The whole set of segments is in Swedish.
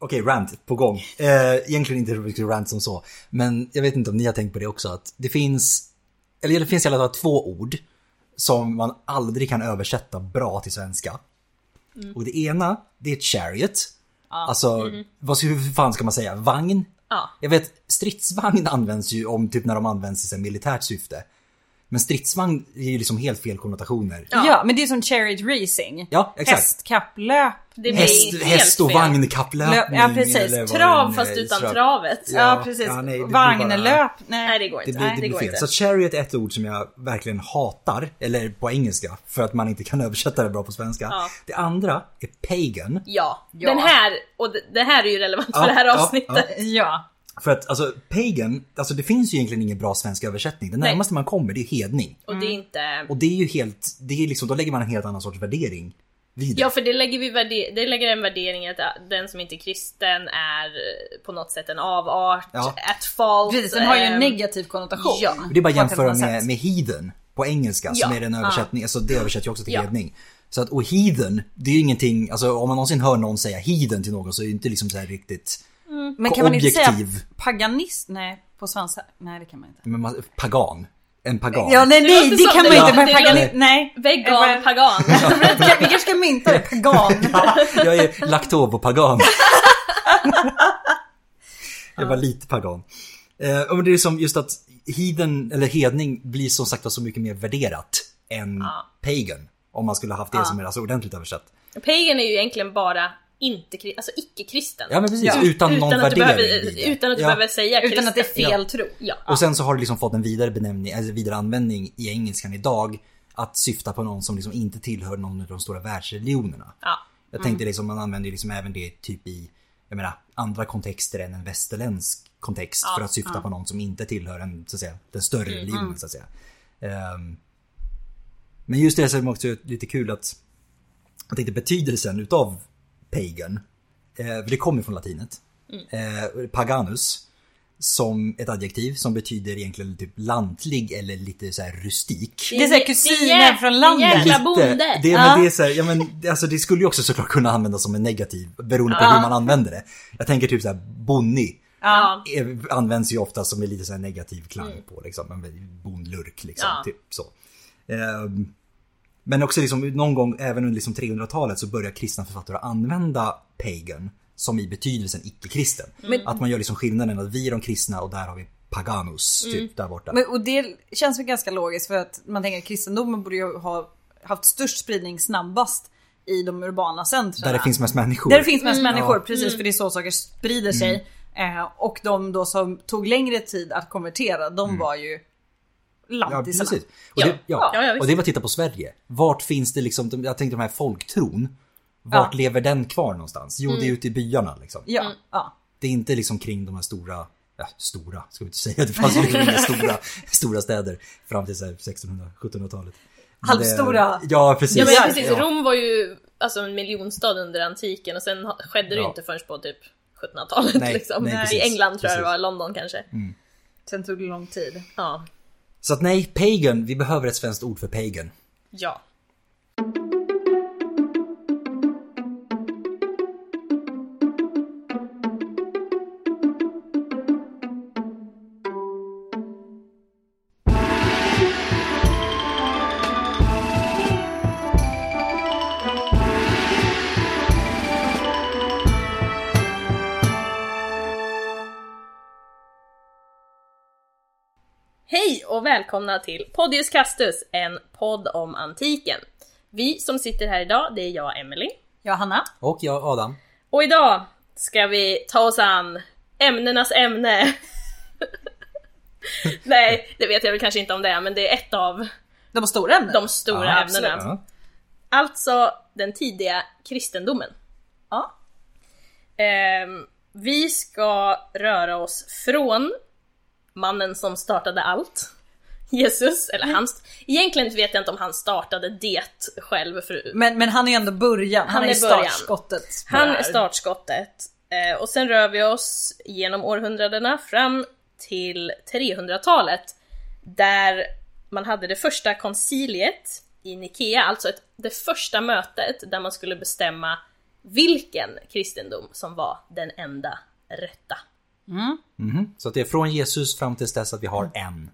Okej, rant på gång. Eh, egentligen inte så mycket rant som så. Men jag vet inte om ni har tänkt på det också. Att det finns, eller det finns i alla fall två ord som man aldrig kan översätta bra till svenska. Mm. Och det ena, det är ett chariot. Alltså, vad, hur fan ska man säga? Vagn? Mm-hmm. Ja. Jag vet, stridsvagn används ju om typ när de används i så här militärt syfte. Men stridsvagn är ju liksom helt fel konnotationer. Ja. Ja. men det är som chariot racing. Ja, exakt. Hästkapplöp. Det blir Häst, helt häst och fel. vagnkapplöpning. Ja, precis. eller vad det Trav nu fast är i utan ströp. travet. Ja, Ja, precis. ja, nej, det blir Vagnlöp. Nej det går inte. Det blir, Nej, det det blir går fel. inte. Så chariot är ett ord som jag verkligen hatar, eller på engelska, för att man inte kan översätta det bra på svenska. Ja. Det andra är pagan. Ja. Ja. Den här, och det- det här är ju relevant Ja, för det här ja, avsnittet. ja. Ja. För att alltså pagan, alltså det finns ju egentligen ingen bra svensk översättning. Det Nej. närmaste man kommer det är hedning. Och det Mm. är inte... Och det är ju helt, det är liksom, då lägger man en helt annan sorts värdering vid det. Ja för det lägger, vi värde- det lägger en värdering att äh, den som inte är kristen är eh, på något sätt en avart, Ja. at fault. Precis, den har ju en ehm, negativ konnotation. ja. Och Det är bara att På ett jämföra helt annat med, sätt. med heathen på engelska som Ja, är den översättning, alltså det översätts ju också till Ja. hedning. Så att, och heathen, det är ju ingenting, alltså om man någonsin hör någon säga heathen till någon så är det inte liksom så här riktigt Men kan man inte säga objektiv. paganist? Nej, på svenska. Nej, det kan man inte. men man, pagan. En pagan. Ja, nej, Det nej, låter det, som- kan det man låter- inte. Men det paganist, låter- nej. Vegan, Eller- pagan. Vi kanske ska mynta det, pagan. Jag är laktobopagan. Jag var lite pagan. Eh, och men det är som just att heden, eller hedning blir som sagt så mycket mer värderat än pagan. Om man skulle ha haft det som är alltså ordentligt översatt. Pagan är ju egentligen bara inte, kri- alltså icke-kristen. Ja men precis, Ja. utan någon utan, att du värdering. behöver, i det. utan att du ja. behöver säga kristen. Utan att det är fel tro. Ja. Och sen så har det liksom fått en vidare benämning, eller vidare användning i engelskan idag. Att syfta på någon som liksom inte tillhör någon av de stora världsreligionerna. ja. Jag tänkte liksom, man använder ju liksom även det typ i, jag menar, andra kontexter än en västerländsk kontext för att syfta på någon som inte tillhör en, så att säga, den större religionen så att säga. Ehm, men just det som också är lite kul att, jag tänkte betydelsen utav pagan, eh, för det kommer från latinet, eh, paganus, som ett adjektiv som betyder egentligen typ lantlig eller lite så här rustik. Det är så här kusiner från landet. Jävla Lite. bonde. Det, Ja. men det, är så här, ja, men, det- alltså, det skulle ju också såklart kunna användas som en negativ beroende på hur man använder det. Jag tänker typ så här, bonny Ja. är- används ju ofta som en lite så här negativ klang på liksom. En bonlurk liksom. Mm. Ja. Typ, så. Ehm, men också liksom, någon gång även under liksom 300-talet så börjar kristna författare använda pagan som i betydelsen icke-kristen. Mm. Att man gör liksom skillnaden att vi är de kristna och där har vi paganus typ Mm. där borta. Men, och det känns väl ganska logiskt för att man tänker att kristendomen borde ju ha haft störst spridning snabbast i de urbana centren. där det finns mest människor. Där det finns Mm. mest människor, Mm. Ja. Mm. precis för det är så saker sprider sig. Eh, och de då som tog längre tid att konvertera, de var ju Mm. Ja, lantisarna. precis. Och, Det, ja. Ja, ja, visst. och det var att titta på Sverige. Vart finns det liksom, de- jag tänkte de här folktron. Vart Ja. lever den kvar någonstans? Jo, det Mm. är ute i byarna liksom. Ja, ja. Det är inte liksom kring de här stora, ja, stora ska vi inte säga, det fanns ju liksom inga stora, stora städer fram till 1600-1700-talet. Halvstora. Ja, precis. Ja men precis, Ja. Rom var ju alltså en miljonstad under antiken och sen ha- skedde det ju Ja. inte förrän på typ 1700-talet Nej, liksom. nej, I precis, England tror jag det precis. var, London kanske. Mm. Sen tog det lång tid. Ja. Så att nej, pagan, vi behöver ett svenskt ord för pagan. ja. Hej och välkomna till Podius Castus, en podd om antiken. Vi som sitter här idag, det är jag Emily. Ja, Hanna. Och jag, Adam. Och idag ska vi ta oss an ämnenas ämne. Nej, det vet jag väl kanske inte om det är, men det är ett av De stora ämnena. de stora Ja, ämnena. Ja. Alltså den tidiga kristendomen. Ja. Ehm, vi ska röra oss från mannen som startade allt, Jesus, eller han... Egentligen vet jag inte om han startade det själv, för Men, men han är ju ändå början. Han, Han är, är början. startskottet. på Han det är här. startskottet. Eh, och sen rör vi oss genom århundradena fram till 300-talet. Där man hade det första konciliet i Nikea, alltså ett, det första mötet där man skulle bestämma vilken kristendom som var den enda rätta. Mhm. Så att det är från Jesus fram tills dess att vi Mm. har en.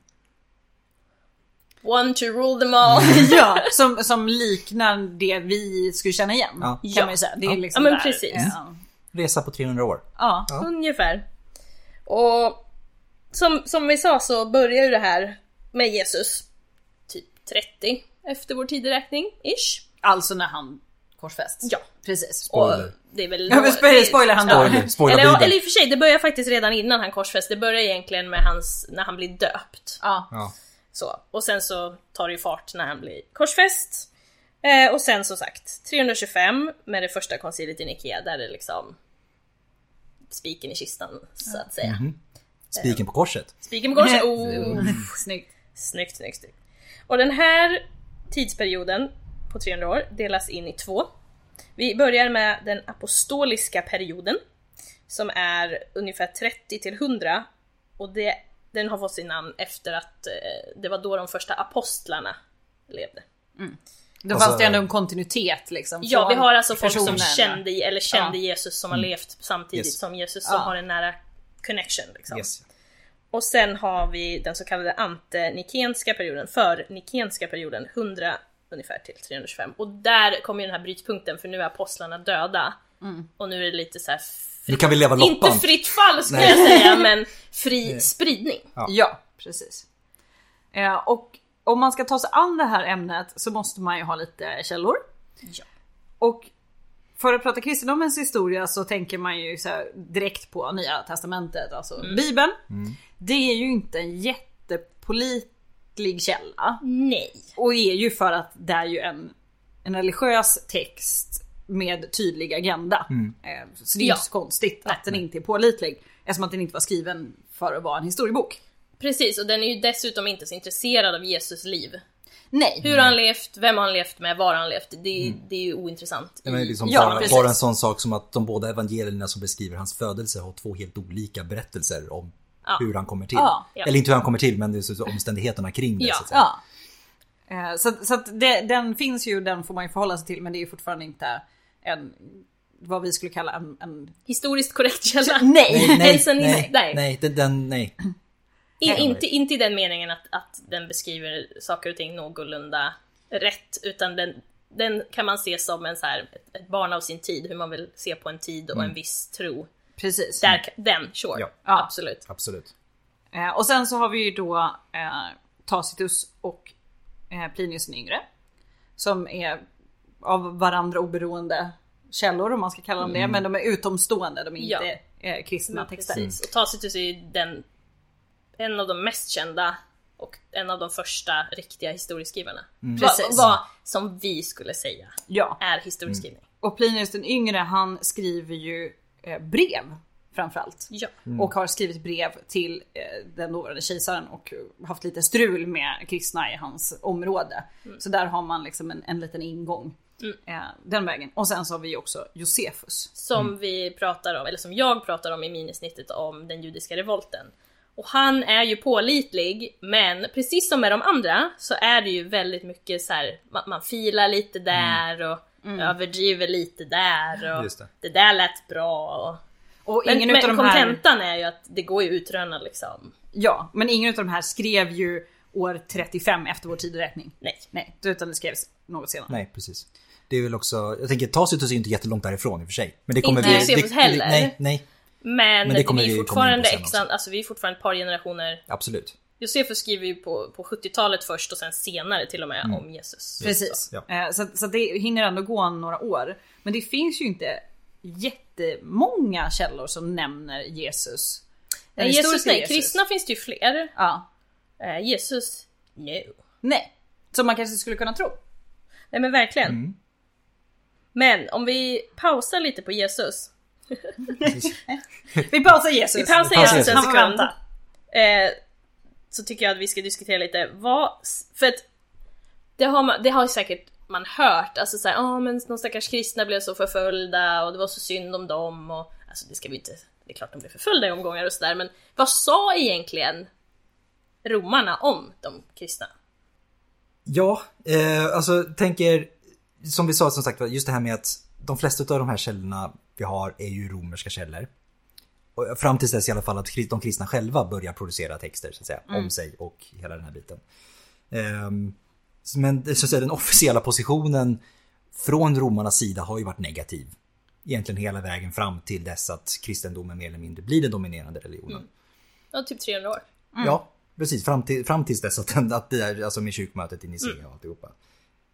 One to rule them all. Ja, som, som liknar det vi skulle känna igen. Ja. Kan Ja. man ju säga. Det är Ja. liksom Ja, men där. precis. Ja. Resa på 300 år. Ja. Ja. Ungefär. Och som, som vi sa så börjar ju det här med Jesus typ 30 efter vår tideräkning, ish. Alltså när han korsfästs. Ja. Precis. Och Spoiler. det är väl... Ja, men spoiler- spoiler han dör. Spoiler, spoiler Eller, ja, Bibeln. eller i och för sig, det börjar faktiskt redan innan han korsfästs. Det börjar egentligen med hans, när han blir döpt. Ja. Ja. Så. Och sen så tar det ju fart när han blir korsfäst. Eh, och sen som sagt, 325 med det första konciliet i Nikea där det liksom spiken i kistan så att säga. Spiken på korset. Spiken på korset, Mm-hmm. oh, Snyggt. snyggt, snyggt, snyggt. Och den här tidsperioden på 300 år delas in i två. Vi börjar med den apostoliska perioden som är ungefär 30 till 100 och det, den har fått sin namn efter att eh, det var då de första apostlarna levde. Då Alltså- fanns det ändå en kontinuitet liksom. Ja, från vi har alltså folk som personerna. kände, eller kände Ja. Jesus som har levt samtidigt Yes. som Jesus som Ja. har en nära connection. Liksom. Yes. Och sen har vi den så kallade antenikenska perioden, för nikenska perioden, 100 ungefär till 325. Och där kommer ju den här brytpunkten för nu är apostlarna döda. Och nu är det lite så här Nu kan vi leva loppan. inte fritt fall skulle Nej. jag säga, men fri spridning. Ja. Ja, precis. Eh, och om man ska ta sig an det här ämnet så måste man ju ha lite källor. Ja. Och för att prata kristendomens historia så tänker man ju så här direkt på Nya Testamentet, alltså Mm. Bibeln. Det är ju inte en jättepålitlig källa. Nej. Och är ju för att det är ju en, en religiös text med tydlig agenda. Eh, Så det är Ja. inte så konstigt att den inte är pålitlig. Eftersom att den inte var skriven för att vara en historiebok. Precis, och den är ju dessutom inte så intresserad av Jesus liv. Nej. Hur har han levt, vem har han levt med, var har han levt? Det, är- det är ju ointressant. Nej, men liksom Ja, bara, precis. bara en sån sak som att de båda evangelierna som beskriver hans födelse har två helt olika berättelser om Ja. hur han kommer till. Ja, ja. Eller inte hur han kommer till, men det är så- så omständigheterna kring det. Ja. Så att säga. Ja. Eh, Så, så att det, den finns ju, den får man ju förhålla sig till. Men det är ju fortfarande inte en, vad vi skulle kalla en... en Historiskt korrekt källa. Mm. Nej, nej, Elsen is- nej, nej. nej, den, den, nej. I, inte, inte i den meningen att, att den beskriver saker och ting någorlunda rätt, utan den, den kan man se som en så här, ett- ett barn av sin tid, hur man vill se på en tid och en viss tro. precis. Där, k- den, sure. Ja. Ja. Absolut. Absolut. Eh, Och sen så har vi ju då eh, Tacitus och eh, Plinius den yngre. Som är av varandra oberoende källor om man ska kalla dem det. Men de är utomstående, de är Ja. inte eh, kristna texter. Precis. Och Tacitus är ju den, en av de mest kända och en av de första riktiga historieskrivarna. Vad, Precis. vad som vi skulle säga Ja. är historieskrivning. Och Plinius den yngre han skriver ju eh, brev framförallt. Ja. Och har skrivit brev till eh, den dåvarande kejsaren och haft lite strul med kristna i hans område. Mm. Så där har man liksom en, en liten ingång. Eh, den vägen. Och sen så har vi ju också Josefus. som Mm. vi pratar om, eller som jag pratar om i minisnittet om den judiska revolten. Och han är ju pålitlig, men precis som med de andra så är det ju väldigt mycket så här, man, man filar lite Mm. där och överdriver lite där och Just det. där lät bra och... Och Men, ingen utav men de här, kontentan är ju att det går ju att utröna liksom, ja, men ingen utav de här skrev ju år 35 efter vår tideräkning. nej. Nej, utan det skrevs något senare. Nej, precis. Det är väl också, jag tänker Tacitus är ju inte jättelångt därifrån i och för sig. Men det kommer Inte vi... Josephus det- heller. Nej, nej, Men, det kommer vi vi är ju komma in på fortfarande sen också. extra, alltså vi är fortfarande ett par generationer. absolut. Josefus skriver ju på, på 70-talet först och sen senare till och med Mm. om Jesus. Precis. Ja. Eh, Så, så det hinner ändå gå några år. Men det finns ju inte jättemånga källor som nämner Jesus. Den Nej, Jesus, historiska nej. Kristna finns det ju fler. Ja. Eh, Jesus, no. Nej. Som man kanske skulle kunna tro. Nej men verkligen. Men om vi pausar lite på Jesus. Vi pausar Jesus. Vi pausar Vi pausar Jesus en Jesus. Han får sekund. vänta. Eh, så tycker jag att vi ska diskutera lite vad, för att det har, man, det har säkert man hört, alltså såhär, ja men de stackars kristna blev så förföljda och det var så synd om dem och alltså det ska vi inte, det är klart de blev förföljda i omgångar och sådär men vad sa egentligen romarna om de kristna? Ja, eh, alltså tänker, som vi sa som sagt var, just det här med att de flesta av de här källorna vi har är ju romerska källor. Och fram tills dess i alla fall att de kristna själva börjar producera texter så att säga, om sig och hela den här biten. Ehm, men så att säga, den officiella positionen från romarnas sida har ju varit negativ. Egentligen hela vägen fram till dess att kristendomen mer eller mindre blir den dominerande religionen. Ja, typ 300 år. Ja, precis. Fram, till, fram tills dess att den, att det är, alltså med kyrkmötet i Nicea Mm. och alltihopa.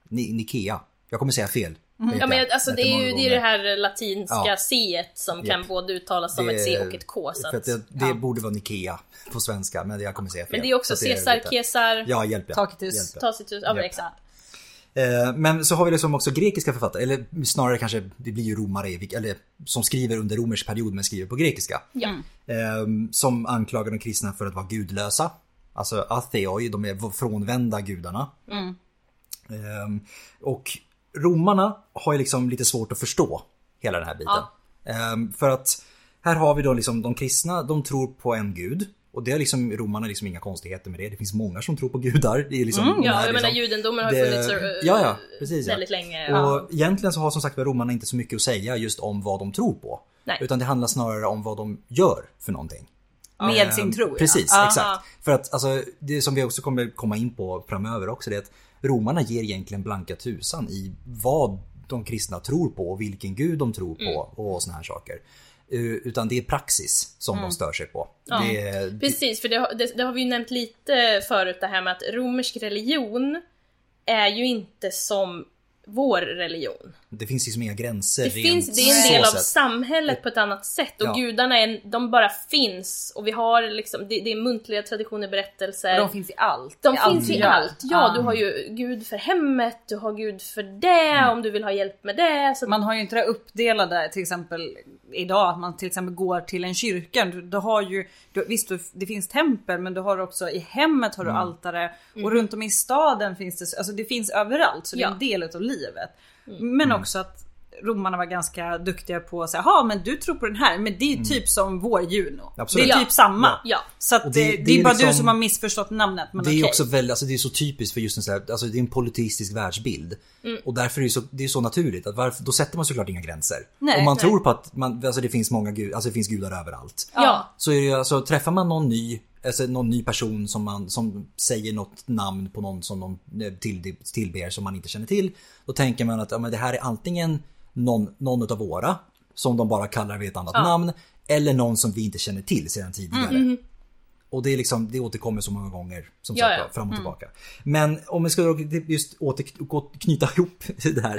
Ni, Nikea. Jag kommer säga fel. Ja men jag- alltså det är ju det, är det här här latinska Ja. C-et som kan Japp. både uttalas som ett C och ett K. Så För att, att det det borde vara Nikea på svenska, men jag kommer säga fel. men det är också Så Caesar, lite- Kesar, Ja, hjälp ja. Tacitus. Hjälp, ja. Tacitus, ja men Japp. exakt. Eh, Men så har vi liksom också grekiska författare, eller snarare kanske, det blir ju romare, vilk- eller som skriver under romersk period men skriver på grekiska. Ja. Eh, Som anklagar de kristna för att vara gudlösa. Alltså atheoi, de är frånvända gudarna. Eh, Och romarna har ju liksom lite svårt att förstå hela den här biten. Eh, För att här har vi då liksom de kristna, de tror på en gud. Och det är liksom, romarna har liksom inga konstigheter med det. Det finns många som tror på gudar. Det är liksom, de här Mm, Ja, jag liksom- menar judendomen har det- funnits så, eh, ja, ja, precis, ja. väldigt länge. och Ja. egentligen så har som sagt var romarna inte så mycket att säga just om vad de tror på. Nej. Utan det handlar snarare om vad de gör för någonting. Med Eh, sin tro ja. Precis, Ah. Ja. exakt. För att alltså, det som vi också kommer komma in på framöver också det är att romarna ger egentligen blanka tusan i vad de kristna tror på och vilken gud de tror på Mm. och såna här saker. Eh, Utan det är praxis som de stör sig på. Mm. Ja. Det är- Precis, för det, har- det, det har vi ju nämnt lite förut det här med att romersk religion är ju inte som vår religion. det finns liksom inga gränser. Det, rent finns, det är en så del av sett. samhället på ett annat sätt och Ja. gudarna är, de bara finns och vi har liksom, det, det är muntliga traditioner, berättelser. De finns i allt. De allt finns vi i gör. allt. Ja, Ah. du har ju Gud för hemmet, du har Gud för det, om du vill ha hjälp med det. Så att, Man har ju inte det här uppdelade till exempel idag att man till exempel går till en kyrka. Du, du har ju, du, visst du, det finns tempel men du har också i hemmet har du Mm. altare och runt om i staden finns det, alltså det finns överallt så det är Ja. Mm. en del av livet. Men Mm. också att romarna var ganska duktiga på att säga, ja men du tror på den här men det är ju typ som vår Juno. Mm. Absolut. Det är Ja. typ samma. ja. Så att Och det, det- det, det är är bara du liksom- som har missförstått namnet. Men Det är okej. också väldigt, alltså det är så typiskt för just en sån här, alltså det är en politistisk världsbild. Mm. Och därför är det så, det är så naturligt, att varför, då sätter man såklart inga gränser. Nej, Om man nej. tror på att man, alltså det finns många gud, alltså det finns gudar överallt. Ja. Så är det, ju, alltså, träffar man någon ny, alltså någon ny person som, man, som säger något namn på någon som de eh, till, tillber som man inte känner till. Då tänker man att ja, men det här är antingen någon, någon av våra, som de bara kallar vid ett annat namn. Eller någon som vi inte känner till sedan tidigare. Och det, är liksom, det återkommer så många gånger som Ja, sagt ja. Mm. var, fram och tillbaka. Men om vi ska då just åter, gå- knyta ihop det här.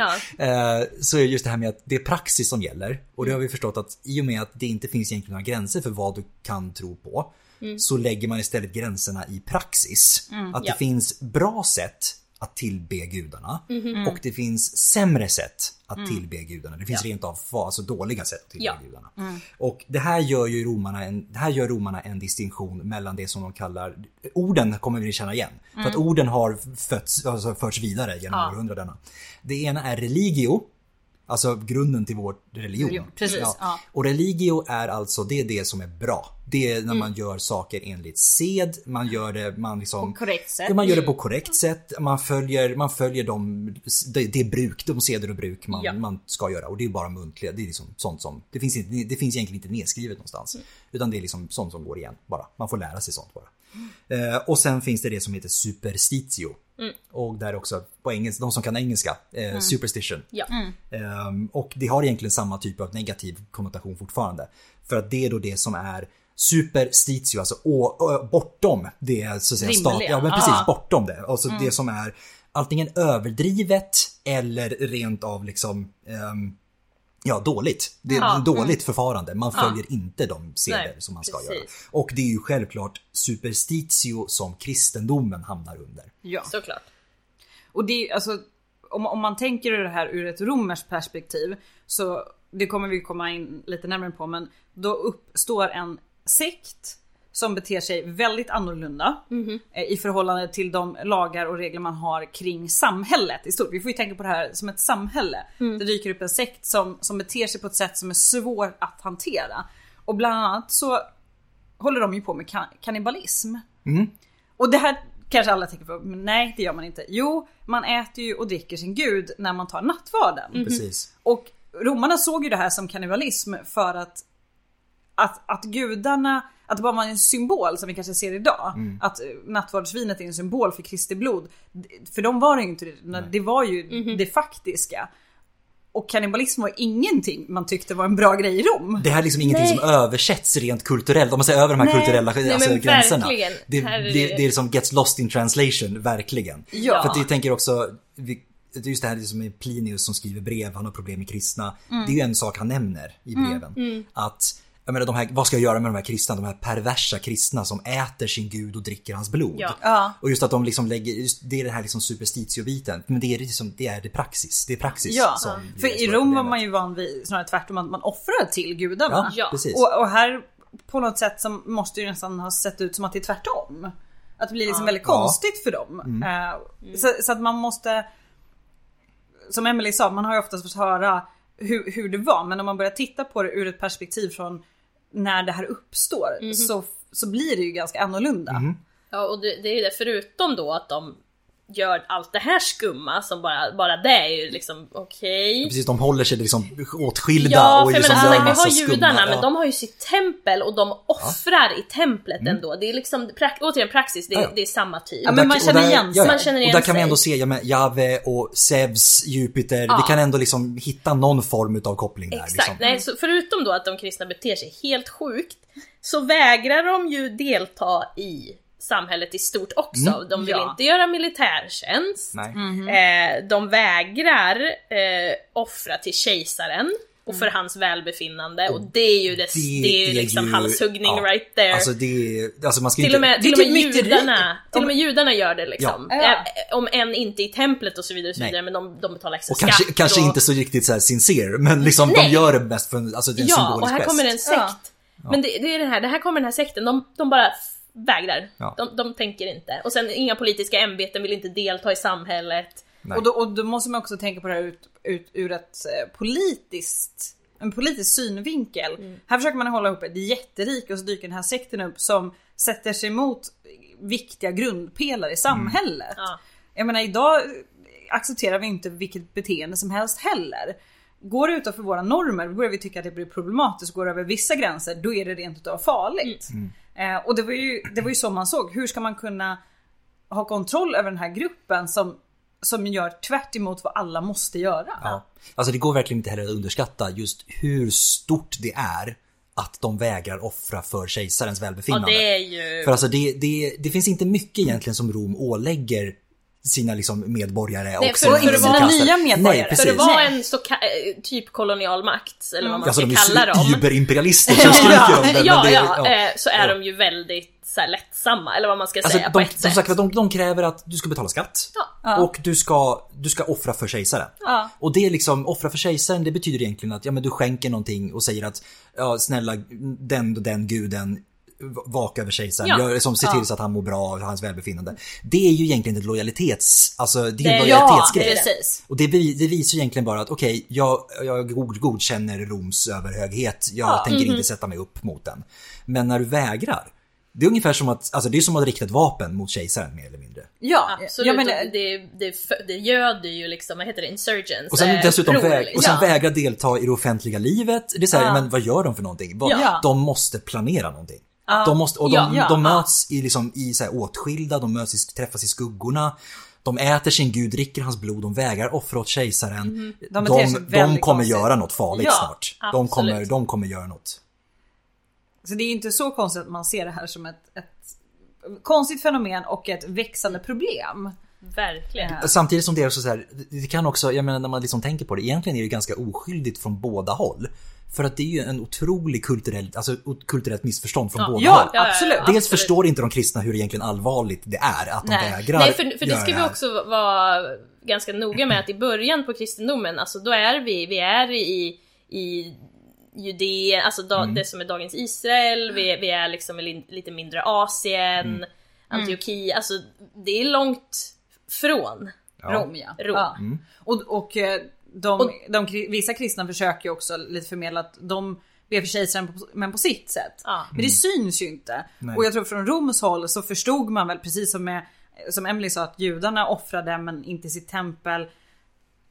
eh, Så är just det här med att det är praxis som gäller. Och Mm. det har vi förstått att i och med att det inte finns egentligen några gränser för vad du kan tro på. Så lägger man istället gränserna i praxis. Att Mm. Ja. det finns bra sätt att tillbe gudarna. Och det finns sämre sätt att tillbe gudarna. Det finns rent av fa- alltså dåliga sätt att tillbe Ja. gudarna. Och det här gör ju romarna en, det här gör romarna en distinktion mellan det som de kallar, orden kommer vi känna igen. För att orden har fötts, alltså förts vidare genom Ja. århundradena. Det ena är religio, alltså grunden till vår religion. Religion, precis, ja. Och religio är alltså, det är det som är bra. Det är när man gör saker enligt sed, man gör det, man liksom... Mm. På korrekt sätt. Ja, man gör det på korrekt sätt, man följer, man följer de, det, det bruk, de seder och bruk man, Ja. man ska göra. Och det är bara muntliga, det är liksom sånt som, det finns, inte, det finns egentligen inte nedskrivet någonstans. Mm. Utan det är liksom sånt som går igen bara. Man får lära sig sånt bara. Eh, och sen finns det det som heter superstitio. Mm. Och där också, på engelska, de som kan engelska, eh, superstition. Ja. Ehm, och det har egentligen samma typ av negativ konnotation fortfarande. För att det är då det som är superstitio, alltså å, ö, bortom det så att säga Rimliga. stat, ja men precis, Ah. bortom det. Alltså det som är antingen överdrivet eller rent av liksom ehm, Ja, dåligt. Det är Ja, mm. dåligt förfarande. Man följer inte de seder Nej, som man ska precis. göra. Och det är ju självklart superstitio som kristendomen hamnar under. Ja. Såklart. Och det är ju, alltså, om, om man tänker det här ur ett romerskt perspektiv, så det kommer vi komma in lite närmare på, men då uppstår en sekt som beter sig väldigt annorlunda eh, i förhållande till de lagar och regler man har kring samhället i stort. Vi får ju tänka på det här som ett samhälle. Det dyker upp en sekt som, som beter sig på ett sätt som är svårt att hantera. Och bland annat så håller de ju på med kan- kannibalism. Och det här kanske alla tänker på, men nej Mhm. Mm. det gör man inte. Jo, man äter ju och dricker sin gud när man tar nattvarden. Precis. Och romarna såg ju det här som kannibalism för att att, att gudarna, att det bara var en symbol som vi kanske ser idag. Att eh, nattvardsvinet är en symbol för Kristi blod. D- För de var det ju inte det, det var ju det faktiska. Och kannibalism var ingenting man tyckte var en bra grej i Rom. Det här är liksom ingenting Nej. som översätts rent kulturellt, om man säger över de här Nej. kulturella Nej, alltså, men gränserna. verkligen. Det, Här är det, det- det är som gets lost in translation, verkligen. Ja. För att jag tänker också, vi, det är just det här liksom med Plinius som skriver brev, han har problem med kristna. Mm. Det är ju en sak han nämner i breven. Att, jag menar de här, vad ska jag göra med de här kristna, de här perversa kristna som äter sin gud och dricker hans blod. Ja. Ja. Och just att de liksom lägger, just, det är den här liksom superstitio-biten. Men det är, liksom, det är det praxis, det är praxis Ja, som blir för det i stora Rom var problemet. man ju van vid snarare tvärtom att man offrar till gudarna. Ja. Ja, precis. Och, och här på något sätt som måste ju nästan ha sett ut som att det är tvärtom. Att det blir liksom väldigt Ja. Mm. konstigt för dem. Eh, Så, så att man måste, som Emily sa, man har ju oftast fått höra hur, hur det var. Men om man börjar titta på det ur ett perspektiv från när det här uppstår så, så blir det ju ganska annorlunda. Mm-hmm. Ja, och det, det är ju det, förutom då att de gör allt det här skumma som bara, bara det är ju liksom okej. Precis, de håller sig liksom åtskilda Ja, och för jag liksom menar, som gör sagt, vi massa har skumma- judarna men ja. de har ju sitt tempel och de offrar i templet ändå. Det är liksom, prak- återigen praxis, det är, Ja, ja. det är samma typ. Ja, Och men där- man och känner där- igen sig. ja, ja. Man känner igen Och där kan vi sig. ändå se, ja men Jave och Zeus, Jupiter, Ja. vi kan ändå liksom hitta någon form utav koppling där. Exakt, liksom. nej, så förutom då att de kristna beter sig helt sjukt, så vägrar de ju delta i samhället i stort också. De vill Ja. inte göra militärtjänst, Mm. Nej. eh, de vägrar eh, offra till kejsaren och för hans välbefinnande och det är ju, det, det, är ju liksom halshuggning ja. right there. Alltså det är, alltså man ska Till inte... och med, det är till och med typ myteri. judarna, till och Om- med judarna gör det liksom. Ja. Ja. Eh, Om än inte i templet och så vidare, och så Nej. vidare men de, de betalar extra och kanske, skatt. kanske och, inte så riktigt så här sincere, men liksom Nej. de gör det bäst för en, alltså det är en Ja, symbolisk och här gest. kommer en sekt. Ja. Men det, det är det här, det här kommer den här sekten, de, de bara f- vägrar. Ja. De, de tänker inte. Och sen inga politiska ämbeten vill inte delta i samhället. Nej. Och då, och då måste man också tänka på det här ut, ut, ur ett eh, politiskt, en politisk synvinkel. Här försöker man hålla ihop ett jätterik och så dyker den här sekten upp som sätter sig emot viktiga grundpelare i samhället. Ja. Jag menar idag accepterar vi inte vilket beteende som helst heller. Går det utanför våra normer, då börjar vi tycka att det blir problematiskt. Går det över vissa gränser, då är det rent utav farligt. Eh, och det var, ju, det var ju så man såg, hur ska man kunna ha kontroll över den här gruppen som, som gör tvärt emot vad alla måste göra? Ja. Alltså det går verkligen inte heller att underskatta just hur stort det är att de vägrar offra för kejsarens Ja, välbefinnande. det är ju... För alltså det, det, det finns inte mycket egentligen som Rom ålägger sina liksom medborgare och för- för det var underkastade. nya medborgare. Nej, För precis. det var Nej. en så ka- eh, typ kolonial makt, eller vad man alltså ska de kalla är ju dem. überimperialister som skriker om det. men ja, det är- ja, eh, så är Ja. de ju väldigt så här, lättsamma, eller vad man ska Alltså, säga på de, ett som sätt. sagt, de, de kräver att du ska betala skatt Ja. och du ska, du ska offra för kejsaren. Ja. Och det är liksom, offra för kejsaren, det betyder egentligen att ja, men du skänker någonting och säger att ja, snälla den och den guden v- vaka över kejsaren, Ja. gör, liksom, se till så att han mår bra och hans välbefinnande. Det är ju egentligen ett lojalitets, alltså det är en Det- ja, lojalitetsgrej. det är det. precis. Och det, bevi- det visar egentligen bara att okej, jag, jag god, godkänner Roms överhöghet. Jag tänker inte sätta mig upp mot den. Men när du vägrar, det är ungefär som att, alltså det är som att rikta ett vapen mot kejsaren mer eller mindre. Ja, Absolut, Eh, jag och menar, det, det, fö- det göder ju liksom, vad heter det, insurgents? Och sen eh, dessutom prov, väg, och sen liksom. vägra delta i det offentliga livet. Det är så här, Ja. men vad gör de för någonting? Vad, Ja. De måste planera någonting. De, måste, och de, Ja. Ja. de möts i, liksom, i så här åtskilda, de möts i, träffas i skuggorna. De äter sin gud, dricker hans blod, de vägrar offra åt kejsaren. Mhm. De De, beter sig de, väldigt kommer konstigt. göra något farligt Ja, snart. De absolut. kommer, de kommer göra något. så det är ju inte så konstigt att man ser det här som ett, ett konstigt fenomen och ett växande problem. Verkligen. Samtidigt som det är så, så här, det kan också, jag menar när man liksom tänker på det, egentligen är det ganska oskyldigt från båda håll. För att det är ju en otrolig kulturell, alltså o- kulturellt missförstånd från båda håll. Ja, ja, absolut. ja. Dels absolut. förstår inte de kristna hur egentligen allvarligt det är att de Nej. vägrar Nej, för, för det göra ska vi här. också vara ganska noga med att i början på kristendomen, alltså då är vi, vi är i, i Judeen, alltså da, Mm. det som är dagens Israel, vi, vi är liksom i lin- lite mindre Asien, Mm. Antiochia, alltså det är långt från. Ja. Mm. Rom ja. Rom. ja. Och, och eh, de, de, kri- vissa kristna försöker ju också lite förmedla att de ber för kejsaren på- men på sitt sätt. Ja. Men det syns ju inte. Nej. Och jag tror från Roms håll så förstod man väl precis som med som Emily sa att judarna offrade men inte i sitt tempel.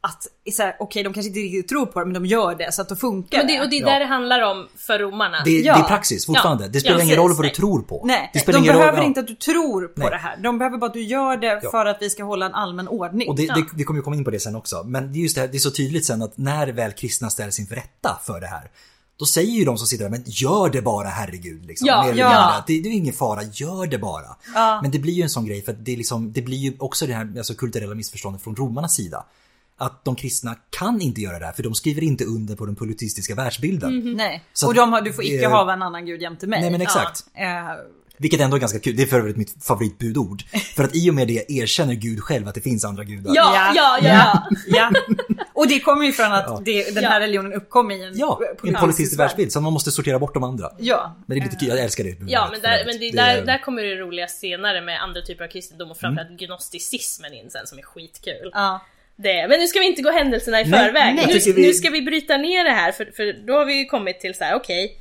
att så här, okej de kanske inte riktigt tror på det men de gör det så att då funkar Men det, och det är Ja. där det handlar om för romarna. Det, Ja. det är praxis fortfarande. Ja. Det spelar Ja, ingen roll vad du precis. tror på. Nej, det spelar de ingen roll- behöver ja. inte att du tror på Nej. det här. De behöver bara att du gör det Ja. för att vi ska hålla en allmän ordning. Och det, det, vi kommer ju komma in på det sen också. Men det är just det här, det är så tydligt sen att när väl kristna ställs inför rätta för det här. Då säger ju de som sitter där, men gör det bara herregud. Liksom, Ja, Mer eller ja. mindre. Att Det, det är ingen fara, gör det bara. Ja. Men det blir ju en sån grej för att det, är liksom, det blir ju också det här alltså, kulturella missförståndet från romarnas sida. Att de kristna kan inte göra det här för de skriver inte under på den politistiska världsbilden. Mm. Nej. Så och de har, du får det- icke hava en annan gud jämte mig. Nej men exakt. Eh, Vilket ändå är ganska kul, det är för övrigt mitt favoritbudord. För att i och med det erkänner Gud själv att det finns andra gudar. Ja, ja, ja. Mm. ja. Och det kommer ju från Ja. att det, den Ja. här religionen uppkom i en Ja, en politisk politistisk värld. världsbild. Så man måste sortera bort de andra. Ja. Men det är lite kul, jag älskar det. Ja, men, där, men det, är där, är- Mm. där kommer det roliga senare med andra typer av kristendom och framförallt gnosticismen in sen som är skitkul. Ja. Det, men nu ska vi inte gå händelserna i Nej, förväg. nej. nu, Tycker vi- nu ska vi bryta ner det här för, för då har vi ju kommit till så här: okej,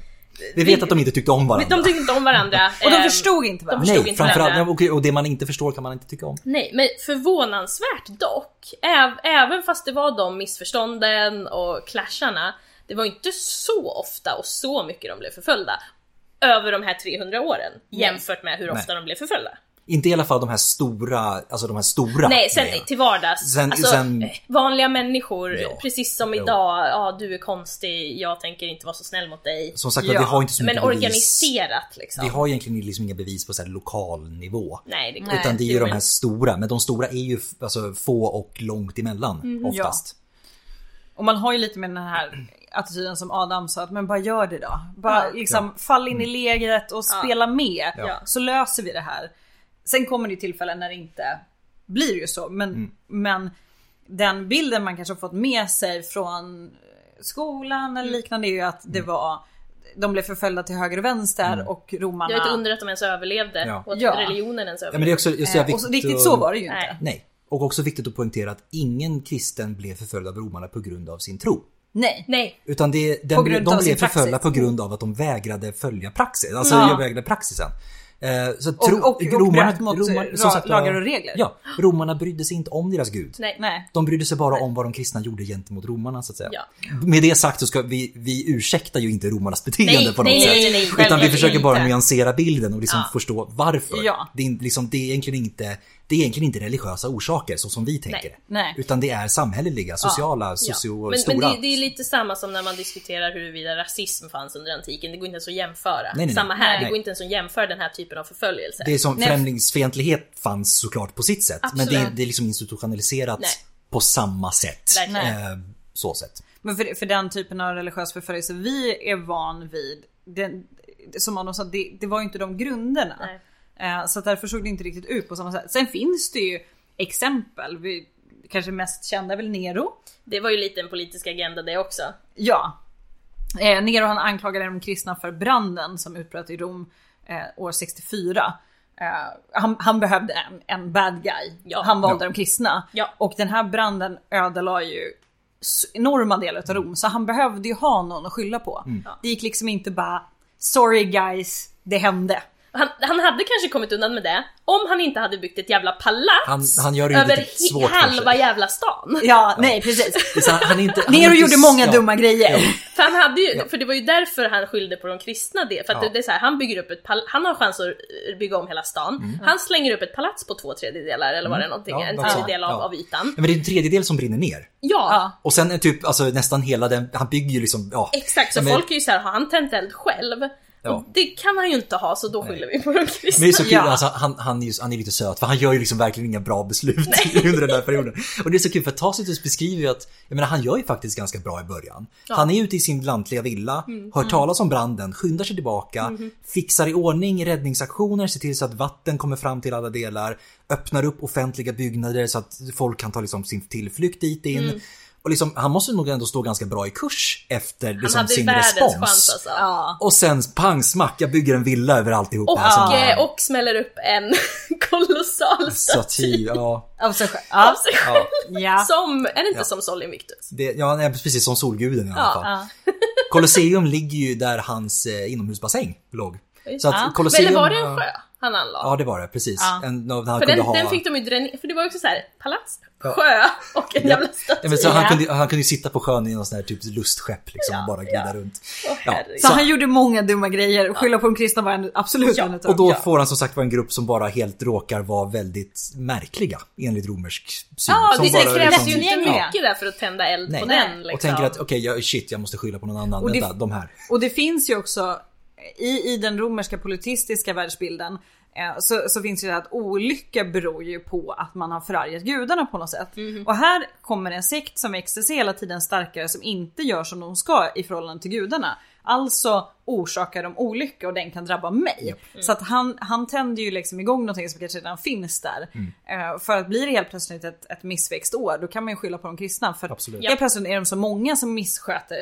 Vi vet att de inte tyckte om varandra. de tyckte inte om varandra. Och de Ehm, förstod inte varandra. förstod Nej, inte framförallt, varandra. ja, okej, och det man inte förstår kan man inte tycka om. Nej, men förvånansvärt dock, äv, även fast det var de missförstånden och clasharna, det var inte så ofta och så mycket de blev förföljda över de här 300 åren jämfört med hur ofta de blev förföljda. Inte i alla fall de här stora, alltså de här stora Nej, sen typ- grejerna. till vardags. Sen- alltså, sen- eh, vanliga människor, Ja. precis som Jo. idag, ja du är konstig, jag tänker inte vara så snäll mot dig. Som sagt Ja, vi har inte så Men mycket bevis. organiserat liksom. Vi har egentligen liksom inga bevis på så här lokal nivå. Nej, det Nej. typ. Utan det är ju det- de här stora, men de stora är ju f- alltså, få och långt emellan Mhm. oftast. Och man har ju lite med den här attityden som Adam sa, att men bara gör det då. Bara liksom fall in i lägret och spela med. Ja. Så löser vi det här. Sen kommer det ju tillfällen när det inte blir ju så. Men, men den bilden man kanske har fått med sig från skolan Mm. eller liknande är ju att det var de blev förföljda till höger och vänster och romarna... Jag vet inte undrar att de ens överlevde Ja. och att Ja. religionen ens Ja, men det överlevde. är också, just det här Eh, och så, viktigt riktigt att- så var det ju inte. Nej. Nej. Och också viktigt att poängtera att ingen kristen blev förföljd av romarna på grund av sin tro. Nej. Nej, Utan det, den, På grund de av blev sin praxis. förföljda på grund av att de vägrade följa praxis. Alltså Ja. jag vägrade praxisen. Eh, Så Och- tro, och- och bröt mot romar- ra- som sagt, lagar ja, och regler. Ja, romarna brydde sig inte om deras gud. nej. Nej. De brydde sig bara om vad de kristna gjorde gentemot romarna så att säga. Ja. Med det sagt så ska vi, vi ursäktar ju inte romarnas beteende Nej, på något nej, sätt. nej, nej, utan vi självklart försöker bara inte. nyansera bilden och liksom Ja. förstå varför. Ja. Det, är, in- liksom, det, är egentligen inte, det är egentligen inte religiösa orsaker så som vi tänker. Nej. Utan det är samhälleliga, sociala, Ja. socio, men, stora. Men det, det är lite samma som när man diskuterar huruvida rasism fanns under antiken, det går inte ens att jämföra. nej, nej. Samma här, Nej. det går inte ens att jämföra den här typen av förföljelse. Det är som Nej. främlingsfientlighet fanns såklart på sitt sätt. Absolut. Men det, är- det är liksom institutionaliserat Nej. på samma sätt. Verkligen. Eh, så sätt. Men för, för den typen av religiös förföljelse vi är van vid, den, som Adam sa, det, det var ju inte de grunderna. Nej. Eh, så att därför såg det inte riktigt ut på samma sätt. Sen finns det ju exempel, vi, kanske mest kända är väl Nero. Det var ju lite en politisk agenda det också. Ja. Eh, Nero han anklagade de kristna för branden som utbröt i Rom eh, år 64. Eh, han, han behövde en, en bad guy. Ja. Han valde Ja. de kristna. Ja. Och den här branden ödelade ju s- enorma delar av Rom. Så han behövde ju ha någon att skylla på. Mm. Det gick liksom inte bara “Sorry guys, det hände”. Han, han hade kanske kommit undan med det om han inte hade byggt ett jävla palats Han- han gör det ju över lite he- svårt för halva sig. jävla stan. Ja, nej precis. Så han- han är inte, han är Nero inte gjorde s- många ja. dumma grejer. För, han hade ju, för det var ju därför han skyllde på de kristna det. För att Ja. det är så här, han bygger upp ett pal- han har chans att eh, bygga om hela stan. Han slänger upp ett palats på två tredjedelar eller vad det är någonting, Mm. Ja, en något sånt. tredjedel av, Ja. av ytan. Ja, men det är en tredjedel som brinner ner. Ja, Och sen är typ, alltså nästan hela den, han bygger ju liksom, ja. exakt. Så Ja, men, folk är ju så här, har han tänt eld själv? Ja. Och det kan han ju inte ha, så då skyller vi på de Men det är kristna. så kul, Ja. alltså, han, han, är ju, han är lite söt för han gör ju liksom verkligen inga bra beslut under den här perioden. Och det är så kul för Tacitus beskriver ju att, jag menar han gör ju faktiskt ganska bra i början. Han är ute i sin lantliga villa, Mm. hör talas om branden, skyndar sig tillbaka, Mm-hmm. fixar i ordning räddningsaktioner, ser till så att vatten kommer fram till alla delar, öppnar upp offentliga byggnader så att folk kan ta liksom sin tillflykt dit in. Mm. Och liksom, han måste nog ändå stå ganska bra i kurs efter liksom, hade sin världens respons. chans alltså. Ja. Och sen pang smack, jag bygger en villa över alltihopa. alltså. Och, som- eh, och smäller upp en kolossal Satir, staty ja. Av sig själv. av Ja. sig själv. ja. Ja. Som, är det inte som Sol Invictus? Det, ja, nej, precis som Solguden i alla Ja, fall. ja. Colosseum ligger ju där hans eh, inomhusbassäng låg. Oj. Så att eh, Ja. Colosseum... Men var det en var- sjö han anlade? Ja, det var det. Precis. Ja. En, no, han För kunde den, ha... den fick de ju dränera, för det var ju också så här palats, Ja. sjö och en Ja. jävla staty. Ja, men så han, Ja. kunde, han kunde ju sitta på sjön i någon sån här typ lustskepp liksom och bara glida runt. Åh, herregud. Så, Så- han gjorde många dumma grejer och skylla på de kristna var en, absolut Ja. en utav Och då dem. får han som sagt vara en grupp som bara helt råkar vara väldigt märkliga enligt romersk syn. Ja, som det bara krävs liksom- ju inte Ja. mycket där för att tända eld Nej. på den. Liksom. Och tänker att okej, jag, shit jag måste skylla på någon annan. Och det- Vänta, de här. Och det finns ju också i, i den romerska politistiska världsbilden eh, så, så finns ju det här att olycka beror ju på att man har förargat gudarna på något sätt. Och här kommer en sekt som växer sig hela tiden starkare som inte gör som de ska i förhållande till gudarna. Alltså orsakar de olycka och den kan drabba mig. Så att han, han tänder ju liksom igång någonting som kanske redan finns där. Eh, för att blir det helt plötsligt ett, ett missväxt år då kan man ju skylla på de kristna. För Absolut. helt plötsligt är de så många som missköter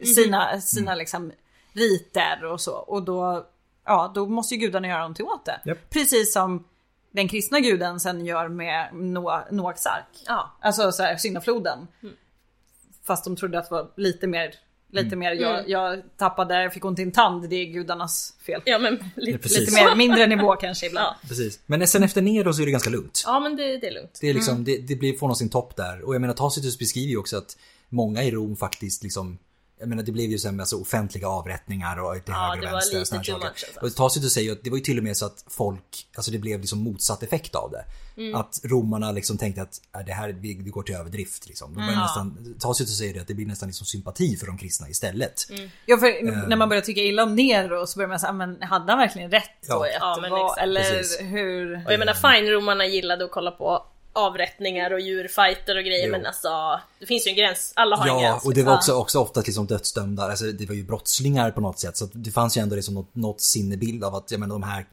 Mhm. sina, sina Mm. liksom riter och så. Och då, ja, då måste ju gudarna göra någonting åt det. Japp. Precis som den kristna guden sen gör med Noa- Noaks ark. Ja. Mm. Alltså så här, syndafloden. Fast de trodde att det var lite mer, Mm. lite mer, jag, jag tappade, jag fick ont i en tand, det är gudarnas fel. ja, men lite, precis. lite Lite mer. mer, mindre nivå kanske ibland. Ja. Precis. Men sen efter Nero så är det ganska lugnt. Ja, men det, det är lugnt. Det, är liksom, det, det blir, får nog sin topp där. Och jag menar Tacitus beskriver ju också att många i Rom faktiskt liksom jag menar det blev ju sen alltså, offentliga avrättningar och till Ja, höger det och var vänster. lite och såna här too saker. much, alltså. Och Tacitus säger ju att det var ju till och med så att folk, alltså det blev liksom motsatt effekt av det. Mm. Att romarna liksom tänkte att äh, det här, vi, vi går till överdrift liksom. De börjar nästan, Tacitus säger det att det blir nästan liksom sympati för de kristna istället. Mm. Ja, för Ehm. när man börjar tycka illa om Nero så börjar man säga, "Ah, men hade han verkligen rätt då? Ja. i att Ja, det men var, exakt. eller Precis. hur? Och jag menar fine-romarna gillade att kolla på avrättningar och djurfighter och grejer Jo. men alltså det finns ju en gräns, alla har en Ja, gräns. och det var liksom. också, också ofta liksom dödsdömda, alltså det var ju brottslingar på något sätt. Så att det fanns ju ändå liksom något, något sinnebild av att, jag menar de här,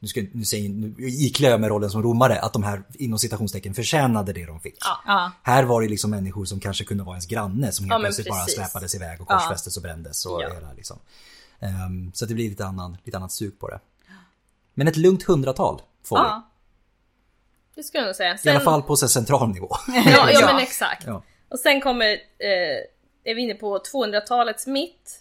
nu, ska, nu, säger, nu iklär jag mig rollen som romare, att de här inom citationstecken förtjänade det de fick. Ja. Ja. Här var det liksom människor som kanske kunde vara ens granne som helt Ja, men plötsligt bara precis. släpades iväg och korsfästes och brändes. Och Ja. hela, liksom. Ehm, så att det blir lite, annan, lite annat sug på det. Men ett lugnt hundratal får vi. Ja. Det skulle jag nog säga. I alla Sen- fall på så här central nivå. Ja, ja Ja. men exakt. Ja. Och sen kommer, eh, är vi inne på 200-talets mitt.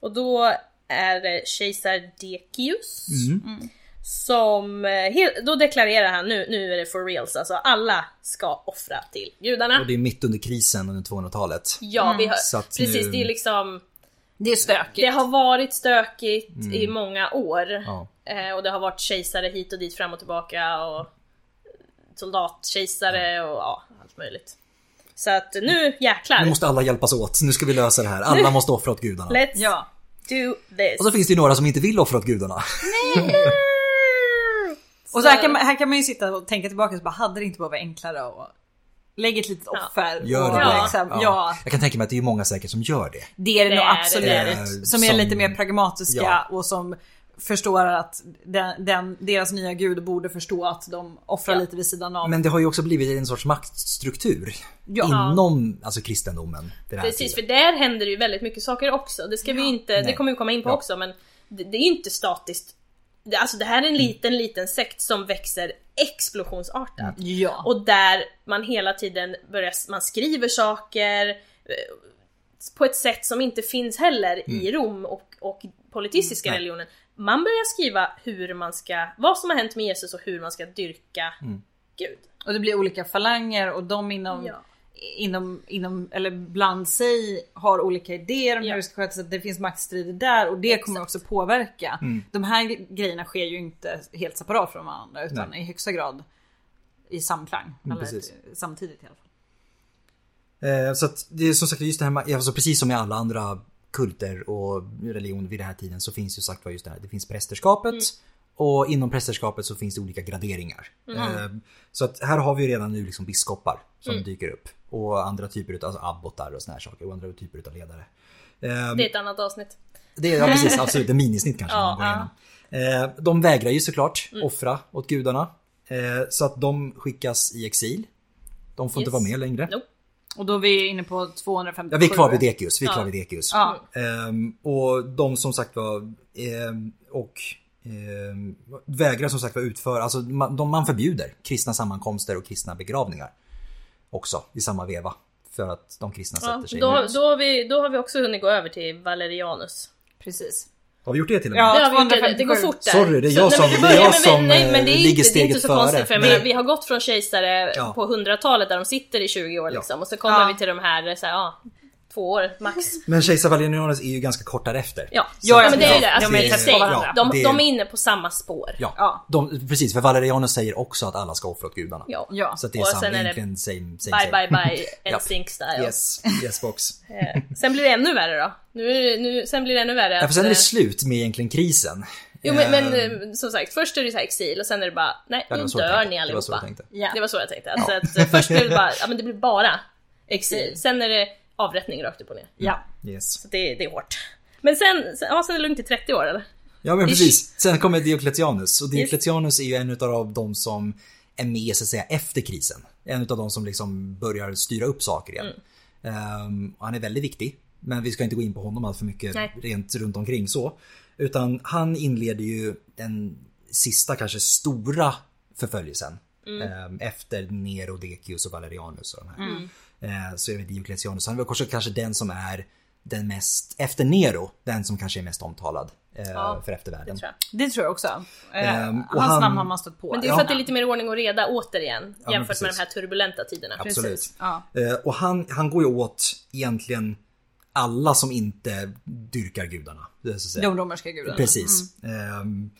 Och då är det kejsar Decius. Mm. Som, eh, he- då deklarerar han nu, nu är det for reals alltså, alla ska offra till gudarna. Och det är mitt under krisen under 200-talet. Ja, vi har, Så att precis nu- det är liksom, Det är stökigt. det har varit stökigt i många år. Mm. Ja. Eh, och det har varit kejsare hit och dit, fram och tillbaka och soldatkejsare och ja, allt möjligt. Så att nu jäklar! Nu måste alla hjälpas åt, nu ska vi lösa det här. Alla måste offra åt gudarna. Let's Ja. do this! Och så finns det ju några som inte vill offra åt gudarna. Och så här kan, man, här kan man ju sitta och tänka tillbaka och så bara, hade det inte bara varit enklare att lägga ett litet offer? Gör det och, bara. Liksom, ja. Jag kan tänka mig att det är ju många säkert som gör det. det är det Det nog är det, absolut. det är det. Som är Eh, Som- lite mer pragmatiska Ja. och som förstår att den, den, deras nya gud borde förstå att de offrar Ja. lite vid sidan av. Men det har ju också blivit en sorts maktstruktur Ja. inom alltså, kristendomen. vid den här Precis, för tiden. där händer det ju väldigt mycket saker också. Det ska vi ju inte, det Nej. kommer vi komma in på Ja. också men det, det är ju inte statiskt. Det, alltså det här är en Mm. liten, liten sekt som växer explosionsartat. ja. Och där man hela tiden börjar, man skriver saker eh, på ett sätt som inte finns heller i Mm. Rom och, och politistiska Nej. religionen. Man börjar skriva hur man ska, vad som har hänt med Jesus och hur man ska dyrka Mm. Gud. Och det blir olika falanger och de inom, Mm. Ja. inom, inom eller bland sig har olika idéer om Ja. hur det ska skötas. Att det finns maktstrider där och det kommer också påverka. Mm. De här grejerna sker ju inte helt separat från varandra utan i högsta grad i samklang. eller Mm, precis. samtidigt i alla fall. Eh, Så att det är som sagt just det här med, alltså precis som i alla andra kulter och religion vid den här tiden så finns ju sagt var just det här, det finns prästerskapet Mm. och inom prästerskapet så finns det olika graderingar. Mm. Eh, Så att här har vi ju redan nu liksom biskopar som Mm. dyker upp och andra typer av alltså abbotar och såna här saker och andra typer av ledare. Eh, Det är ett annat avsnitt. Det är ja, precis, absolut en minisnitt kanske. Ja, man går ja. Mm. igenom. Eh, De vägrar ju såklart offra åt gudarna eh, så att de skickas i exil. De får inte Yes. vara med längre. Nope. Och då är vi inne på 257. Ja, vi är kvar vid Dekius. Vi är kvar Ja. vid Dekius. Ja. Ehm, och de som sagt var ehm, och ehm, vägrar som sagt var utföra, alltså man, de man förbjuder kristna sammankomster och kristna begravningar också i samma veva. För att de kristna Ja, sätter sig då, emot. då, har vi, då har vi också hunnit gå över till Valerianus. Precis. Har vi gjort det till och med? Ja, Det har vi gjort, det, det går 257. fort där. Sorry, det är jag Så- som- men vi det är börjar- jag men- som, nej, men det är eh, ligger inte- Det är inte steget så före. konstigt, för jag Nej. menar, vi har gått från kejsare Ja. på 100-talet där de sitter i 20 år Ja. liksom, och så kommer Ja. vi till de här, så här ja, två år max. Men Kejsar Valerianus är ju ganska kort därefter. Ja, Ja, men det är ju det. Alltså, de är det är tätt på sig. varandra. de, det- de är inne på samma spår. Ja, Ja. De, precis. För Valerianus säger också att alla ska offra åt gudarna. Ja. Ja. Så att det är Och samma, sen är det egentligen same, same, Bye same. bye bye, Ja. NSYNC style. Yes, yes box. Eh, Sen blir det ännu värre då. Nu, är det- nu, sen blir det ännu värre. Ja, att, för sen är eh, det slut med egentligen krisen. jo, men, men Eh, eh, som sagt, först är det så här exil och sen är det bara, nej ja, det nu var så jag dör tänkte. ni Det var så jag allihopa. tänkte. Ja. Det var så jag tänkte. Alltså, att, eh, först blev det bara, ja men det blev bara exil. Sen är det avrättning rakt upp och ner. ja. Yes. Så det, det är hårt. Men sen, sen, ja, sen är det lugnt i 30 år eller? Ja men Ish. precis. Sen kommer Diocletianus och Diocletianus är ju en av de som är med så att säga efter krisen. En av de som liksom börjar styra upp saker igen. Mm. Ehm, och han är väldigt viktig. Men vi ska inte gå in på honom allt för mycket Nej. rent runt omkring så. Utan han inleder ju den sista kanske stora förföljelsen. ehm, Efter Nero, Decius och Valerianus och de här. Eh, Så är det Diocletianus. Han är väl kanske, kanske den som är den mest, efter Nero, den som kanske är mest omtalad eh, Ja, för eftervärlden. tror jag. Det tror jag också. Eh, Ehm, och hans han- namn har man stött på. Men det är Ja. för att det är lite mer ordning och reda återigen men jämfört med de precis. här turbulenta tiderna. Absolut. Ja. Eh, Och han, han går ju åt egentligen alla som inte dyrkar gudarna. eh, Så att säga. De romerska gudarna. Precis. Mm. Ehm,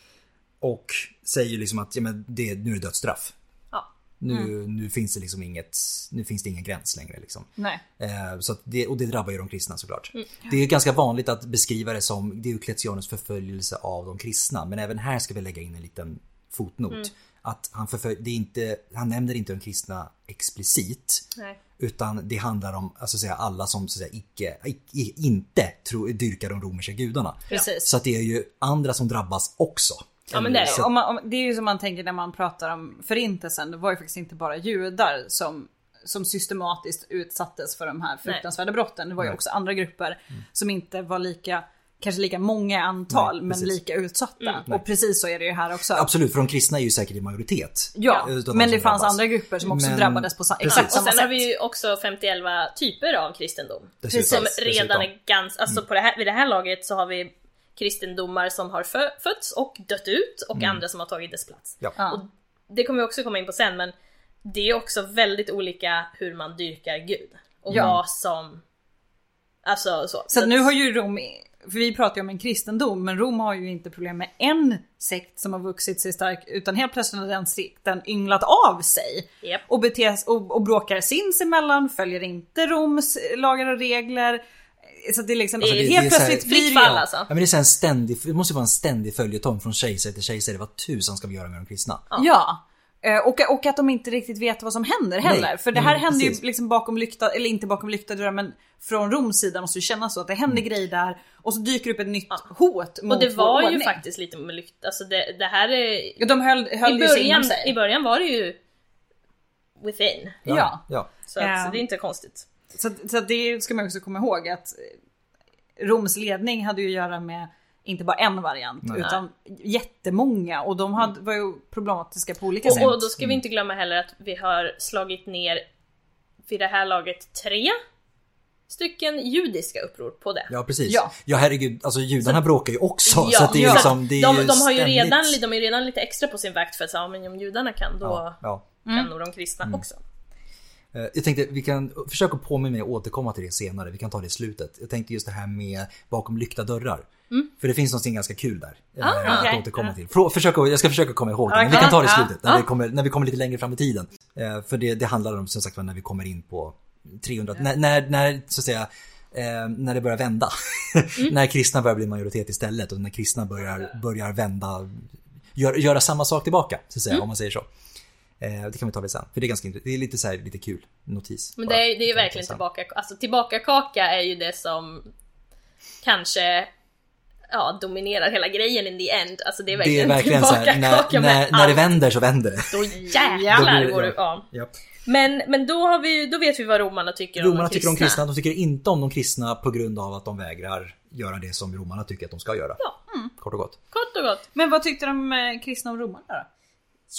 och säger liksom att ja, men det, nu är det dödsstraff. Ja. Mm. Nu, nu finns det liksom inget, nu finns det ingen gräns längre liksom. Nej. Eh, Så att det, och det drabbar ju de kristna såklart. Mm. Det är ganska vanligt att beskriva det som Diocletianus förföljelse av de kristna. Men även här ska vi lägga in en liten fotnot. Mm. Att han, förfölj, det är inte, han nämner inte de kristna explicit. Nej. Utan det handlar om alltså, att säga, alla som så att säga, icke, icke, inte tro, dyrkar de romerska gudarna. Precis. Så att det är ju andra som drabbas också. Ja, men det är det. Så- Om man, om, det är ju som man tänker när man pratar om förintelsen. Det var ju faktiskt inte bara judar som, som systematiskt utsattes för de här fruktansvärda brotten. Det var ju Nej. Mm. också andra grupper som inte var lika, kanske lika många i antal, Nej, men precis. Mm. lika utsatta. Nej. Och precis så är det ju här också. Absolut, för de kristna är ju säkert i majoritet. Ja, Utav de men som det fanns drabbas. andra grupper som också Men- drabbades på sa, Precis. exakt Och samma sen har sätt. vi ju också 51 typer av kristendom. Dessutom. som Dessutom. Mm. redan är ganska, alltså på det här, vid det här laget så har vi kristendomar som har fö, fötts och dött ut och Mm. andra som har tagit dess plats. Ja. Ja. Det kommer vi också komma in på sen men det är också väldigt olika hur man dyrkar gud. Och Ja. vad som... Alltså så. Så att nu har ju Rom, för vi pratar ju om en kristendom, men Rom har ju inte problem med en sekt som har vuxit sig stark, utan helt plötsligt har den sekten ynglat av sig. Japp. Och, betes, och, och bråkar sinsemellan, följer inte Roms lagar och regler. Så att det är liksom, Det är- helt Alltså, det är så här- plötsligt Fritt blir det- fall alltså. Ja, men det, är så här en ständig, det måste ju vara en ständig följetong från kejsare till kejsare. Vad tusan ska vi göra med de kristna? Ja. Eh, Och, och att de inte riktigt vet vad som händer heller. Nej, För det här mm, händer precis. ju liksom bakom lyckta, eller inte bakom lyckta dörrar men från Roms sida måste det kännas så att det händer Mm. grejer där och så dyker upp ett nytt hot mot Och det vår var ju ordning. faktiskt lite med lykt, alltså det, det här är... Ja, De höll, höll I ju sig början, inom sig. I början var det ju within. Ja. ja. Så, att, Ja. så det är inte konstigt. Så, att- så att det ska man också komma ihåg att eh, Roms ledning hade ju att göra med inte bara en variant Nej. utan jättemånga och de hade, var ju problematiska på olika sätt. Och, och då ska vi inte glömma heller att vi har slagit ner vid det här laget tre stycken judiska uppror på det. Ja precis. Ja, Ja. herregud, alltså judarna bråkar ju också. så att det är ja. liksom, det är de, de, har ju ständigt- redan, li- de är ju redan lite extra på sin vakt för att säga, ja, men om judarna kan då Ja, Mm. ja. kan nog de kristna också. Eh, Jag tänkte vi kan försöka påminna mig att återkomma till det senare. Vi kan ta det i slutet. Jag tänkte just det här med bakom lyckta dörrar. För det finns någonting ganska kul där. eh, att okej. återkomma till. Frå- Försök, att- jag ska försöka komma ihåg det. Men vi kan ta det i slutet. När, vi kommer, när vi kommer lite längre fram i tiden. Eh, För det, det handlar om som sagt var, när vi kommer in på 300, när, när, när så att säga eh, när det börjar vända. när kristna börjar bli majoritet istället och när kristna börjar, börjar vända, gör, göra samma sak tillbaka, så att säga, om man säger så. Eh, det kan vi ta det sen, för det är ganska int- det är lite så här, lite kul notis. Men bara. det Liksom. är, det Vi är ju kan ta verkligen sen. tillbaka, alltså tillbakakaka är ju det som kanske ja, dominerar hela grejen in the end. Alltså det är Det är verkligen, verkligen så här, när, tillbakakaka när, med när det allt. vänder så vänder det. Då Då jävlar blir det- går det, ja. ja. Japp. Men, men då, har vi, då vet vi vad romarna tycker om Romarna de tycker kristna. om kristna, de tycker inte om de kristna på grund av att de vägrar göra det som romarna tycker att de ska göra. Ja. Kort och gott. Kort och gott. Men vad tyckte de eh, kristna om romarna då?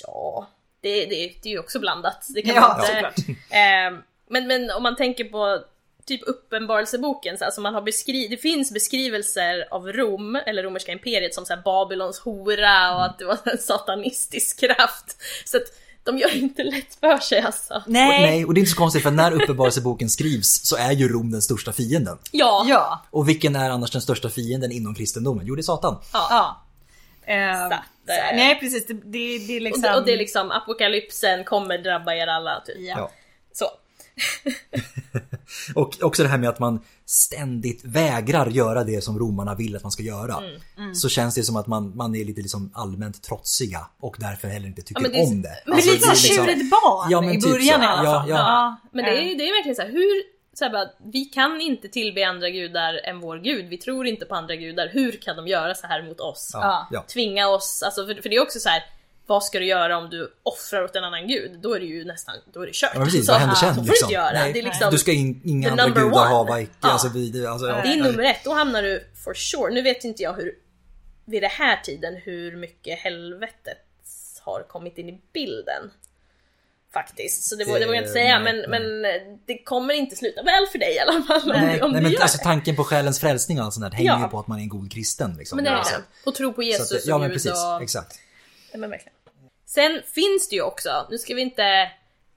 Ja, det, det, det är ju också blandat. Det kan Ja, man inte... såklart. Ehm, men, men om man tänker på typ uppenbarelseboken, så här, som man har beskri- det finns beskrivelser av Rom, eller romerska imperiet, som så här, Babylons hora och att det var en satanistisk kraft. Så att de gör inte lätt för sig alltså. Nej. Och, nej, och det är inte så konstigt för när uppenbarelseboken skrivs så är ju Rom den största fienden. Ja. Ja. Och vilken är annars den största fienden inom kristendomen? Jo, det är Satan. ja. Eh, Så att, eh, nej precis, det, det, det är Och, liksom... det- och det är liksom apokalypsen kommer drabba er alla typ. ja. Ja. Så. Och också det här med att man ständigt vägrar göra det som romarna vill att man ska göra. Mm, Så känns det som att man, man är lite liksom allmänt trotsiga och därför heller inte tycker men det är- om det. men Men Alltså, lite det är som tjurigt barn Ja, men i typ början så. i alla Ja, fall. ja. Men det är Eh. ju det är verkligen så här, hur, så här bara, vi kan inte tillbe andra gudar än vår gud, vi tror inte på andra gudar, hur kan de göra så här mot oss? ja, ja. Tvinga oss, alltså, för, för det är också så här. Vad ska du göra om du offrar åt en annan gud? Då är det ju nästan, då är det kört. Ja, men precis, så, vad händer ah, sen? Så får liksom? du inte göra. Nej, det är liksom, du ska in, inga the andra number gudar ha one. varken, Ja. alltså, vi, alltså, ja. det är nummer ett, då hamnar du for sure. Nu vet inte jag hur, vid det här tiden, hur mycket helvetet har kommit in i bilden. Faktiskt, så det, vå- det vågar jag inte Eh, säga nej, men, men eh, det kommer inte sluta väl för dig i alla fall om, Nej, du- om nej du men gör alltså det. tanken på själens frälsning och allt sånt där hänger Ja. ju på att man är en god kristen. Liksom, Men det är Så det. att- Och tro på Jesus så att, och Ja men Gud precis, och... exakt. Ja, men verkligen. Sen finns det ju också, nu ska vi inte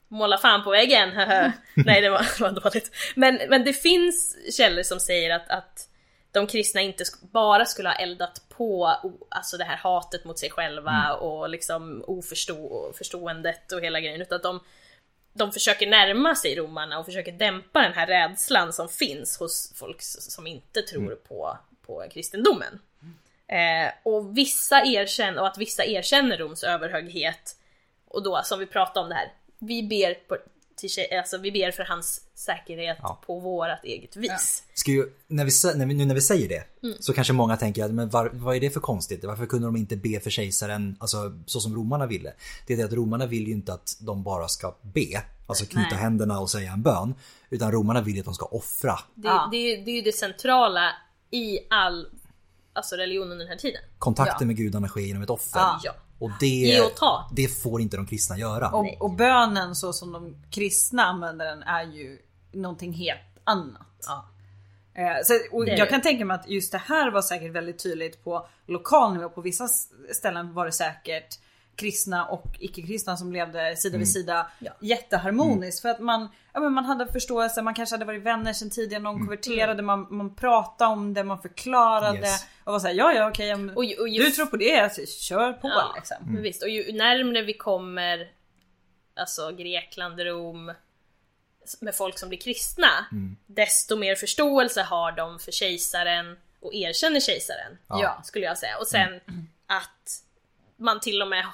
måla fan på väggen, haha. nej det var, det var dåligt. Men, men det finns källor som säger att, att de kristna inte sk- bara skulle ha eldat på o- alltså det här hatet mot sig själva och liksom oförståendet och hela grejen, utan att de, de försöker närma sig romarna och försöker dämpa den här rädslan som finns hos folk s- som inte tror på, på kristendomen. Eh, och, vissa erkänner, och att vissa erkänner Roms överhöghet. Och då, som vi pratade om det här, vi ber, på, till, tje- alltså, vi ber för hans säkerhet Ja. på vårat eget vis. Ska ju, när vi, sä- när vi, nu när vi säger det Mm. så kanske många tänker att men var, vad är det för konstigt? Varför kunde de inte be för kejsaren alltså, så som romarna ville? Det är det att romarna vill ju inte att de bara ska be, alltså knyta Nej. händerna och säga en bön. Utan romarna vill ju att de ska offra. Det, Ja. det, är ju- det är ju det centrala i all alltså, religion under den här tiden. Kontakten Ja. med gudarna sker genom ett offer. Ja. Ja. Och det, Ge och ta. det får inte de kristna göra. Och, och bönen så som de kristna använder den är ju någonting helt annat. Eh, Så, och Det är jag det. kan tänka mig att just det här var säkert väldigt tydligt på lokal nivå. På vissa s- ställen var det säkert kristna och icke-kristna som levde sida vid sida Mm. Ja. Mm. jätteharmoniskt. För att man, ja, men man hade förståelse, man kanske hade varit vänner sedan tidigare, Mm. någon konverterade, man, man pratade om det, man förklarade. Yes. Och var såhär, ja ja okej, om Och ju- och ju- du tror på det, så kör på Ja. liksom. Mm. Men visst, och ju närmre vi kommer alltså Grekland, Rom, med folk som blir kristna, Mm. desto mer förståelse har de för kejsaren och erkänner kejsaren. Ja. Mm. Ja. Skulle jag säga. Och sen att man till och med,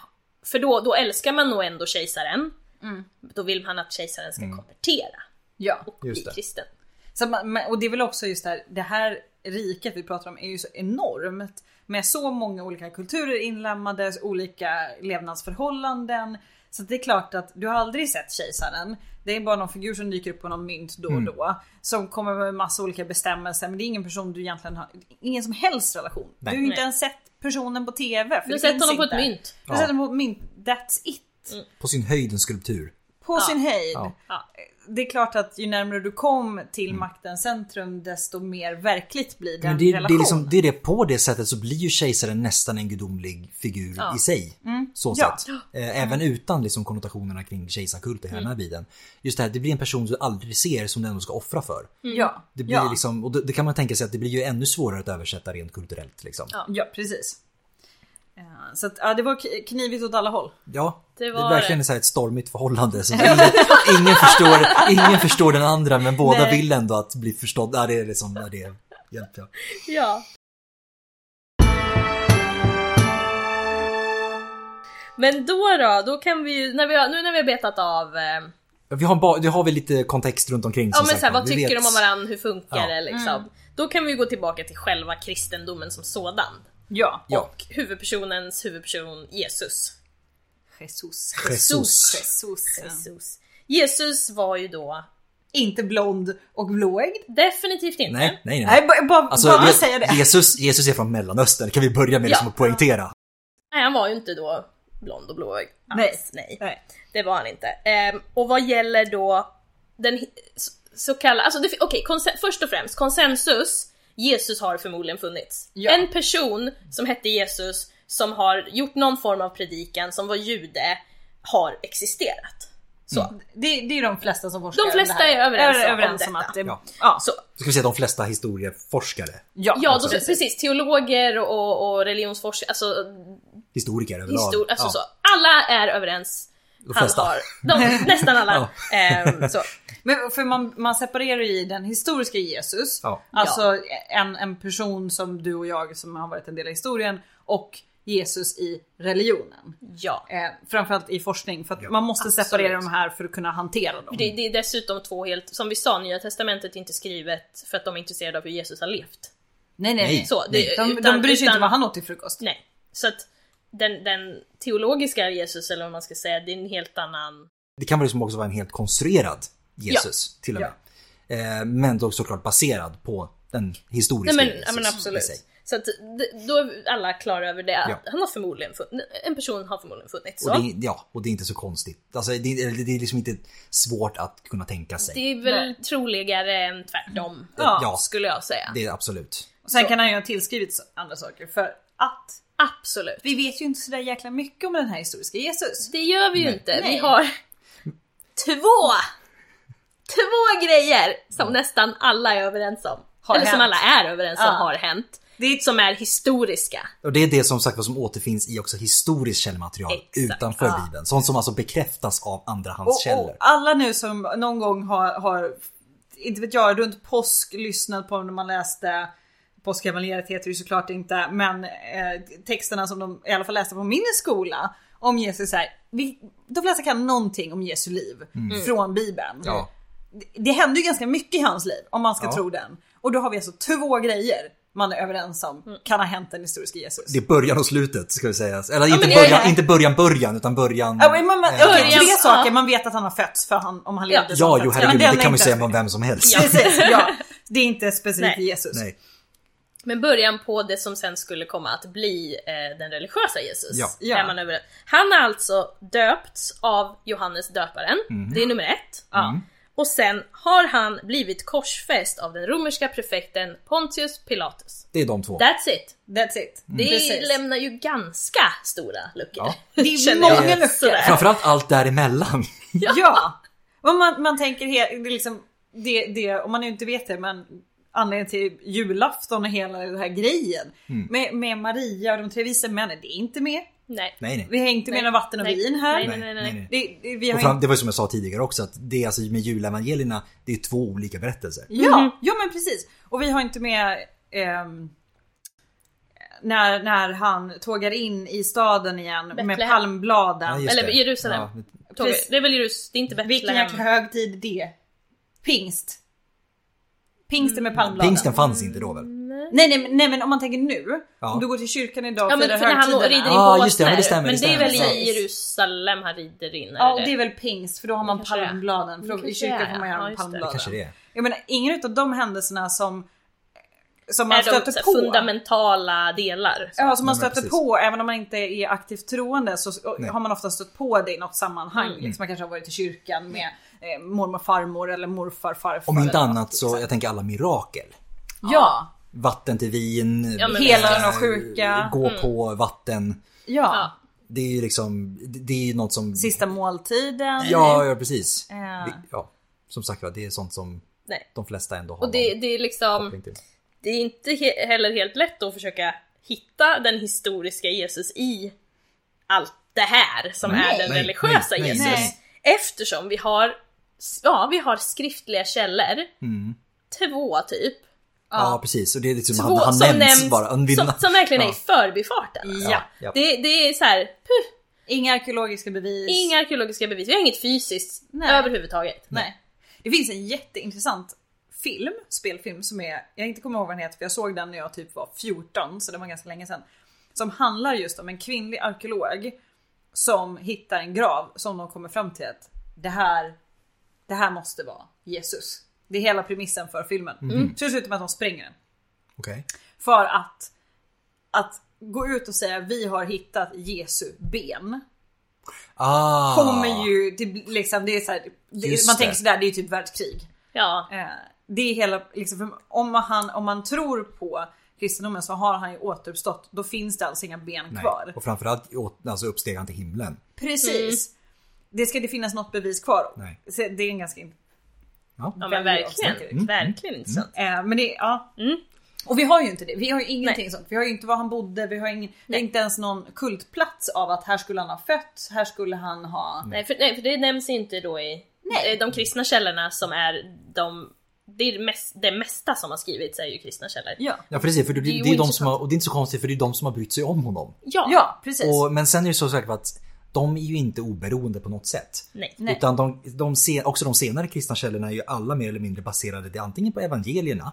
för då, då älskar man nog ändå kejsaren. Mm. Då vill man att kejsaren ska konvertera ja. och Mm. Just bli det. kristen. Så man, men- och det är väl också just det här, det här riket vi pratar om är ju så enormt med så många olika kulturer inlämnade, olika levnadsförhållanden. Så det är klart att du har aldrig sett kejsaren. Det är bara någon figur som dyker upp på någon mynt Mm. då och då. Som kommer med massa olika bestämmelser men det är ingen person du egentligen har, ingen som helst relation. Nej. Du har ju inte Nej. ens sett personen på TV. För Du har det sett finns honom på ett inte. mynt. Du har Ja. sett honom på ett mynt, that's it. På sin höjd en skulptur. På sin höjd Ja. Mm. Ja. det är klart att ju närmare du kom till maktens centrum desto mer verkligt blir den Men det, det, relationen. är liksom, det är det, på det sättet så blir ju kejsaren nästan en gudomlig figur i sig. Mm. Så Ja. sett. Eh, Även utan liksom konnotationerna kring kejsarkult och hela Mm. den här biten. Just det här, det blir en person du aldrig ser som du ändå ska offra för. Ja, Det, blir Mm. ja, liksom, och det, det kan man tänka sig att det blir ju ännu svårare att översätta rent kulturellt. Liksom. Ja. Ja. ja precis. Eh, Så att, ja, det var k- knivigt åt alla håll. det, Det är var verkligen det. Så här ett stormigt förhållande. Så ingen, ingen, förstår, ingen förstår den andra men båda Nej. vill ändå att bli förstådda. Ja, det är liksom, ja, det är, hjälp, ja. Ja. Men då då, då kan vi ju, när vi har, nu när vi har betat av, eh, Vi har, ba, det har vi lite kontext runt omkring. ja som men sagt så här, var. vad Vi tycker vet- de om varandra, hur funkar Ja. det liksom? Då kan vi ju gå tillbaka till själva kristendomen som sådan. Ja. Ja. Huvudpersonens huvudperson Jesus. Jesus. Jesus. Jesus. Jesus. Jesus var ju då Inte blond och blåögd. definitivt inte. Nej, nej, nej. Nej, bara, bara, Alltså, bara Je- säga det. Jesus, Jesus är från Mellanöstern, kan vi börja med det Ja. som att poängtera. Nej, han var ju inte då blond och blåögd alls. Nej. nej. Nej. Det var han inte. Ehm, och vad gäller då den hi- s- så kallad, alltså det- okej, konsen- först och främst, konsensus, Jesus har förmodligen funnits. Ja. En person som hette Jesus, som har gjort någon form av predikan, som var jude, har existerat. Så. Det, det är de flesta som forskar De flesta om det här. är överens om överens om detta. att det, Ja. ja. Så, Då ska vi säga att de flesta historieforskare, ja, ja, då, absolut. precis, teologer och, och religionsforskare, alltså historiker överlag. historia, alltså ja, så. Alla är överens. De Han flesta. har, de, nästan alla. Ehm, så. Men för man, man separerar ju i den historiska Jesus, Ja. alltså en, en person som du och jag som har varit en del av historien och Jesus i religionen. Ja. Eh, framförallt i forskning för att Ja. man måste separera Absolut. de här för att kunna hantera dem. Det, det är dessutom två helt, som vi sa, Nya Testamentet är inte skrivet för att de är intresserade av hur Jesus har levt. Nej nej, Nej. nej. Så, det, De, de utan- bryr sig utan- inte vad han åt till frukost. Nej. Så att den, den teologiska Jesus, eller vad man ska säga, det är en helt annan... Det kan väl liksom också vara en helt konstruerad Jesus till och med. Eh, Men då såklart baserad på den historiska Nej men, Jesus ja, men i sig. absolut. Så att det- då är vi alla klara över det, att Ja. han har förmodligen funnits, en person har förmodligen funnits. Och Så. det, är- ja, och det är inte så konstigt. Alltså, det, är- det är liksom inte svårt att kunna tänka sig. Det är väl Nej. troligare än tvärtom, Ja. skulle jag säga. det är absolut. Och sen Så. kan han ju ha tillskrivits andra saker för att Absolut. vi vet ju inte sådär jäkla mycket om den här historiska Jesus. Det gör vi ju inte. Vi Nej. har två, två grejer som nästan alla är överens om. Har Eller som hänt. alla är överens om Ja. har hänt. Det är Som är historiska. Och det är det som sagt vad som återfinns i också historiskt källmaterial Exakt. utanför Ja. Bibeln. Sånt som alltså bekräftas av andrahandskällor. Och, och alla nu som någon gång har, har, inte vet jag, runt påsk lyssnat på när man läste Påskevangeliet heter det ju såklart inte, men eh, texterna som de i alla fall läste på min skola om Jesus så här, vi, de flesta kan någonting om Jesu liv från Bibeln. Mm. Ja. Det, det hände ju ganska mycket i hans liv om man ska Ja. tro den. Och då har vi alltså två grejer man är överens om kan ha hänt den historiska Jesus. Det är början och slutet ska vi säga. Eller inte men det är början, det. inte början början utan början... Ja, men man, eh, man, okej, Början- tre saker ja. man vet att han har fötts för han, om han levde som ja, jo fötts. herregud, Men den det kan är man ju inte- säga om vem som helst. Ja. Precis, ja. Det är inte specifikt Nej. Jesus. Nej. Men början på det som sen skulle komma att bli eh, den religiösa Jesus. Ja. Ja. Är man överens. Han har alltså döpts av Johannes döparen. Det är nummer ett. Ja. Och sen har han blivit korsfäst av den romerska prefekten Pontius Pilatus. Det är de två. That's it. That's it. Mm. Det Precis. lämnar ju ganska stora luckor. Ja. Det är Känner jag. många luckor. Sådär. Framförallt allt däremellan. Ja. Och man, man tänker he- det är liksom, det, det, om man nu inte vet det, men anledningen till julafton och hela den här grejen Mm. med, med Maria och de tre vise männen, det är inte med. Nej. Nej, nej. Vi har inte med någon vatten och Nej. vin här. Nej, nej, nej, nej. Det, det, vi har Och fram, det var ju som jag sa tidigare också att det är alltså med julevangelierna, det är två olika berättelser. Ja, Mm-hmm. ja men precis. Och vi har inte med ehm, när, när han tågar in i staden igen med Betlehem. Ja, palmbladen. just Eller det. Jerusalem. Ja, Tove, Precis. Det är väl Jerus, det är inte Vilken Betlehem. jäkla hög tid det är. Pingst. Pingsten Mm. med palmbladen. Pingsten fanns inte då väl? Nej, nej, nej men om man tänker nu. Ja. Om du går till kyrkan idag och Ja men firar för när han högtiderna. rider in på Ja, just det, ja, men det stämmer, Men det det är väl stämmer. i Jerusalem han rider in? Ja är och det? det är väl pingst för då har man kanske det är. palmbladen. För Det då- i kanske kyrkan det är, får man göra ja. Ja, med just Det det. palmbladen. kanske det är. Jag menar ingen utav de händelserna som som man är de stöter så här, på. fundamentala delar. Ja, som man Nej, men stöter precis. på även om man inte är aktivt troende så och Nej. Mm. har man ofta stött på det i något sammanhang. Liksom, man kanske har varit i kyrkan med eh, mormor, farmor eller morfar, farfar. Om inte eller något, annat så, liksom. jag tänker alla mirakel. Ja, Vatten till vin, Ja, men- hela eh, den sjuka. Mm. gå på vatten. Ja. Ja. Det är ju liksom, det det är ju något som... Sista måltiden. Ja, ja precis. Ja. Vi- Ja, som sagt var, det är sånt som Nej. de flesta ändå har Och det, det är någon liksom, koppling till. det är inte he- heller helt lätt att försöka hitta den historiska Jesus i allt det här som är den Nej, religiösa nej, nej, Jesus. nej. Eftersom vi har, ja vi har skriftliga källor, Mm. två typ, Ja, precis. Och det är liksom, två han, han som nämns, nämns, bara. Han vill- som, som verkligen är i Ja. förbifarten. alltså. Ja. Ja. Det, det är så här, puh, Inga arkeologiska bevis. inga arkeologiska bevis, vi har inget fysiskt Nej. överhuvudtaget. Nej. Det finns en jätteintressant film, spelfilm som är, jag inte kommer ihåg vad den heter för jag såg den när jag typ var 14 så det var ganska länge sedan. Som handlar just om en kvinnlig arkeolog som hittar en grav som de kommer fram till att det här, det här måste vara Jesus. Det är hela premissen för filmen. Så det slutar med att de spränger den. Okej. För att, att gå ut och säga vi har hittat Jesu ben Ah. kommer ju, det, blir liksom, det är så här, det, Just man det. tänker sådär, det är ju typ världskrig. Ja. Eh, det är hela, liksom, för om, han, om man tror på kristendomen så har han ju återuppstått. Då finns det alltså inga ben Nej. kvar. Och framförallt åt- alltså uppstegan till himlen. Precis. Mm. Det ska inte finnas något bevis kvar. Nej. Så Det är en ganska... in- Ja. Ja men Väldigt verkligen, avsnitt. Mm. verkligen intressant. Eh, men det, ja. Mm. Och vi har ju inte det. Vi har ju ingenting sånt. Vi har ju inte var han bodde. Vi har ingen, det är Nej. inte ens någon kultplats av att här skulle han ha fötts. Här skulle han ha... Nej för, nej för det nämns ju inte då i eh, Nej. de kristna källorna som är de, det, är det, mest, det mesta som har skrivits är ju kristna källor. Ja. Ja precis, för det, Det är det, ju är ju de intressant. som har, och det är inte så konstigt för det är de som har brytt sig om honom. Ja, ja, precis. Och, men sen är det så säkert att de är ju inte oberoende på något sätt. Nej. Nej. Utan de, de se, också de senare kristna källorna är ju alla mer eller mindre baserade det, antingen på evangelierna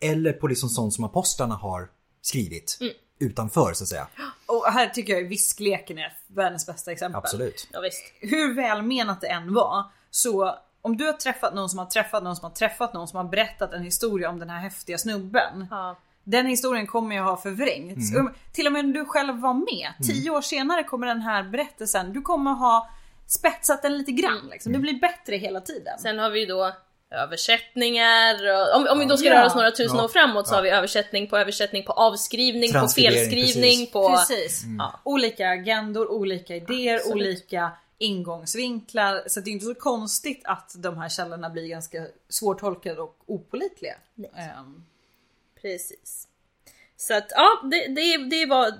eller på liksom sånt som apostlarna har skrivit utanför så att säga. Och här tycker jag ju viskleken är världens bästa exempel. Absolut. Ja, visst. Hur välmenat det än var, så om du har träffat någon som har träffat någon som har träffat någon som har berättat en historia om den här häftiga snubben. Ja. Den historien kommer jag ha förvrängt. Så, Till och med när du själv var med, tio år senare kommer den här berättelsen, du kommer ha spetsat den lite grann. Liksom. Du blir bättre hela tiden. Sen har vi ju då översättningar och, om, om vi då ska Ja. röra oss några tusen Ja. år framåt så Ja. har vi översättning på översättning på avskrivning, på Transkribering, felskrivning, precis. på... Precis. Ja. Mm. Olika agendor, olika idéer, Absolut. olika ingångsvinklar. Så det är inte så konstigt att de här källorna blir ganska svårtolkade och opolitliga. Ehm, Precis. Så att ja, det, det, det var...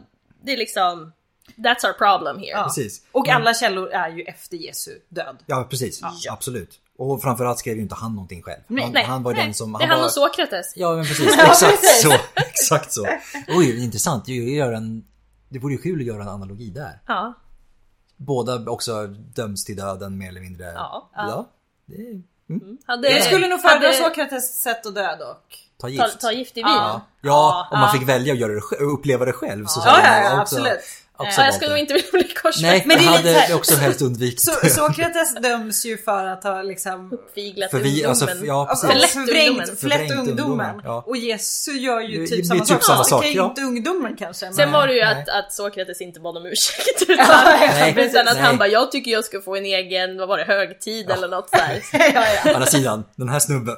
Det är liksom... That's our problem here. ja. Precis. Och Men- alla källor är ju efter Jesu död. Ja precis, absolut. Och framförallt skrev ju inte han någonting själv. Nej. han, Nej, han var ju nej. den som... det är han var- och Sokrates. Ja men precis, exakt så. Exakt så. Oj, intressant. Jag gör en, det vore ju kul att göra en analogi där. Ja. Båda också döms till döden mer eller mindre. Ja. det är, mm. Hade, Jag skulle nog föredra hade- Sokrates sätt att dö dock. Ta Ta, gift. ta gift i vin. Ja. ja, om man fick välja att göra det, sj- uppleva det själv så Ja, hade ja, man ja också- absolut. Eh, också Så Eh, jag valt skulle det. nog inte vilja bli Nej, men korsfäst. Men det är jag lite så hade här- också helst undvikit Så, det. Sokrates döms ju för att ha liksom Viglat För vi- ungdomen. alltså, ja, precis. Förlätt ungdomen. förvrängt, förlätt Förvrängt ungdomen. ungdomen, ja. Och Jesus gör ju Det- typ det samma blir sak. typ samma Fast det sak, kan ju ja. inte ungdomen kanske. Men... Sen var det ju Nej. att, att Sokrates inte bad om ursäkt utan, Nej, utan att precis. han Nej. bara jag tycker jag ska få en egen, vad var det, högtid eller något sådär. ja, Å ja. andra sidan, den här snubben.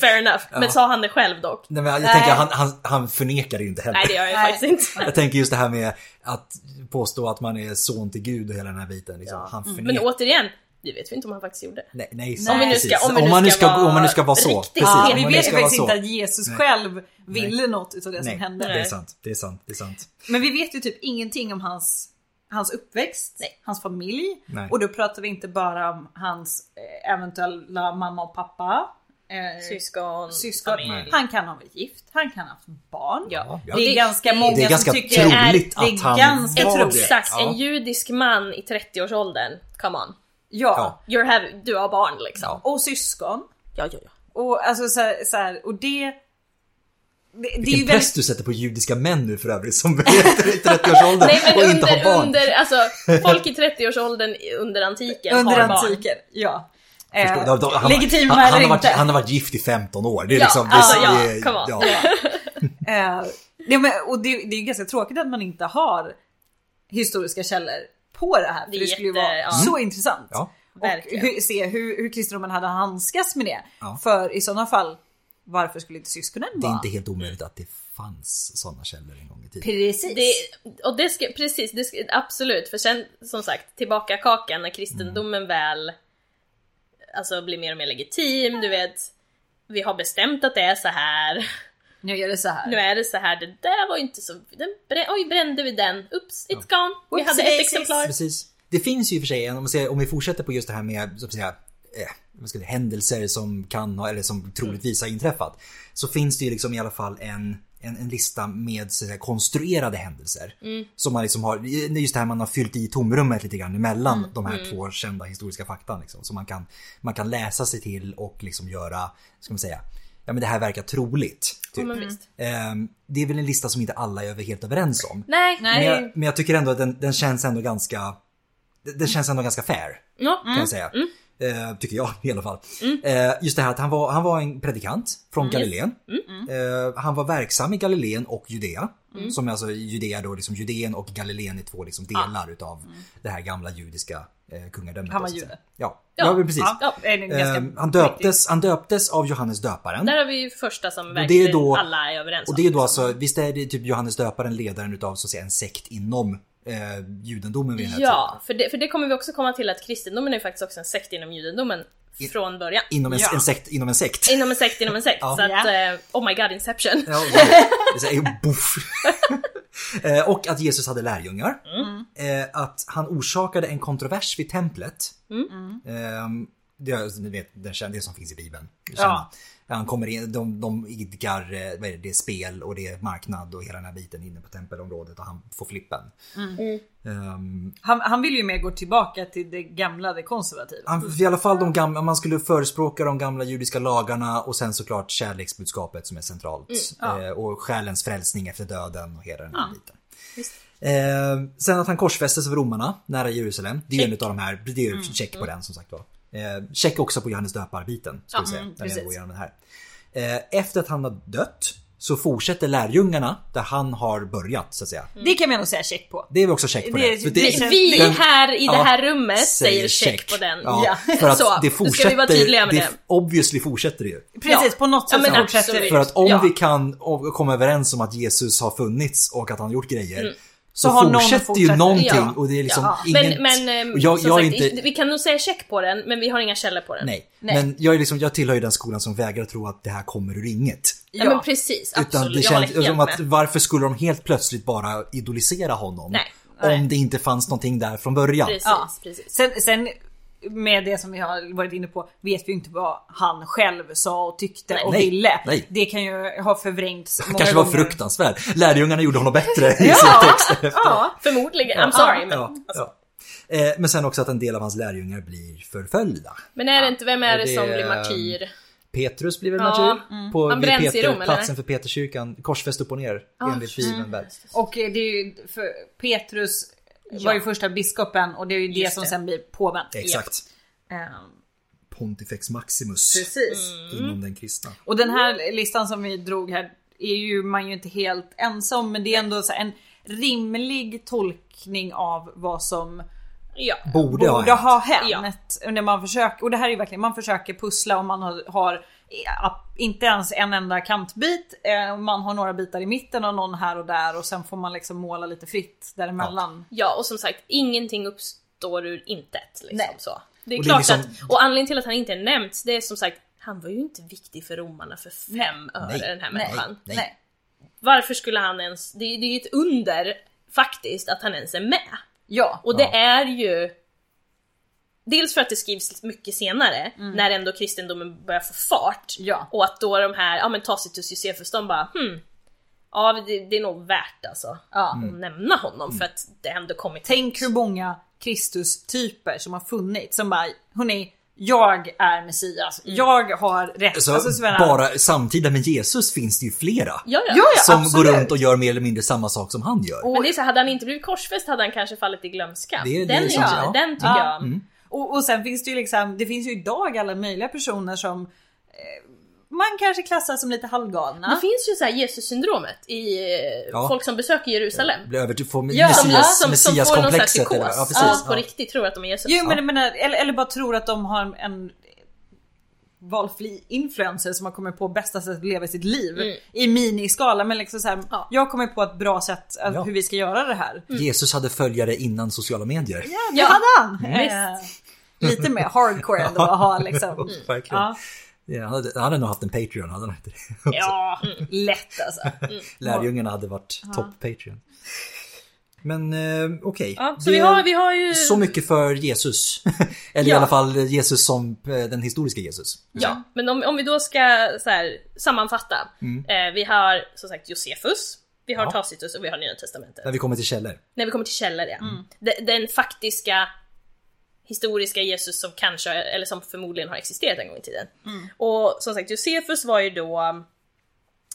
Fair enough. Men sa han det själv dock? Nej, men jag Nej. tänker, han, han, han förnekar det ju inte heller. Nej det gör jag Nej. faktiskt inte. Jag tänker just det här med att påstå att man är son till Gud och hela den här biten. Liksom. Han Mm. förnekar. Men återigen, det vet vi inte om han faktiskt gjorde. Nej, nej, Om vi nu precis. ska, om vi nu man nu ska ska, vara om man nu ska vara så. riktigt Precis, Ja, om vi man nu vet ju ska vara faktiskt så. inte att Jesus själv ville något utav det som Nej, hände. det är sant. Det är sant. Det är sant. Men vi vet ju typ ingenting om hans, hans uppväxt, Nej. hans familj. Nej. Och då pratar vi inte bara om hans eh, eventuella mamma och pappa. eh, Syskon, syskon. Nej. Han kan ha varit gift, han kan ha haft barn. Ja. Ja. Det är ganska många Det är ganska som tycker det är- troligt det är att han ganska var troligt. det. Exakt, Ja. en judisk man i 30-årsåldern. Come on. Ja. Ja. You're have, du har barn liksom. Och syskon. Ja, ja, ja. Och alltså så här, så här och det... Det, det är ju Vilken väldigt... press du sätter på judiska män nu för övrigt som är i 30-årsåldern Nej och men inte har under, barn. under, alltså folk i 30-årsåldern i- under antiken Under har barn. antiken, ja. Eh, Förstår du? De- de- han- legitima han, han, eller har varit, inte. han har varit gift i 15 år. Det är Ja, liksom... Det är, alltså, det är, ja, come on. Eh, nej, men, och det, det är ju ganska tråkigt att man inte har historiska källor på det här. För Det det, är skulle ju jätte- vara ja. så intressant. Ja. Och Verkligen. hur, se hur, hur kristendomen hade handskats med det. Ja. För i sådana fall, varför skulle inte syskonen Det vara? är inte helt omöjligt att det fanns sådana källor en gång i tiden. Precis. Det, och det ska, precis, det ska, absolut. För sen som sagt, tillbaka kakan när kristendomen väl alltså, blir mer och mer legitim, du vet. Vi har bestämt att det är så här. Nu gör det så här. Nu är det så här. Det där var ju inte så... Den, brä, oj, brände vi den? Oops, it's gone. Vi Oops, hade ett daisies. exemplar. Precis. Det finns ju i och för sig, en- om, man säger, om vi fortsätter på just det här med så att säga, eh, vad ska jag säga, händelser som kan ha, eller som troligtvis har inträffat. Så finns det ju liksom i alla fall en, en, en lista med så att säga, konstruerade händelser. Mm. Som man liksom har, det är just det här man har fyllt i tomrummet lite grann emellan Mm. de här två kända historiska faktan. Liksom. Så man kan, man kan läsa sig till och liksom göra, ska man säga, ja men det här verkar troligt. Typ. Men visst. Ehm, det är väl en lista som inte alla är över- helt överens om. Nej. Nej. Men jag, men jag tycker ändå att den, den känns ändå ganska... Den den känns ändå ganska fair, Mm. Ja. kan jag säga. Eh, tycker jag i alla fall. Eh, just det här att han var, han var en predikant från Mm. Galileen. Eh, han var verksam i Galileen och Judea. Mm. Som alltså Judea då, liksom Judeen och Galileen är två liksom delar utav det här gamla judiska eh, kungadömet. Mm. Han då, var så att jude. säga. Ja, ja, Ja. men precis. Ja, det är en ganska Eh, han, viktig- döptes, han döptes av Johannes döparen. Där har vi ju första som är verkligen då- alla är överens Och om. det är då alltså, visst är det typ Johannes döparen ledaren utav så att säga en sekt inom eh, judendomen vid den här Ja, för det, för det kommer vi också komma till att kristendomen är ju faktiskt också en sekt inom judendomen I- från början. tiden? Inom en, Ja. en sekt, inom en sekt. Inom en sekt inom en sekt. Ja. Så att, Ja. eh, oh my god, inception. Ja, wow. Det säger boff. Eh, och att Jesus hade lärjungar. Eh, Att han orsakade en kontrovers vid templet. Ehm, Det, är- ni vet, det, kända- det som finns i Bibeln. Det Ja. kända. Han kommer in, de, de idkar, eh, vad är det, det är spel och det är marknad och hela den här biten inne på tempelområdet och han får flippen. Ehm, han, han vill ju mer gå tillbaka till det gamla, det konservativa. Han- I alla fall de gamla, om man skulle förespråka de gamla judiska lagarna och sen såklart kärleksbudskapet som är centralt. eh, Och själens frälsning efter döden och hela den här biten. Eh, sen att han korsfästes av romarna nära Jerusalem. Det är en utav de här, det är ju check på den som sagt var. Eh, check också på Johannes döparbiten. Ska vi säga, när vi precis. går igenom den här. Eh, efter att han har dött så fortsätter lärjungarna där han har börjat så att säga. Det kan man nog säga check på. Det är vi också check på Det är- det. För det Vi, känns- vi den- här i ja, det här rummet säger säger check, check. på den. Ja, för att så, det nu ska vi vara fortsätter, tydliga med det, det. obviously fortsätter det ju. Precis, Ja. på något Ja, sätt men så fortsätter absolut. det. För att om Ja. vi kan o- komma överens om att Jesus har funnits och att han har gjort grejer Mm. så, Så har någon fortsätter ju fortsatt- någonting Ja. och det är liksom Ja. inget... Men, men eh, och jag, som jag är sagt, inte... vi kan nog säga check på den, men vi har inga källor på den. Nej. Nej. Men jag, är liksom, jag tillhör ju den skolan som vägrar tro att det här kommer ur inget. Ja, men precis, Utan absolut. det jag håller känns helt som att med. varför skulle de helt plötsligt bara idolisera honom? Nej. Nej. Om det inte fanns någonting där från början. Precis, Ja. precis. Sen, sen med det som vi har varit inne på vet vi ju inte vad han själv sa och tyckte Nej. och Nej, ville. nej. Det kan ju ha förvrängts många kanske var gånger. fruktansvärd. Lärjungarna gjorde honom bättre i Ja. sin text. Ja, Förmodligen, I'm sorry. Ja. Men, Ja, ja. Eh, Men sen också att en del av hans lärjungar blir förföljda. men är det inte, vem är det, Det som blir är- martyr? Petrus blir väl Ja, Mm. martyr? På Han vid bränns i Rom, eller? Ah, platsen för Peterskyrkan, korsfäst upp och ner enligt Bibeln. där. Och eh, det är ju för Petrus var ju första biskopen och det är ju det Just som det. sen blir påven. Exakt. Ehm, Pontifex Maximus Precis. inom den kristna. Och den här listan som vi drog här är ju man ju inte helt ensam men det är ändå så här en rimlig tolkning av vad som Ja. Borde, borde, ha hänt. ha hänt. När man försöker, och det här är ju verkligen, man försöker pussla och man har, har ja, inte ens en enda kantbit. Eh, man har några bitar i mitten och någon här och där och sen får man liksom måla lite fritt däremellan. Ja, och som sagt, ingenting uppstår ur intet. Liksom, Nej. så. Det är Och det är klart liksom- att, och anledningen till att han inte är nämnt, det är som sagt, han var ju inte viktig för romarna för fem öre Nej. den här Nej. människan. Nej. Varför skulle han ens, det, är- det är ju ett under faktiskt att han ens är med. Ja. Och det Ja. är ju Dels för att det skrivs mycket senare, när ändå kristendomen börjar få fart. Mm. Ja. Och att då de här, ja men Tacitus Josephus, de bara hmm, ja det, det är nog värt alltså Ja. att Mm. nämna honom för att det ändå kommit Tänk hur många Kristus-typer som har funnits som bara, hörni, jag är Messias. Jag har rätt. Så Alltså, så menar- bara samtida med Jesus finns det ju flera. Ja, ja. Ja, ja, som absolut. går runt och gör mer eller mindre samma sak som han gör. Men det är så, här, hade han inte blivit korsfäst hade han kanske fallit i glömska. Det är- det den, är är sant, ja. Mm. den tycker Ja. jag. Och, och sen finns det ju liksom, det finns ju idag alla möjliga personer som eh, man kanske klassar som lite halvgalna. Det finns ju så här Jesus-syndromet i eh, Ja, folk som besöker Jerusalem. Blir över till får Ja, som- messias, som, som får någon slags messiaskomplexet. psykos. eller vad? Ja, precis. och på Ja. riktigt tror att de är Jesus. Jo, men, jag menar, eller, eller bara tror att de har en valfri influencer som har kommit på bästa sätt att leva sitt liv i miniskala. Men liksom så här, Mm. Ja. jag kommer på ett bra sätt att, Ja. hur vi ska göra det här. Jesus hade följare innan sociala medier. Ja, det Mm. Ja. hade han! Mm. Eh, lite mer hardcore ändå att ha liksom. Mm. Verkligen. Ja, Ja, han, hade, han hade nog haft en Patreon, hade han inte det? ja mm, lätt alltså. Lärjungarna hade varit topp-Patreon. Men eh, okej. Ja, så Det- vi har, vi har ju... Så mycket för Jesus. Eller i Ja. alla fall Jesus som eh, den historiska Jesus. Ja, men om, om vi då ska så här, sammanfatta. Eh, vi har som sagt Josefus, vi har Mm. Ja. Tacitus och vi har Nya Testamentet. När vi kommer till källor. När vi kommer till källor ja. Mm. Den, den faktiska historiska Jesus som kanske, eller som förmodligen har existerat en gång i tiden. Mm. Och som sagt Josefus var ju då um,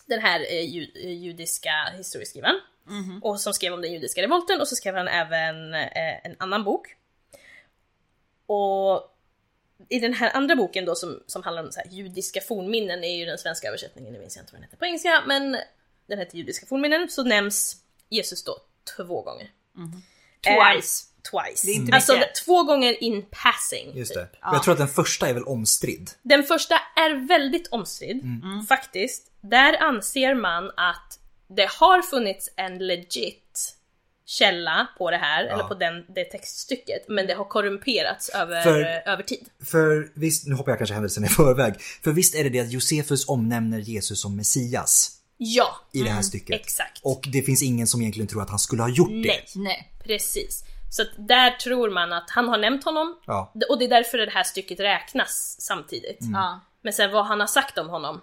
den här eh, ju, eh, judiska historieskrivaren. Mhm. Och som skrev om den judiska revolten och så skrev han även eh, en annan bok. Och i den här andra boken då som, som handlar om så här judiska fornminnen är ju den svenska översättningen, det minns jag inte vad den heter på engelska, men den heter judiska fornminnen, så nämns Jesus då två gånger. Mhm. Twice. Eh, twice. Det är inte alltså mycket. två gånger in passing. Just typ. det. Och Jag tror att den första är väl omstridd. Den första är väldigt omstridd, Mm. faktiskt. Där anser man att det har funnits en legit källa på det här, eller på den, det textstycket, men det har korrumperats över, För- över tid. För visst, nu hoppar jag kanske händelsen i förväg. För visst är det det att Josefus omnämner Jesus som Messias Ja, i det här stycket. Mm, exakt. Och det finns ingen som egentligen tror att han skulle ha gjort Nej, det. Nej. precis. Så att där tror man att han har nämnt honom, Ja. Mm. och det är därför det här stycket räknas samtidigt. Ja. Men sen vad han har sagt om honom,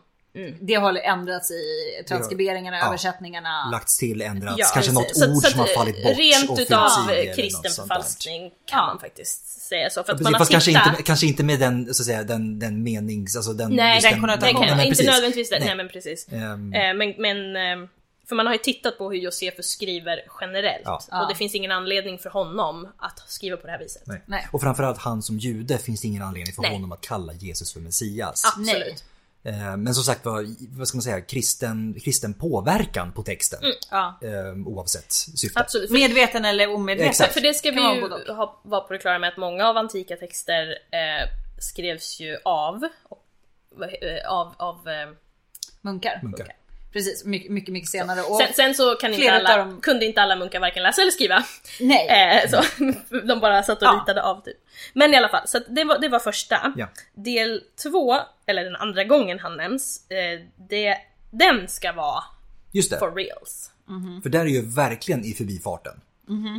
Det har ändrats i transkriberingarna, Ja. översättningarna. Lagts till, ändrats, Ja, kanske något precis. Så- ord så som har att eh, fallit bort. och Rent fyllts utav i eller något kristen sånt där. förfalskning kan man faktiskt säga så. För att Precis, man har fast kanske tittat... inte, kanske inte med den, så att säga, den, den menings... Alltså den, Nej, just den, den konnotationen. Nej, kan, men inte precis. nödvändigtvis den. Nej. men precis. Ehm, Eh, Men, men, ehm, för man har ju tittat på hur Josefus skriver generellt. Ja. Och det finns ingen anledning för honom att skriva på det här viset. nej. Nej. Och framförallt han som jude finns det ingen anledning för Nej. honom att kalla Jesus för Messias. Absolut. Nej. Eh, Men som sagt var, vad ska man säga, kristen, kristen påverkan på texten. Ja. eh, Oavsett syfte. Mm, Absolut. För, Medveten eller omedveten. Exakt. för det ska vi Kan vara ju både ha, vara på det klara med att många av antika texter eh, skrevs ju av, och, eh, av, av eh, Munkar. Munkar. Precis, mycket, mycket, mycket senare. Och, Sen, sen så kan inte Flera alla, utav dem- kunde inte alla munkar varken läsa eller skriva. nej. Eh, så, de bara satt och Ja. ritade av typ. Men i alla fall, så att det, var, det var första. Ja. Del två, eller den andra gången han nämns, eh, det, den ska vara Just det, for reals. för där är ju verkligen i förbifarten.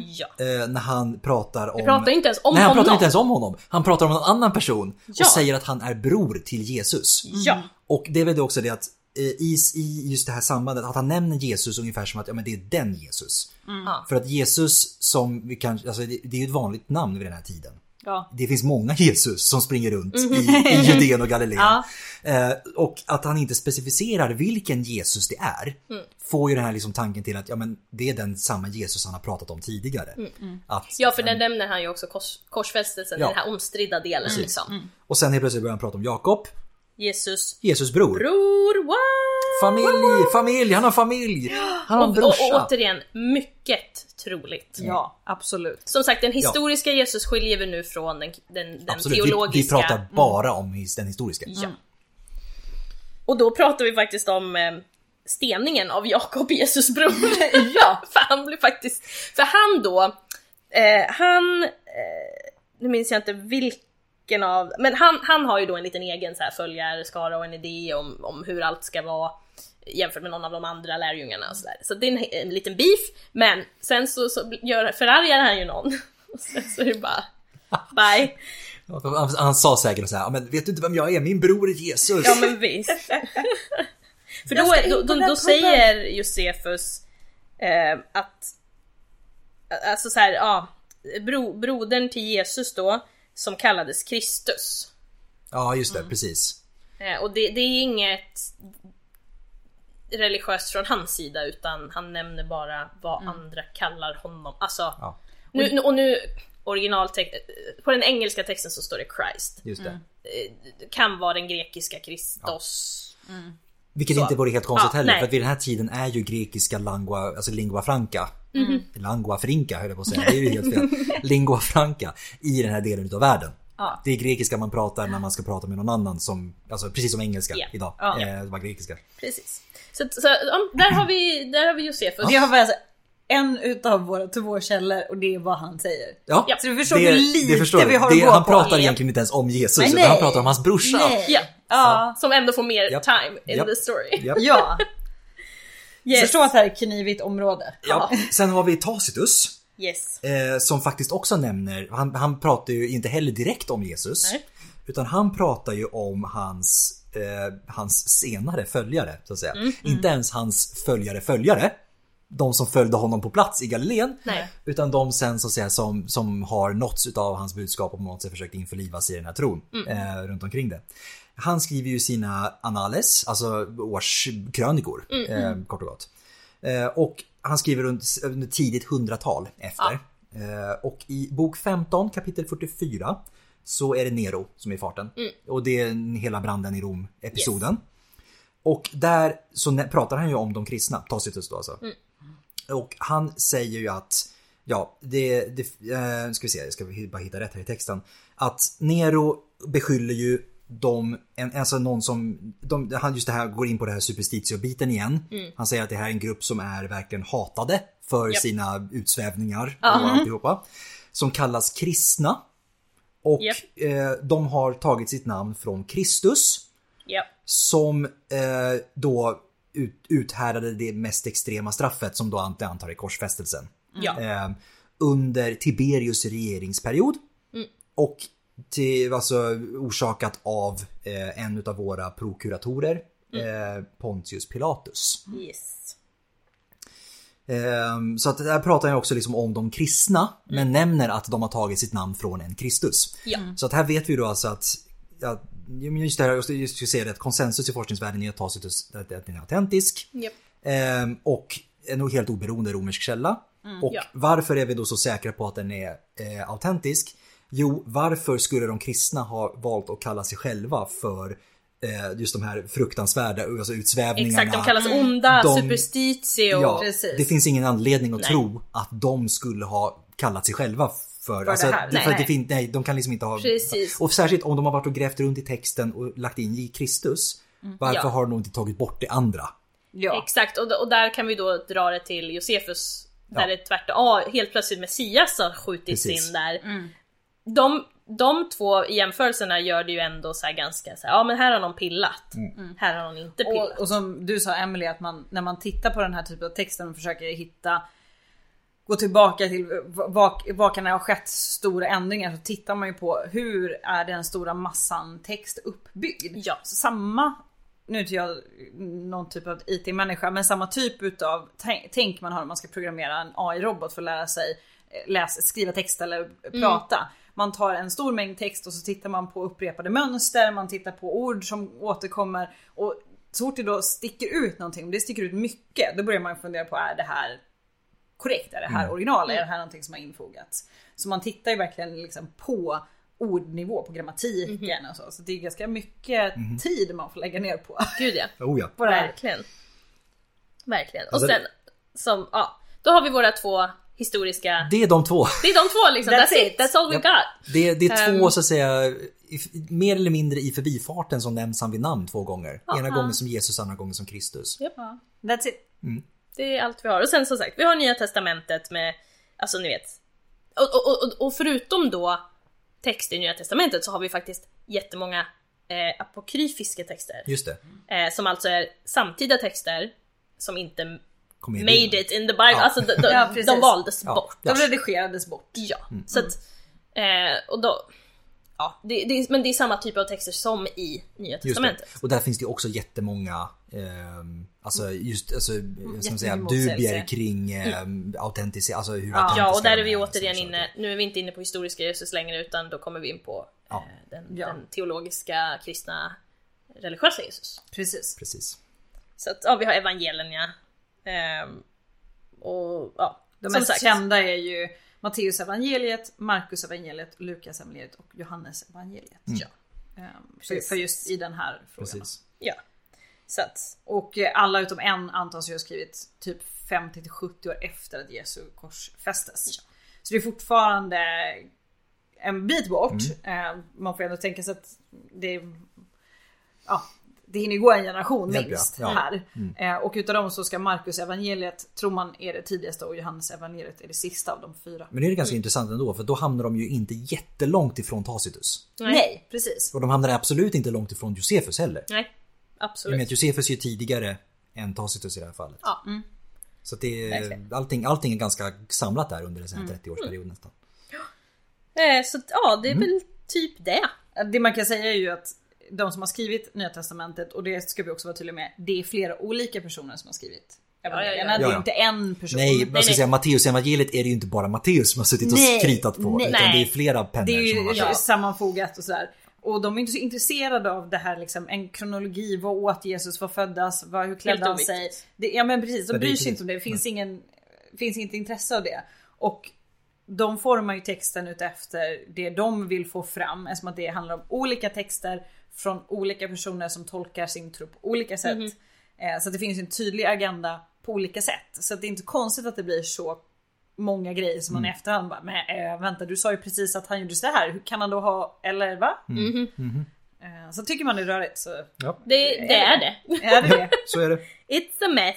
Ja. Eh, när han pratar om... Vi pratar inte ens om Nej, han honom. pratar inte ens om honom. Han pratar om någon annan person Ja. och säger att han är bror till Jesus. Ja. Och det är väl det också det att eh, i, i just det här sambandet, att han nämner Jesus ungefär som att ja, men det är den Jesus. Ja. För att Jesus som vi kan, alltså det, det är ju ett vanligt namn vid den här tiden. Ja. Det finns många Jesus som springer runt i, Mm. i Judeen och Galileen. Ja. Eh, och att han inte specificerar vilken Jesus det är Mm. får ju den här liksom tanken till att ja, men det är den samma Jesus han har pratat om tidigare. Att, Mm. ja, för där nämner han ju också kors, korsfästelsen Ja. Mm. i den här omstridda delen liksom. Och sen helt plötsligt börjar han prata om Jakob, Jesus Jesus bror. bror, what? Familj, familj, han har familj! Han har en brorsa. Och, och återigen, mycket troligt. ja, absolut. Som sagt, den historiska Jesus skiljer vi nu från den, den, den Absolut, teologiska. Mm. vi, vi pratar bara om his- den historiska. Ja. Mm. Och då pratar vi faktiskt om eh, steningen av Jakob, Jesus bror. ja! för han blir faktiskt... För han då, eh, han... Eh, nu minns jag inte vilken av... Men han, han har ju då en liten egen så här följarskara och en idé om, om hur allt ska vara jämfört med någon av de andra lärjungarna och sådär. Så det är en, en liten beef, men sen så, så gör, förargar han ju någon. Och sen så är det bara... Bye! Han, han sa säkert så här, "Ja, men vet du inte vem jag är? Min bror är Jesus. Ja men visst. För då, Jag ska in då, på då, den då säger Josefus eh, att, alltså så här, ja, bro, brodern till Jesus då, som kallades Kristus. Ja, just det, Mm. precis. Eh, och det, det är inget religiöst från hans sida utan han nämner bara vad Mm. andra kallar honom. Alltså, Ja, nu, nu, och nu originaltext, på den engelska texten så står det Christ. just det. Eh, Det kan vara den grekiska Kristos. Vilket inte vore helt konstigt Ja, heller, nej. för att vid den här tiden är ju grekiska langua, alltså lingua franca. Mm-hmm. Langua franca höll jag på att säga, det är ju helt fel. lingua franca i den här delen utav världen. Ja. Det är grekiska man pratar när man ska prata med någon annan som, alltså precis som engelska Ja. idag. Ja. Eh, det var grekiska. Precis. Så, att- så ja, där har vi, där har vi Josefus. Vi har bara så- en utav våra två källor och det är vad han säger. Ja, Ja. Så du förstår hur lite förstår vi har det, att gå Han på. pratar Ja. egentligen inte ens om Jesus, Nej, utan nej. han pratar om hans brorsa. Nej. Ja, Ja. som ändå får mer Japp. time in Japp. the story. Japp. Ja. Yes. Förstå att det här är knivigt område. Ja. Sen har vi Tacitus. Yes. Eh, som faktiskt också nämner, han, han pratar ju inte heller direkt om Jesus. Nej. Utan han pratar ju om hans, eh, hans senare följare, så att säga. Mm. Inte ens hans följare följare. De som följde honom på plats i Galileen. Nej. Utan de sen så att säga som, som har nåtts utav hans budskap och på något sätt försökt införlivas i den här tron. Mm. Eh, runt omkring det. Han skriver ju sina annales, alltså årskrönikor, Mm, eh, kort och gott. Eh, och han skriver runt under tidigt hundratal efter. Eh, och i bok 15 kapitel 44 så är det Nero som är i farten. Och det är hela branden i Rom-episoden. Och där så nä- pratar han ju om de kristna, Tacitus då alltså. Mm. Och han säger ju att, ja, det, det eh, ska vi se, jag ska vi bara hitta rätt här i texten. Att Nero beskyller ju de, en, alltså någon som, de, han just det här går in på det här superstitio-biten igen. Han säger att det här är en grupp som är verkligen hatade för Mm. Japp. sina utsvävningar och alltihopa. Som kallas kristna. Och Japp. eh, de har tagit sitt namn från Kristus Ja. som eh, då ut, uthärdade det mest extrema straffet som då Ante antar är korsfästelsen. Ja. Eh, under Tiberius regeringsperiod. Och till, alltså, orsakat av eh, en av våra prokuratorer, eh, Pontius Pilatus. Yes. Ehm, Så att där pratar jag också liksom om de kristna, men nämner att de har tagit sitt namn från en Kristus. Mm. Ja. Så att här vet vi då alltså att, att jo, men just det här, just, just jag säger det, att konsensus i forskningsvärlden är att Tacitus att, att den är autentisk. Japp. Ehm, och en helt oberoende romersk källa. och Mm, Ja. varför är vi då så säkra på att den är eh, autentisk? Jo, varför skulle de kristna ha valt att kalla sig själva för eh, just de här fruktansvärda alltså utsvävningarna? Exakt, de kallas onda, De- superstitio. Ja, Precis. det finns ingen anledning att Nej. tro att de skulle ha kallat sig själva för, det här. för Nej, att det nej. fin- nej, de kan liksom inte ha... Precis. Och särskilt om de har varit och grävt runt i texten och lagt in i Kristus. Varför Ja. har de inte tagit bort det andra? Ja. Exakt, och, och där kan vi då dra det till Josefus. Där Ja. det är tvärtom, ah, helt plötsligt Messias har skjutits Precis. in där. De, de två jämförelserna gör det ju ändå så här ganska så här, ja men här har någon pillat. Mm. Här har någon inte pillat. Och, och som du sa Emily att man, när man tittar på den här typen av texten och försöker hitta Gå tillbaka till vad, vad kan det ha skett stora ändringar så tittar man ju på hur är den stora massan text uppbyggd? Ja. Så samma, nu är inte jag någon typ av IT-människa, men samma typ utav tän- tänk man har när man ska programmera en AI-robot för att lära sig eh, läs, skriva text eller prata. Man tar en stor mängd text och så tittar man på upprepade mönster, man tittar på ord som återkommer och så fort det då sticker ut någonting, om det sticker ut mycket, då börjar man fundera på är det här korrekt? Är det här original? Är det här någonting som har infogats? Så man tittar ju verkligen liksom på ordnivå, på grammatiken och så. Så det är ganska mycket tid man får lägga ner på. Gud ja. Oh ja. på det här. Verkligen. Verkligen. Och Alltså, sen, som, ja, då har vi våra två historiska, Det är de två. det är de två liksom, that's, That's it, it. that's all we Japp. got. Det är, det är två så att säga, i- mer eller mindre i förbifarten som nämns han vid namn två gånger. Ena gången som Jesus, andra gången som Kristus. That's it. Det är allt vi har. Och sen som sagt, vi har Nya Testamentet med, alltså ni vet. Och, och- och, och, och förutom då text i Nya Testamentet så har vi faktiskt jättemånga eh, apokryfiska texter. Just det. Eh, som alltså är samtida texter som inte Kom med i made bilden. it in the Bible, alltså de, de, Ja, de precis. valdes Ja. bort. De redigerades bort. Ja, så att, eh, och då, ja, det, det, är- men det är samma typ av texter som i Nya Just det. Testamentet. Och där finns det ju också jättemånga, ehm, alltså just alltså, som säga, motsägelser. dubier kring eh, autentici- alltså hur autentiska Mm. Ja, och där är de vi är, återigen liksom, så inne, nu är vi inte inne på historiska Jesus längre utan då kommer vi in på Ja. eh, den, Ja. den teologiska, kristna, religiösa Jesus. Precis. att- Precis. Så att, ja, vi har evangelierna. ehm, och ja, De som mest sagt. kända är ju Matteus evangeliet, Markus evangeliet, Lukas evangeliet och Johannes evangeliet. Mm. Ja. Ehm, För, Precis. för just i den här frågan. Precis. Ja. Så att, Och eh, alla utom en antas ju ha skrivit typ 50 till 70 år efter att Jesu kors fästes. Så det är fortfarande en bit bort. Mm. Eh, Man får ändå tänka sig att det är, ja, det hinner ju gå en generation Hjälp, ja. minst Ja. Mm. här. Eh, Och utav dem så ska Markus evangeliet tror man är det tidigaste och Johannes evangeliet är det sista av de fyra. Men det är Mm. ganska intressant ändå för då hamnar de ju inte jättelångt ifrån Tacitus. nej. Nej, precis. Och de hamnar absolut inte långt ifrån Josefus heller. Nej, Jag absolut. menar att Josefus är ju tidigare än Tacitus i det här fallet. Ja. mm. Så att det, Verkligen. Mm. är- allting, allting är ganska samlat där under en 30-årsperiod nästan. Eh, så att, ja, det är väl typ det. Det man kan säga är ju att de som har skrivit Nya Testamentet, och det ska vi också vara tydliga med, det är flera olika personer som har skrivit ja, evangelierna. ja. Det Ja, är ja. inte en person. Typ. Nej, man ska nej. säga Matteusevangeliet är det ju inte bara Matteus som har suttit och Nej, kritat på. nej. Utan det är flera pennor Det är som har ju varit där. sammanfogat och sådär. Och de är inte så intresserade av det här liksom, en kronologi, vad åt Jesus, vad föddes, vad, hur klädde Helt han sig? oviktigt. Det, ja men precis, de Men det är bryr precis- sig inte om det, det finns, ingen, finns inget intresse av det. Och de formar ju texten utefter det de vill få fram eftersom att det handlar om olika texter från olika personer som tolkar sin tro på olika sätt. Mhm. Eh, Så att det finns ju en tydlig agenda på olika sätt. Så att det är inte konstigt att det blir så många grejer som man i efterhand bara, men eh, vänta du sa ju precis att han gjorde så här, hur kan han då ha, eller va? Mhm. Eh, Så tycker man det är rörigt så Ja, Det, det är det. är det det. så är det. It's a mess.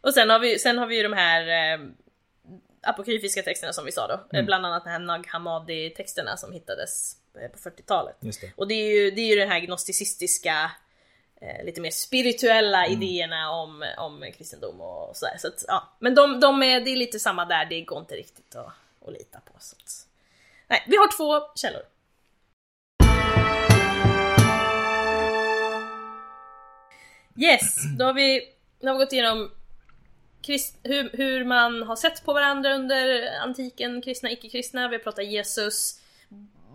Och sen har vi, sen har vi ju de här eh, apokryfiska texterna som vi sa då. Mm. Eh, Bland annat den här Nag Hammadi texterna som hittades eh, på 40-talet. Just det. Och det är ju, det är ju den här gnosticistiska, eh, lite mer spirituella Mm. idéerna om, om kristendom och sådär. Så att, ja. Men de, de är, det är lite samma där, det går inte riktigt att, att lita på. Så att. Nej, vi har två källor. Yes, då har vi, då har vi gått igenom krist, hur, hur man har sett på varandra under antiken, kristna, icke-kristna. Vi har pratat Jesus,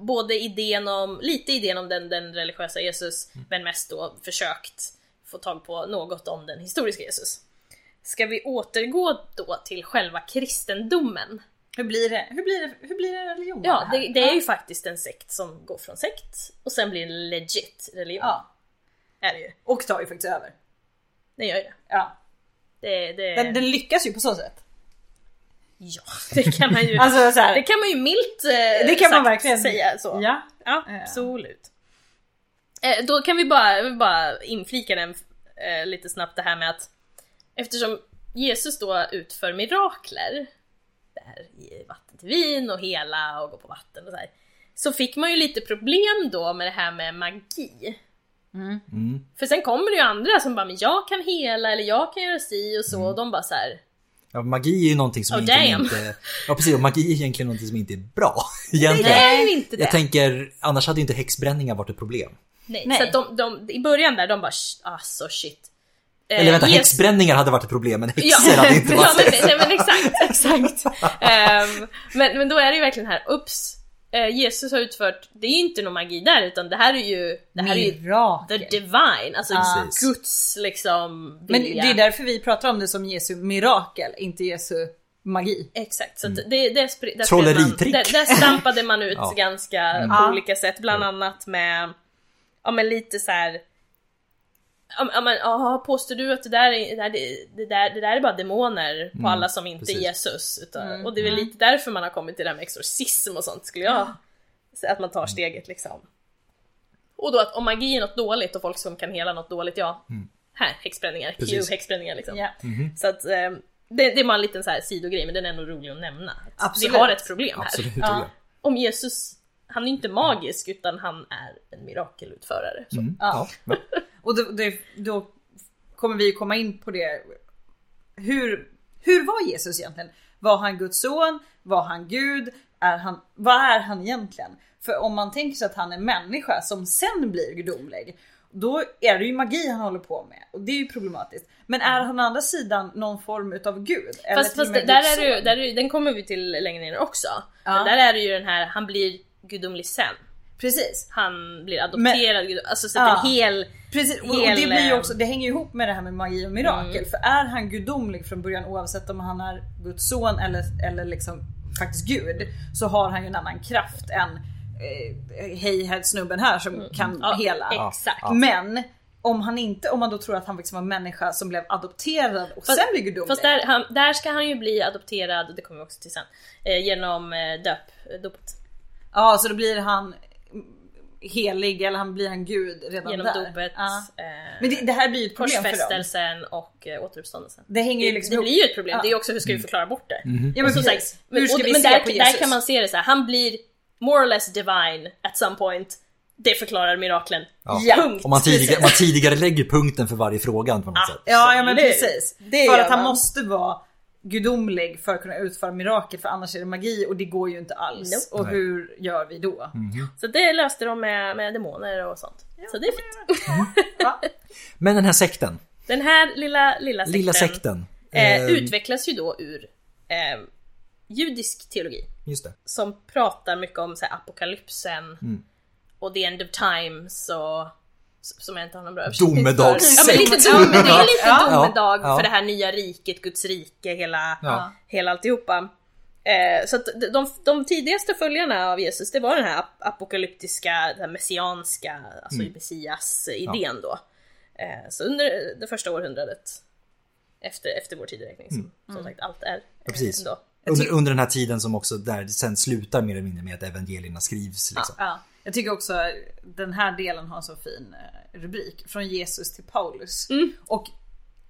både idén om, lite idén om den, den religiösa Jesus, men mest då försökt få tag på något om den historiska Jesus. Ska vi återgå då till själva kristendomen? Hur blir det? Hur blir det? Hur blir det religion? Ja, här? det, det är ju faktiskt en sekt som går från sekt och sen blir en legit religion. Ja, Är det ju. och tar ju faktiskt över. Den gör ju det. Ja. Det, det, Den, den lyckas ju på så sätt. Ja, det kan man ju. Alltså så här, det kan man ju milt eh, det kan man sagt verkligen säga så. Ja. Ja, Eh. absolut. Eh, då kan vi bara, vi bara inflika den eh, lite snabbt det här med att eftersom Jesus då utför mirakler, det här i vatten till vin och hela och gå på vatten och så här, så fick man ju lite problem då med det här med magi. Mm. För sen kommer det ju andra som bara, men jag kan hela eller jag kan göra si och så Mm. och de bara så här. Ja, magi är ju någonting som Oh, egentligen damn. inte... Ja precis, och magi är egentligen någonting som inte är bra. Egentligen. Det är ju inte det. Jag tänker, annars hade ju inte häxbränningar varit ett problem. Nej. Nej. Så att de, de, i början där, de bara "Sh- alltså shit. Eh, Eller vänta, Jesus- häxbränningar hade varit ett problem, men Ja, häxor hade inte ja varit men, det. nej, men exakt, exakt. Ehm, men, men då är det ju verkligen här, ups, eh, Jesus har utfört, det är ju inte någon magi där utan det här är ju, det här är ju the Mirakel. divine, alltså Ja. Guds liksom Men vilja. det är därför vi pratar om det som Jesu mirakel, inte Jesu magi. Exakt, så att det, det, spr- där, spred man, Trolleritrick. där, där stampade man ut Mm. Ja. Mm. ganska Ja. på olika sätt, bland annat med, ja men lite så här. Ja men- ja, men aha, påstår du att det där, är, det, där- det, där, det där är bara demoner på alla som inte Mm, precis. är Jesus? Utan, Och det är väl lite därför man har kommit till det här med exorcism och sånt skulle jag säga, att man Mm. tar steget liksom. Och då att om magi är något dåligt och folk som kan hela något dåligt, ja, här häxbränningar, Q Mm. Precis. häxbränningar liksom. Ja. Mhm. Så att eh, det, det var en liten så här sidogrej men den är nog rolig att nämna. Att Absolut. Vi har ett problem här. Absolut. Ja. Ja. Om Jesus, han är ju inte magisk utan han är en mirakelutförare. Så. Mm. Ja. men- Och då, då, då kommer vi komma in på det. Hur, hur var Jesus egentligen? Var han Guds son? Var han Gud? Är han, vad är han egentligen? För om man tänker sig att han är människa som sen blir gudomlig. Då är det ju magi han håller på med och det är ju problematiskt. Men är han å andra sidan någon form utav gud? Eller Fast, till och fast med där Guds är det, ju- son? där är, ju- den kommer vi till längre ner också. Ja. Men där är det ju den här, han blir gudomlig sen. Precis. Han blir adopterad, gud, alltså så att Ja. en hel... Precis, och, och Hel, Mm. det, blir ju ehm, också, det hänger ju ihop med det här med magi och mirakel. För är han gudomlig från början oavsett om han är Guds son eller, eller liksom faktiskt Gud. Så har han ju en annan kraft än eh, hej snubben här som kan Mm. Ja, hela. Exakt. Ja. Men om han inte, om man då tror att han faktiskt var en människa som blev adopterad och sen blir gudomlig. Fast där, han, där ska han ju bli adopterad, det kommer vi också till sen, eh, genom eh, döp, dopet. Ja så då blir han helig eller han blir han gud redan Genom där. dopet, Ja. eh, Men det, det här blir ju ett problem för dem. korsfästelsen och eh, återuppståndelsen. Det hänger ju Det, liksom det ihop. blir ju ett problem, Ja. det är ju också hur Mm. ska vi förklara bort det? Mm-hmm. Ja, men Som precis. sagt, men, Hur ska och, vi men se där, på Jesus? där kan man se det så här. han blir more or less divine at some point. Det förklarar miraklen. Ja. Punkt. Om man tidigare, man tidigare lägger punkten för varje frågan på något sätt. Ja, ja men Eller hur? precis. Det för gör att han man. måste vara gudomlig för att kunna utföra mirakel för annars är det magi och det går ju inte alls. Nope. Och Nej. hur gör vi då? Så det löste de med, med demoner och sånt. så det är fint. Va? Men den här sekten, Den här lilla, lilla sekten, lilla sekten. eh, eh, utvecklas ju då ur eh, judisk teologi. Just det. som pratar mycket om så här, apokalypsen Mm. och the end of times och som jag inte har någon bra översättning för. Domedagssekt. Ja, men lite dom, det är lite Ja. domedag Ja. för det här nya riket, Guds rike, hela, Ja. hela alltihopa. Eh, så att de, de tidigaste följarna av Jesus, det var den här ap- apokalyptiska, den här messianska, alltså Mm. messias-idén då. Eh, så under det första århundradet efter, efter vår tideräkning, som, Mm. som sagt allt är eh, Mm. precis. ändå. Under, under den här tiden som också där det sen slutar mer eller mindre med att evangelierna skrivs. Liksom. Ja. Jag tycker också den här delen har en så fin eh, rubrik. Från Jesus till Paulus. Mm. Och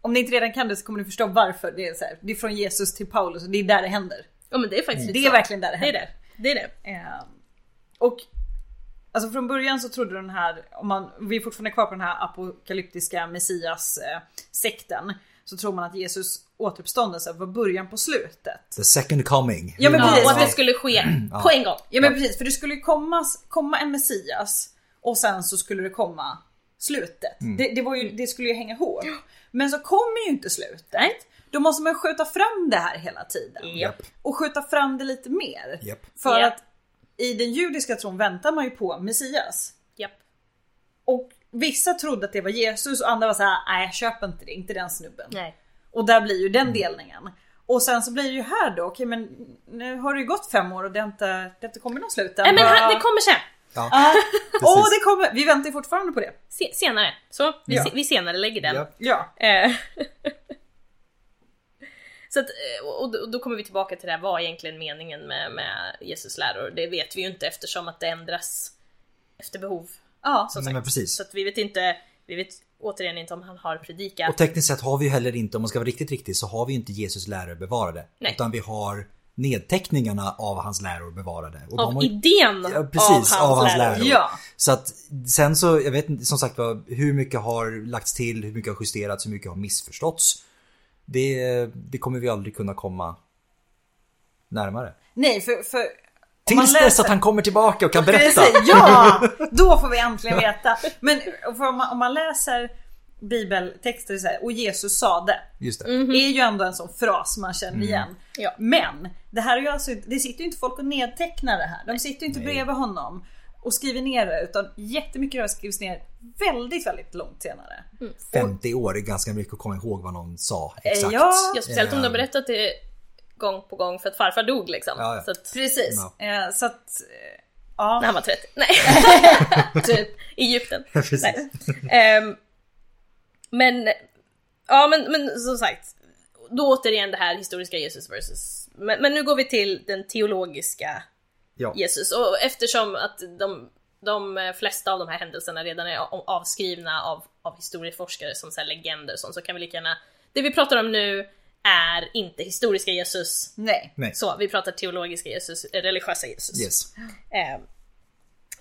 om ni inte redan kan det så kommer ni förstå varför. Det är, så här, det är från Jesus till Paulus och det är där det händer. Ja men det är faktiskt Mm. Det lite är så. verkligen där det Det är händer. det. Det är det. Eh, och alltså från början så trodde den här, om man, vi är fortfarande kvar på den här apokalyptiska messias-sekten. Så tror man att Jesus återuppståndelse var början på slutet. The second coming. Ja, men Ja. Ja, precis. och att det skulle ske på en gång. Ja men precis, för det skulle ju komma, komma en Messias och sen så skulle det komma slutet. Mm. Det, det, var ju, det skulle ju hänga ihop. Men så kommer ju inte slutet. Då måste man skjuta fram det här hela tiden. Japp. Och skjuta fram det lite mer. Japp. För Ja. att i den judiska tron väntar man ju på Messias. Japp. Och vissa trodde att det var Jesus och andra var såhär, nej jag köper inte det, inte den snubben. Nej. Och där blir ju den delningen. Och sen så blir det ju här då, okej men nu har det ju gått fem år och det har inte, det har inte kommit något slut än. Nej Eh, men Vad- han, det kommer sen. Ja. Åh, Precis. det kommer! Vi väntar ju fortfarande på det. Se, senare. Så, vi, Ja. se, vi senare lägger den. Japp. Ja. Eh, Så att, eh, och och då kommer vi tillbaka till det här, vad är egentligen meningen med, med Jesus läror? Det vet vi ju inte eftersom att det ändras efter behov. Ja. Som Nej, men sagt. precis. Så att vi vet inte, vi vet återigen inte om han har predikat. Och tekniskt sett har vi ju heller inte, om man ska vara riktigt riktig, så har vi ju inte Jesus läror bevarade. Nej. Utan vi har nedteckningarna av hans läror bevarade. Och de av har ju- idén Ja, precis, av hans läror. Ja. Så att sen så, jag vet inte som sagt vad, hur mycket har lagts till, hur mycket har justerats, hur mycket har missförståtts. Det, det kommer vi aldrig kunna komma närmare. Nej, för... för om man Tills dess läser- att han kommer tillbaka och kan berätta. Precis, Ja! Då får vi äntligen veta. Men för om, man, om man läser bibeltexter så här, och Jesus sade. Just det. Är ju ändå en sån fras man känner igen. Ja. Men det här är ju alltså, inte- det sitter ju inte folk och nedtecknar det här. De sitter ju inte Nej. bredvid honom och skriver ner det utan jättemycket av det skrivs ner väldigt, väldigt långt senare. 50 år är ganska mycket att komma ihåg vad någon sa exakt. Ja. Ja, speciellt om du har Eh. berättat det gång på gång för att farfar dog liksom. Ja, ja. Så att, Precis. Ja. Eh, så att... eh, Ja. när han var 30. Mm. Nej. typ. Egypten. Precis. Nej. Ehm, men, ja men, men som sagt. Då återigen det här historiska Jesus versus... Men, men nu går vi till den teologiska Ja. Jesus. Och eftersom att de, de flesta av de här händelserna redan är av- avskrivna av, av historieforskare som så här legender och sånt, så kan vi lika gärna... Det vi pratar om nu är inte historiska Jesus. Nej. Nej. Så, vi pratar teologiska Jesus, eh, religiösa Jesus. Yes. Eh,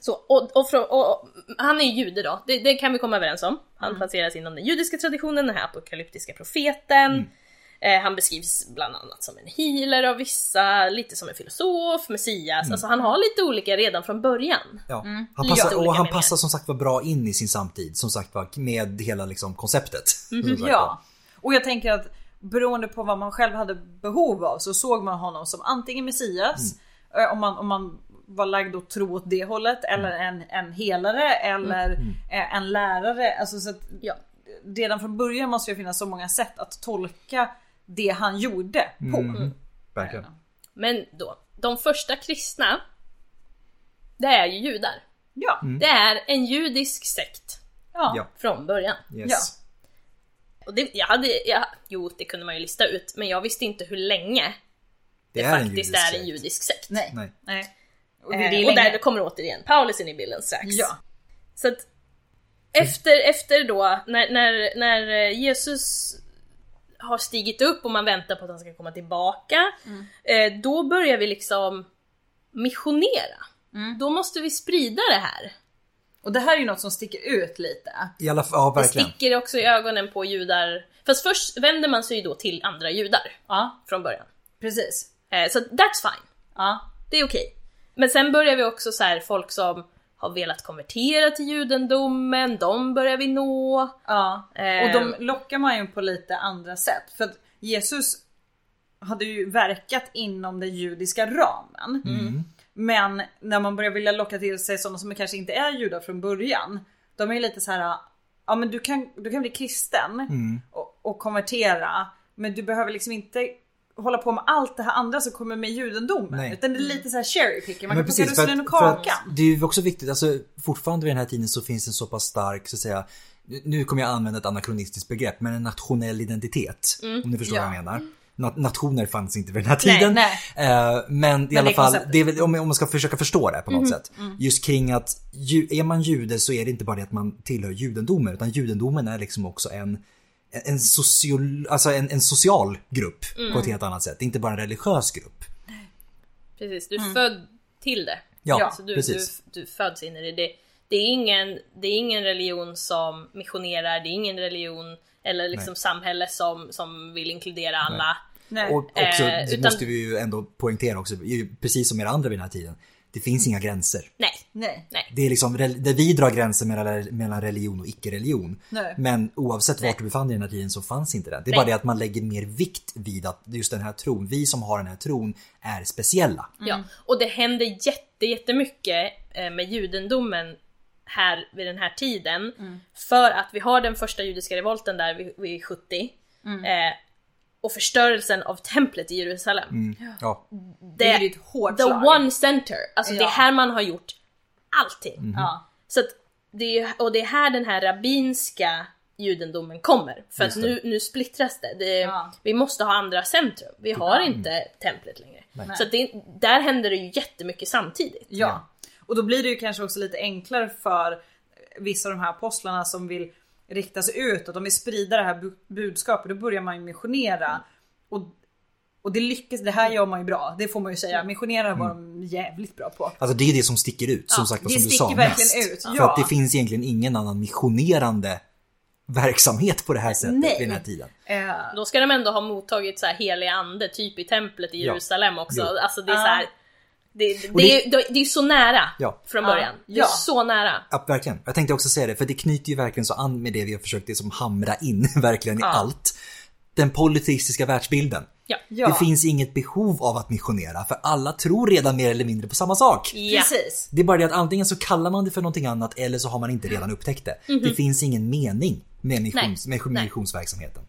så, och, och, från, och, och han är ju jude då, det, det kan vi komma överens om. Han placeras inom den judiska traditionen, den här apokalyptiska profeten. Eh, han beskrivs bland annat som en healer av vissa, lite som en filosof, messias. Alltså han har lite olika redan från början. Ja. Han passar, Ja. och han Olika passar som sagt var bra in i sin samtid. Som sagt var med hela liksom konceptet. Som sagt var. Ja. Och jag tänker att beroende på vad man själv hade behov av så såg man honom som antingen Messias, eh, om, man, om man var lagd och tro åt det hållet, eller en, en helare eller eh, en lärare. Alltså, så att, Ja. Redan från början måste det finnas så många sätt att tolka det han gjorde på. Mm, Verkligen. Men då, de första kristna, det är ju judar. Ja. Det är en judisk sekt Ja. Mm, Ja. från början. Yes. Ja. Och det, jag hade, jag, jo det kunde man ju lista ut, men jag visste inte hur länge Det, är en faktiskt judisk är en sekt. judisk sekt. Nej. Nej. Nej. Och, det, Eh, är det och länge- där kommer återigen Paulus in i bilden strax. Ja. Så att efter, efter då, när, när, när eh, Jesus har stigit upp och man väntar på att han ska komma tillbaka, Mm. eh, då börjar vi liksom missionera. Mm. Då måste vi sprida det här. och det här är ju något som sticker ut lite. I alla fall, ja Det verkligen. sticker också i ögonen på judar. Fast först vänder man sig ju då till andra judar Ja, från början. precis. Eh, så that's fine. Ja. det är okej. Men sen börjar vi också så här folk som har velat konvertera till judendomen, de börjar vi nå. Ja, och Ehm. de lockar man ju på lite andra sätt. För att Jesus hade ju verkat inom den judiska ramen. Mm. Men när man börjar vilja locka till sig sådana som kanske inte är judar från början. De är ju lite så här, ja men Mm. du kan, du kan bli kristen och, och konvertera. Men du behöver liksom inte hålla på med allt det här andra som kommer med judendomen. Nej. Utan det är lite så här cherry picking. Man Men kan plocka precis, för russinen att, och för att kakan. det är ju också viktigt, alltså fortfarande vid den här tiden så finns en så pass stark, så att säga, nu- nu kommer jag använda ett anakronistiskt begrepp, men en nationell identitet. om ni förstår Mm. ja. vad jag menar. Na- Nationer fanns inte vid den här Nej, tiden. nej. Eh, men i alla det är fall, konceptet. Mm-hmm. det är väl, om, om man ska försöka förstå det här på något sätt. Just kring att ju, är man jude så är det inte bara det att man tillhör judendomen, utan judendomen är liksom också en en, social, alltså en, en social grupp på ett Mm. helt annat sätt. Det är inte bara en religiös grupp. Precis, du är född till det. Ja, så du, du, precis. du föds in i det. det. Det är, ingen, det är ingen religion som missionerar, det är ingen religion eller liksom Nej. samhälle som, som vill inkludera alla. Nej. Och också, det Eh, utan- måste vi ju ändå poängtera också, ju- precis som era andra vid den här tiden, det finns inga gränser. Nej. Nej. Det är liksom, rel- där vi drar gränser mellan, mellan religion och icke-religion. Nej. Men oavsett vart du befann dig i den här tiden så fanns inte det. Det är Nej. bara det att man lägger mer vikt vid att just den här tron, vi som har den här tron är speciella. Mm. Ja. Och det händer jätte, jättemycket eh, med judendomen här vid den här tiden. Mm. För att vi har den första judiska revolten där vid, vid 70. Mm. Eh, och förstörelsen av templet i Jerusalem. Mm. Ja, Det är ju ett hårt The slag. one center. Alltså det Ja. är här man har gjort allting. Ja. Så att det är, ju- och det är här den här rabbinska judendomen kommer. För att Just det. nu, nu splittras det. det Ja. Vi måste ha andra centrum. Vi har inte templet längre. Mm. Nej. Så att det, där händer det ju jättemycket samtidigt. Ja. Och då blir det ju kanske också lite enklare för vissa av de här apostlarna som vill rikta sig ut, att de vill sprida det här bu- budskapet. Då börjar man ju missionera. Och, och det lyckas, det här gör man ju bra, det får man ju säga. Missionera var de jävligt bra på. alltså det är det som sticker ut, som sagt det vad som du sa sticker verkligen mest. ut, För ja. att det finns egentligen ingen annan missionerande verksamhet på det här sättet Nej. vid den här tiden. Eh, Då ska de ändå ha mottagit så här helig ande, typ i templet i Ja. Jerusalem också. Jo. Alltså det är Ja. så här, det, det, Och det, är- det, det är ju så nära Ja. från Ja. början. Det är Ja. så nära. Ja, verkligen. Jag tänkte också säga det, för det knyter ju verkligen så an med det vi har försökt liksom hamra in verkligen i allt. Den polyteistiska världsbilden. Ja. ja, Det finns inget behov av att missionera, för alla tror redan mer eller mindre på samma sak. Ja. precis. Det är bara det att antingen så kallar man det för någonting annat eller så har man inte redan upptäckt det. Det finns ingen mening med, missions, Mhm. Nej. med missionsverksamheten.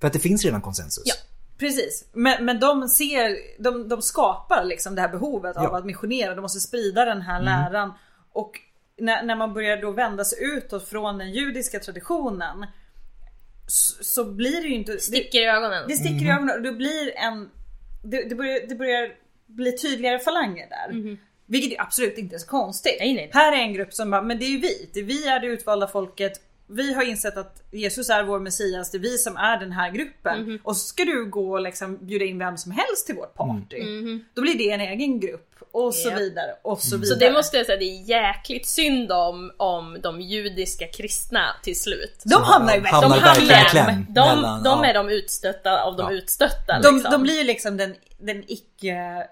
För att det finns redan konsensus. Ja. Precis, men, men de ser, de, de skapar liksom det här behovet av Ja. att missionera, de måste sprida den här läran. Och när, när man börjar då vända sig utåt från den judiska traditionen så, så blir det ju inte... det, Sticker i ögonen. det sticker i ögonen och det blir en... Det, det, börjar, det börjar bli tydligare falanger där. Vilket ju absolut inte är så konstigt. Mhm. Nej, nej. Här är en grupp som bara, men det är ju vi. Det är vi är det utvalda folket. Vi har insett att Jesus är vår Messias. Det är vi som är den här gruppen. Mhm. Och så ska du gå och liksom bjuda in vem som helst till vårt Mm. party. Då blir det en egen grupp. Och så Ja. vidare och så vidare. Mhm. Så det måste jag säga, det är jäkligt synd om, om de judiska kristna till slut. De hamnar ju De mest. De, hamnar hamnar, verkligen i i kläm. kläm. De, mellan- de ja. är de utstötta av de Ja. utstötta. de, liksom. de blir ju liksom den, den icke eh,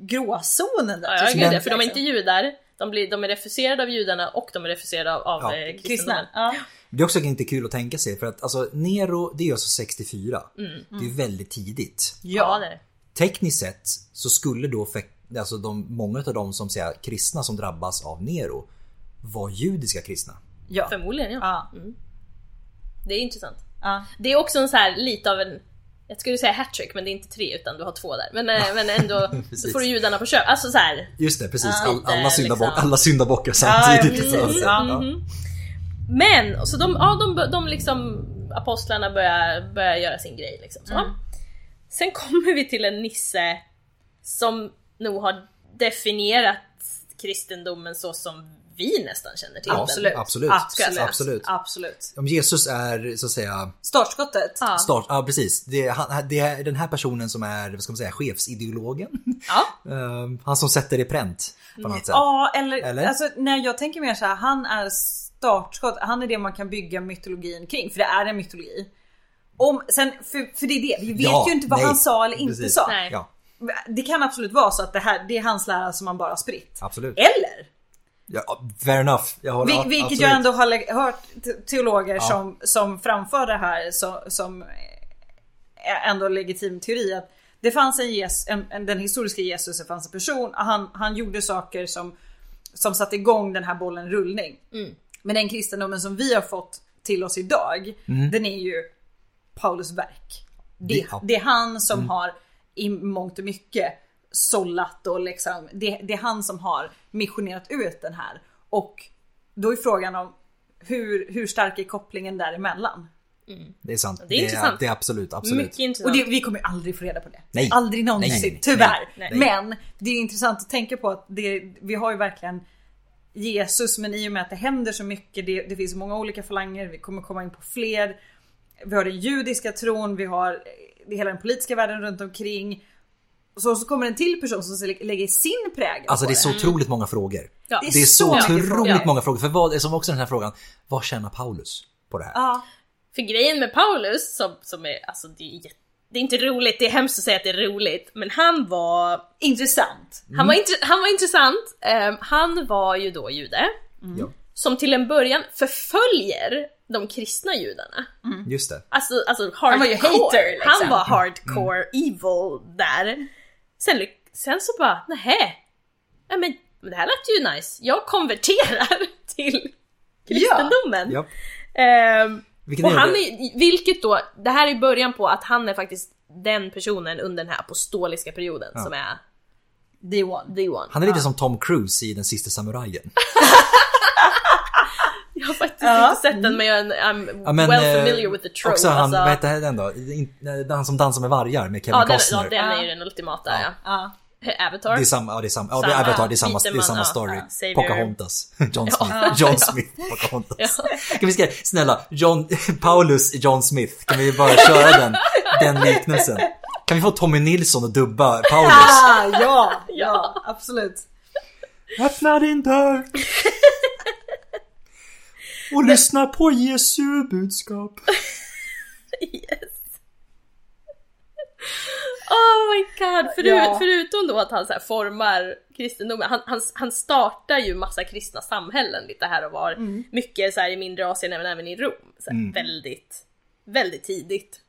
gråzonen där. ja, till jag slut, gud, ja, för de är liksom. inte judar. De, blir, de är refuserade av judarna och de är refuserade av, av Ja. eh, kristendomen. kristna. Ja. Det är också inte kul att tänka sig för att alltså, Nero, det är alltså 64. Mm, Det är ju väldigt tidigt. Ja, det är det. tekniskt sett så skulle då fe- alltså de, många av de som säger kristna som drabbas av Nero var judiska kristna. Ja. Förmodligen ja. Ja. Det är intressant. Ja. Det är också en så här lite av en jag skulle säga hattrick men det är inte tre utan du har två där. Men, eh, men ändå, så Precis. får du judarna på köp. Alltså så här, Just det, precis. Ah, All, lite, alla, syndabock, liksom. alla syndabockar samtidigt. precis. så att säga. Ja. Ja. Men, så de, ja, de, de liksom apostlarna börjar, börjar göra sin grej liksom. Så. Mm. Sen kommer vi till en nisse som nog har definierat kristendomen så som vi nästan känner till Ja, den. absolut. Absolut. Absolut. Absolut. Absolut. Om Jesus är så att säga Startskottet. Ja. start, ja precis. Det är, han, det är den här personen som är, vad ska man säga, chefsideologen. Ehm, han som sätter det i pränt på något sätt. eller, Eller? Alltså, nej, jag tänker mer så här. han är startskott. Han är det man kan bygga mytologin kring, för det är en mytologi. Om, sen, för, för det är det, vi vet Ja, ju inte vad nej. han sa eller inte Precis. sa. Nej. Ja, Det kan absolut vara så att det här, det är hans lära som man bara har spritt. absolut. Eller? Ja, fair enough. Jag håller, Vil- ja, vilket absolut. jag ändå har lä- hört te- teologer som, som framför det här som, som eh, är ändå legitim teori. Att det fanns en, jes, en, en den historiska Jesus, det fanns en person, han, han gjorde saker som, som satte igång den här bollen rullning. Men den kristendomen som vi har fått till oss idag, den är ju Paulus verk. Det, det är han som har i mångt och mycket sållat och liksom, det, det är han som har missionerat ut den här. Och då är frågan om hur, hur stark är kopplingen däremellan? Det är sant. Det är intressant. Det är absolut, absolut. Mycket intressant. Och det, vi kommer ju aldrig få reda på det. Nej. Aldrig någonsin, Nej, nej, tyvärr. nej, nej. Men det är intressant att tänka på att det, vi har ju verkligen Jesus, men i och med att det händer så mycket, det, det finns många olika falanger, vi kommer komma in på fler. Vi har den judiska tron, vi har eh, hela den politiska världen runt omkring. Så, så kommer en till person som lä- lägger sin prägel Alltså på det är så otroligt många frågor. Ja. Det är så mycket otroligt frågor. många frågor. För vad, som också den här frågan, vad tjänar Paulus på det här? Ja. För grejen med Paulus, som, som är, alltså det är, jätte- det är inte roligt, det är hemskt att säga att det är roligt, men han var Intressant. Han, Mm. var int- han var intressant. Ehm, han var ju då jude. Ja, Som till en början förföljer de kristna judarna. just det. Alltså, alltså hardcore. var ju hater, liksom. Han var Mm. hardcore evil där. Sen, ly- sen så bara, nähä. Ja, men det här lät ju nice. Jag konverterar till kristendomen. Ja. Ehm, Vilken och han det? är, vilket då, det här är början på att han är faktiskt den personen under den här apostoliska perioden som är The one. the one. han är lite som Tom Cruise i Den sista samurajen. Jag har faktiskt Ja. inte sett den men jag är, I'm Ja, men, well eh, familiar with the trope. Också han, vad alltså, heter den då? In- eh, Han som dansar med vargar med Kevin ja, den, Costner. ja, den är ju Ja. den ultimata ja. Ja. Avatar. Det är samma, ja det är samma, ja det Samma är Avatar, det är samma, vite det är man, ja, samma story. ja, Savior. Pocahontas. John Smith. John Smith, Pocahontas. Kan vi skriva, snälla, John, Paulus, John Smith. Kan vi bara köra den, den liknelsen? Kan vi få Tommy Nilsson att dubba Paulus? Ah, ja, ja, absolut. Öppna din dörr! Och lyssna på Jesu budskap. Yes. Oh my god! Förut, Ja. Förutom då att han så här formar kristendomen, han, han, han startar ju massa kristna samhällen lite här och var. Mycket så här i mindre Asien men även i Rom. Så här, Väldigt, väldigt tidigt.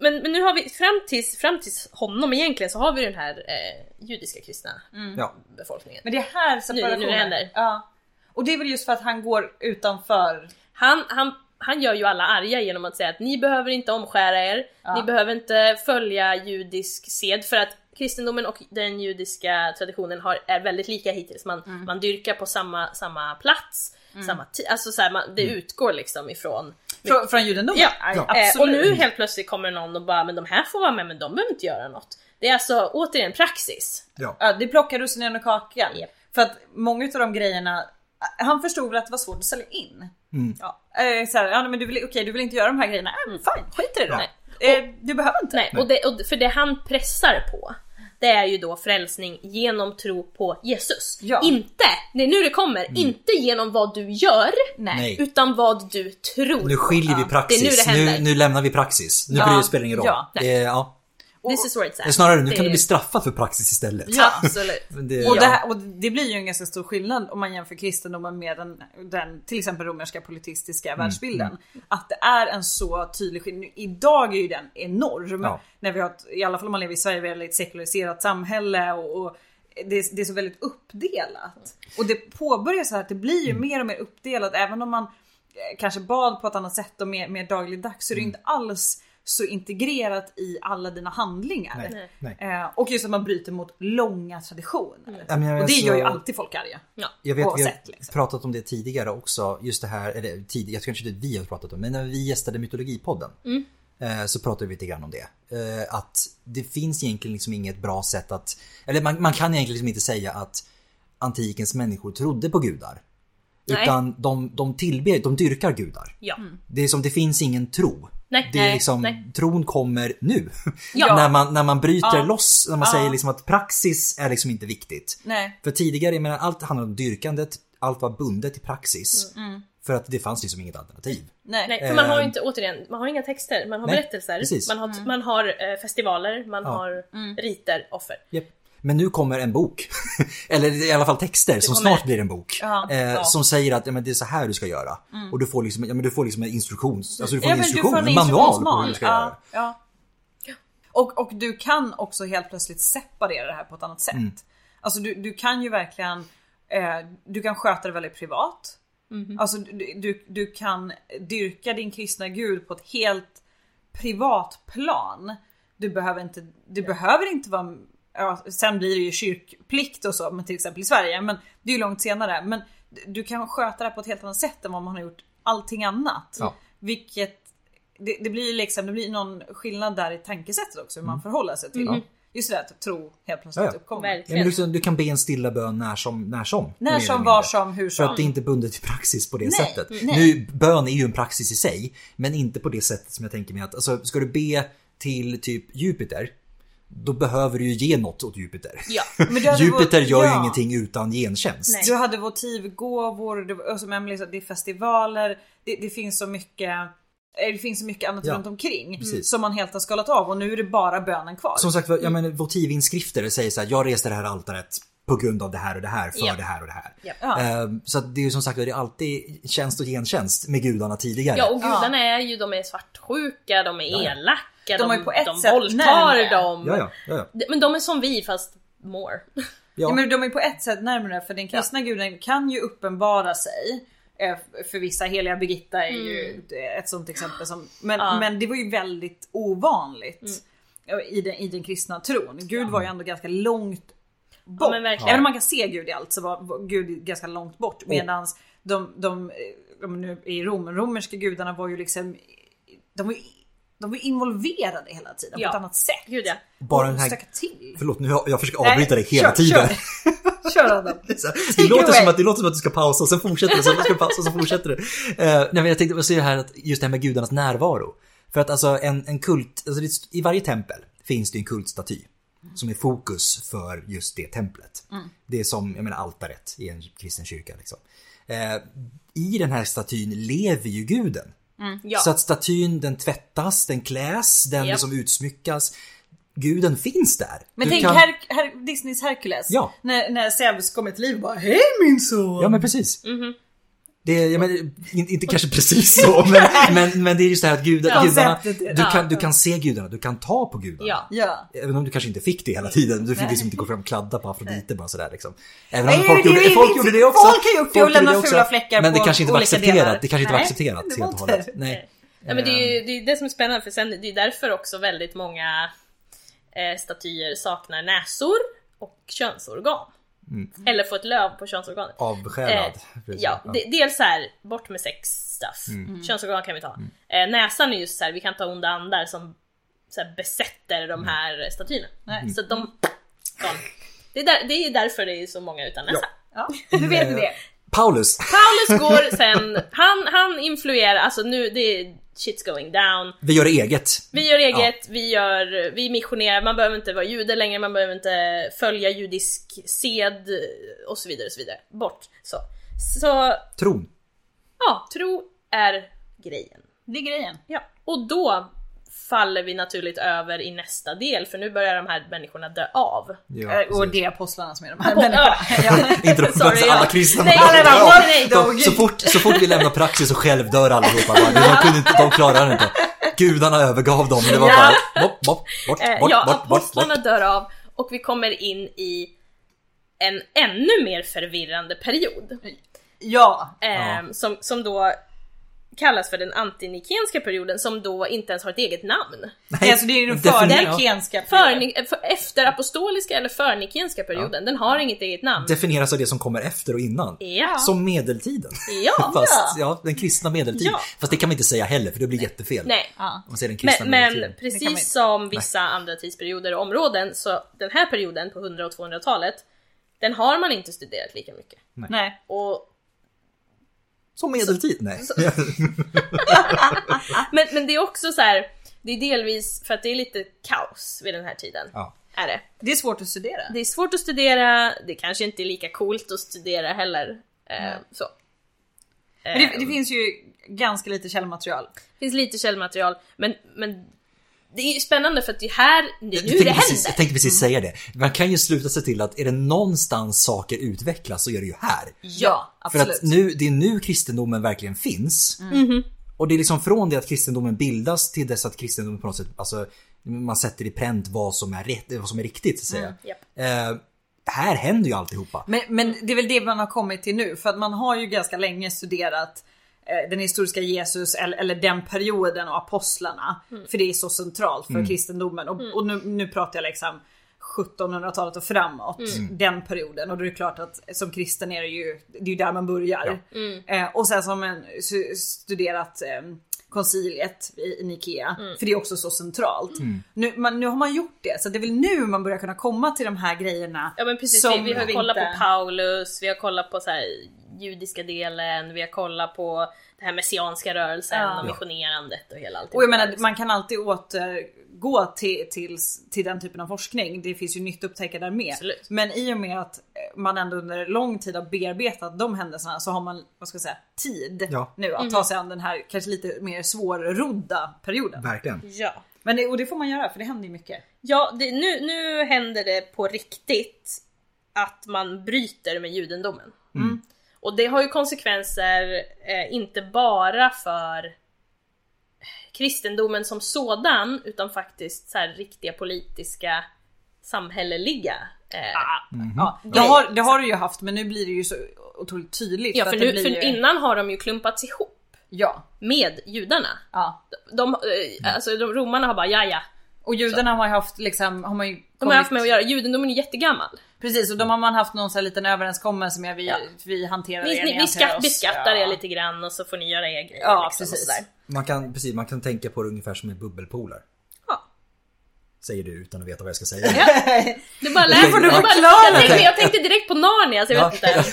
Men, men nu har vi, fram tills, fram tills honom egentligen, så har vi den här eh, judiska kristna Ja, befolkningen. Men det är här separationen. Nu- nu händer. Ja. Och det är väl just för att han går utanför. Han, han, han gör ju alla arga genom att säga att ni behöver inte omskära er, ni behöver inte följa judisk sed för att kristendomen och den judiska traditionen har, är väldigt lika hittills. Man, Mm. man dyrkar på samma, samma plats, samma tid, alltså så här, man, det utgår liksom ifrån. Från, från judendomen? Ja, Aj, eh, och absolut. nu helt plötsligt kommer någon och bara men de här får vara med men de behöver inte göra något. Det är alltså återigen praxis. ja. Ja, det plockar russinen och kakan. Japp. För att många av de grejerna, han förstod väl att det var svårt att sälja in. Mm. Ja, eh, så här, ja, men du vill, okej, du vill inte göra de här grejerna? Äh, Mm. men fan, skit i det då. Nej. Eh, du behöver inte. Nej, och det, och för det han pressar på, det är ju då frälsning genom tro på Jesus. Ja. Inte, det är nu det kommer, Mm. inte genom vad du gör, Nej. utan vad du tror. Nu skiljer vi Det är nu praxis. det händer. Nu, nu lämnar vi praxis. Nu Ja. blir det, spelar ingen roll. Ja. Det är- ja. This is where it's Det är at. Snarare, nu Det kan är- du bli straffad för praxis istället. Ja. Absolut. Men det- Och, det ja. här, och det blir ju en ganska stor skillnad om man jämför kristendomen med den, den till exempel romerska politistiska Mm, världsbilden. Att det är en så tydlig skillnad. Idag är ju den enorm. Ja. När vi har, ett- I alla fall om man lever i Sverige, vi har ett sekulariserat samhälle och, och det, är- det är så väldigt uppdelat. Och det påbörjas så här att det blir ju Mm. mer och mer uppdelat även om man eh, kanske bad på ett annat sätt och mer, mer dagligdags så är det Mm. inte alls så integrerat i alla dina handlingar. Nej, nej. Eh, och just att man bryter mot långa traditioner. Mm. Ja, men jag- Och det gör ju alltså- alltid folk arga. Ja. Jag vet, vi har oavsett, liksom. pratat om det tidigare också, just det här, eller tidigare, jag tror kanske inte vi har pratat om, men när vi gästade Mytologipodden Mm. eh, så pratade vi lite grann om det. Eh, Att det finns egentligen liksom inget bra sätt att, eller man, man kan egentligen liksom inte säga att antikens människor trodde på gudar. Nej. Utan de, de tillber, de dyrkar gudar. Ja. Mm. Det är som, det finns ingen tro. Nej, det är nej, liksom, nej. tron kommer nu. Ja. när, man, när man bryter loss, när man säger liksom att praxis är liksom inte viktigt. Nej. För tidigare, jag menar, allt handlade om dyrkandet, allt var bundet till praxis. Mm. För att det fanns liksom inget alternativ. Nej. Nej, för man har ju inte, återigen, man har inga texter, man har Ehm. Nej, berättelser, precis. man har, Mm. man har eh, festivaler, man har riter, offer. Japp. Men nu kommer en bok, eller i alla fall texter som kommer- snart blir en bok. Ja, eh, ja. Mm. Som säger att ja, men det är så här du ska göra. Och du får liksom, ja, men du får liksom en instruktion, alltså du får Ja, en men instruktion, en manual på instruktionsmal. hur du ska göra. ja, ja. Och, och du kan också helt plötsligt separera det här på ett annat sätt. Mm. Alltså du, du kan ju verkligen, eh, du kan sköta det väldigt privat. Alltså du, du, du kan dyrka din kristna gud på ett helt privat plan. Du behöver inte, du behöver inte vara, ja, sen blir det ju kyrkplikt och så, men till exempel i Sverige, men det är ju långt senare. Men du kan sköta det här på ett helt annat sätt än vad man har gjort allting annat. Ja. Vilket, det, det blir ju liksom, det blir någon skillnad där i tankesättet också, hur man förhåller sig till. Just det där att tro helt plötsligt Mm. Ja, ja. uppkommer. Mm. Verkligen. Ja, men liksom, du kan be en stilla bön när som, när som. mer När eller som, var mindre. som, hur För att det är som. inte bundet till praxis på det Nej, sättet. nej. Nu, bön är ju en praxis i sig, men inte på det sättet som jag tänker mig att, alltså ska du be till typ Jupiter, då behöver du ju ge något åt Jupiter. Ja. Men du hade Jupiter vår- gör ju ja. ingenting utan gentjänst. Nej. Du hade votivgåvor, det, var- och som Emelie sa, det är festivaler, det, det finns så mycket eh, det finns så mycket annat Ja, runt omkring precis. som man helt har skalat av och nu är det bara bönen kvar. Som sagt, jag menar, votivinskrifter säger så här, jag reste det här altaret på grund av det här och det här, för Ja. det här och det här. Ja. Ja. Ehm, Så att det är ju som sagt det är alltid tjänst och gentjänst med gudarna tidigare. Ja och gudarna är ju, de är svartsjuka, de är Ja. elaka, De de, är på ett de sätt närmare. våldtar dem. ja, ja, ja, ja. Men de är som vi fast more. ja. Ja, men de är på ett sätt närmare för den kristna guden kan ju uppenbara sig. eh, För vissa, heliga Birgitta är ju ett sånt exempel. Som, men, Mm. Ja. Mm. men det var ju väldigt ovanligt eh, i, den, i den kristna tron. Gud var ju ändå ganska långt bort. men verkligen. Oh. Även om man kan se Gud i allt så var- var Gud ganska långt bort. Medan de, de, eh, de nu i Rom, romerska gudarna var ju liksom, de var ju, de var ju involverade hela tiden Ja. på ett annat sätt. Gud ja. Bara den Och här- stöka till. Förlåt, nu har, jag försöker avbryta dig hela kör, tiden. Kör, kör Adam. Det är så här, Take Det låter, away. som att, det låter som att du ska pausa och sen fortsätter du, sen ska du pausa och så fortsätter du. Eh, nej, men jag tänkte på det här, att just det här med gudarnas närvaro. För att alltså en, en kult, alltså det, i varje tempel finns det ju en kultstaty som är fokus för just det templet. Mm. Det är som, jag menar altaret i en kristen kyrka liksom. Eh, I den här statyn lever ju guden. Mm. ja. Så att statyn den tvättas, den kläs, den Japp. liksom utsmyckas. Guden finns där. Men Du tänk kan- Her- Her- Disneys Hercules. Ja. När, när Zeus kommer till liv och bara Hej min son! Ja men precis. Mhm. Det, är- jag menar, in, inte kanske precis så, men, men, men det är just det här att gudar, Ja, gudarna, sättet är- du ja. kan, du kan se gudarna, du kan ta på gudarna. Ja. Ja. Även om du kanske inte fick det hela tiden, du fick Nej. liksom inte gå fram och kladda på Afrodite bara sådär liksom. Även Nej, om folk, det är gjorde, ju folk inte- gjorde det också. folk har gjort det och gjorde lämnat också. fula fläckar Men det på kanske inte var olika delar. accepterat, det kanske inte var Nej, accepterat det var helt och inte hållet. det. Nej. Nej, men det är ju ehm. det, är det som är spännande för sen, det är därför också väldigt många eh, statyer saknar näsor och könsorgan. Eller får ett löv på könsorganet. Avskälad. Eh, Mm. precis. Mm. ja, de, dels så här, bort med sex stuff. Könsorgan kan vi ta. Eh, näsan är just så här, vi kan ta onda andar som så här, besätter Mm. de här statyerna. Så att de... gone. Det är, där, det är därför det är så många utan näsa. ja. Nu vet Eh, ni det. Paulus. Paulus går sen, han, han influerar, alltså nu, det är shit's going down. Vi gör eget. Vi gör eget, vi, gör, vi missionerar, man behöver inte vara jude längre, man behöver inte följa judisk sed och så vidare. Och så vidare. Bort. Så. så Tron. ja, tro är grejen. Det är grejen. Ja. Och då faller vi naturligt över i nästa del, för nu börjar de här människorna dö av. Ja, Eh, och precis. det är apostlarna som är de här Apo- människorna. Ja. Inte de, Sorry, alltså, alla ja. kristna. Nej, bara, alla bara, ja, "Åh, nej, då, de, Gud." så, fort, så fort vi lämnar praxis så självdör allihopa. Bara, de, kunde inte, de klarar det inte. Gudarna övergav dem. Det var Ja. bara bort, bort, bort, Eh, bort, ja, bort, bort, bort. apostlarna dör av och vi kommer in i en ännu mer förvirrande period. ja. Ehm, som, som då kallas för den antinikenska perioden som då inte ens har ett eget namn. Nej, alltså det är ju den definitivt. förnikenska perioden. Förni- eh, för, efter apostoliska eller förnikenska perioden, den har inget eget namn. Definieras av det som kommer efter och innan. Ja. Som medeltiden. Ja. Fast, ja, den kristna medeltiden. Ja. Fast det kan vi inte säga heller för det blir jättefel. Nej. Ja. Om man säger den kristna Men, men medeltiden. Det kan man precis inte. som vissa andra tidsperioder och områden så den här perioden på 100 och 200-talet, den har man inte studerat lika mycket. Nej. Och Som medeltid? Nej. Men, men det är också så här, det är delvis för att det är lite kaos vid den här tiden. Ja. Är det. Det är svårt att studera. det är svårt att studera, det kanske inte är lika coolt att studera heller. Eh, så. Men det, det finns ju ganska lite källmaterial. Det finns lite källmaterial, men, men det är ju spännande för att det är här, det är Jag nu det tänkte, händer. Mm. precis, jag tänkte precis säga det. Man kan ju sluta sig till att är det någonstans saker utvecklas så är det ju här. Ja, För absolut. att nu, det är nu kristendomen verkligen finns. Mm. Och det är liksom från det att kristendomen bildas till dess att kristendomen på något sätt, alltså man sätter i pränt vad som är rätt, vad som är riktigt så att säga. Mm, Japp. Eh, här händer ju alltihopa. Men, men det är väl det man har kommit till nu för att man har ju ganska länge studerat eh, den historiska Jesus eller, eller den perioden och apostlarna. Mm. För det är så centralt för kristendomen. Och, och nu, nu pratar jag liksom 1700-talet och framåt, Mm. den perioden. Och då är det klart att som kristen är det ju, det är ju där man börjar. Mm. Eh, och sen som en s- studerat eh, konciliet i, i Nikea, Mm. för det är också så centralt. Nu, man, nu har man gjort det, så det är väl nu man börjar kunna komma till de här grejerna. Ja men precis, som vi, vi har kollat inte- på Paulus, vi har kollat på så här, judiska delen, vi har kollat på den här messianska rörelsen Ja. och missionerandet och hela allt. Och jag menar man kan alltid återgå till, till, till den typen av forskning. Det finns ju nytt att upptäcka där med. Absolut. Men i och med att eh, man ändå under lång tid har bearbetat de händelserna så har man, vad ska jag säga, tid Ja. nu att Mhm. ta sig an den här kanske lite mer svårrodda perioden. Verkligen. Ja. Men det, och det får man göra för det händer ju mycket. Ja, det, nu, nu händer det på riktigt att man bryter med judendomen. Mm. Och det har ju konsekvenser eh, inte bara för kristendomen som sådan utan faktiskt så här riktiga politiska samhälleliga eh, Ah, Mhm. Ja, det, har, det har du ju haft men nu blir det ju så otroligt tydligt. Ja, för, att det nu, blir ju, för innan har de ju klumpats ihop Ja. med judarna. ja. De, eh, alltså de, romarna har bara ja ja. Och judarna har man ju haft liksom, har man ju De har kommit- haft med att göra, judendomen är jättegammal. Precis och de har man haft någon sån här liten överenskommelse med vi, vi hanterar Ni, er, ni, ni hanterar skatt, oss. beskattar Ja. er lite grann och så får ni göra er grejer. liksom, Ja, och precis. sådär. Man kan, precis, man kan tänka på det ungefär som en bubbelpolare. Ja. Säger du utan att veta vad jag ska säga. Det bara lät, får du det bara, förklara jag, tänkte, det. jag tänkte direkt på Narnia så jag vet inte.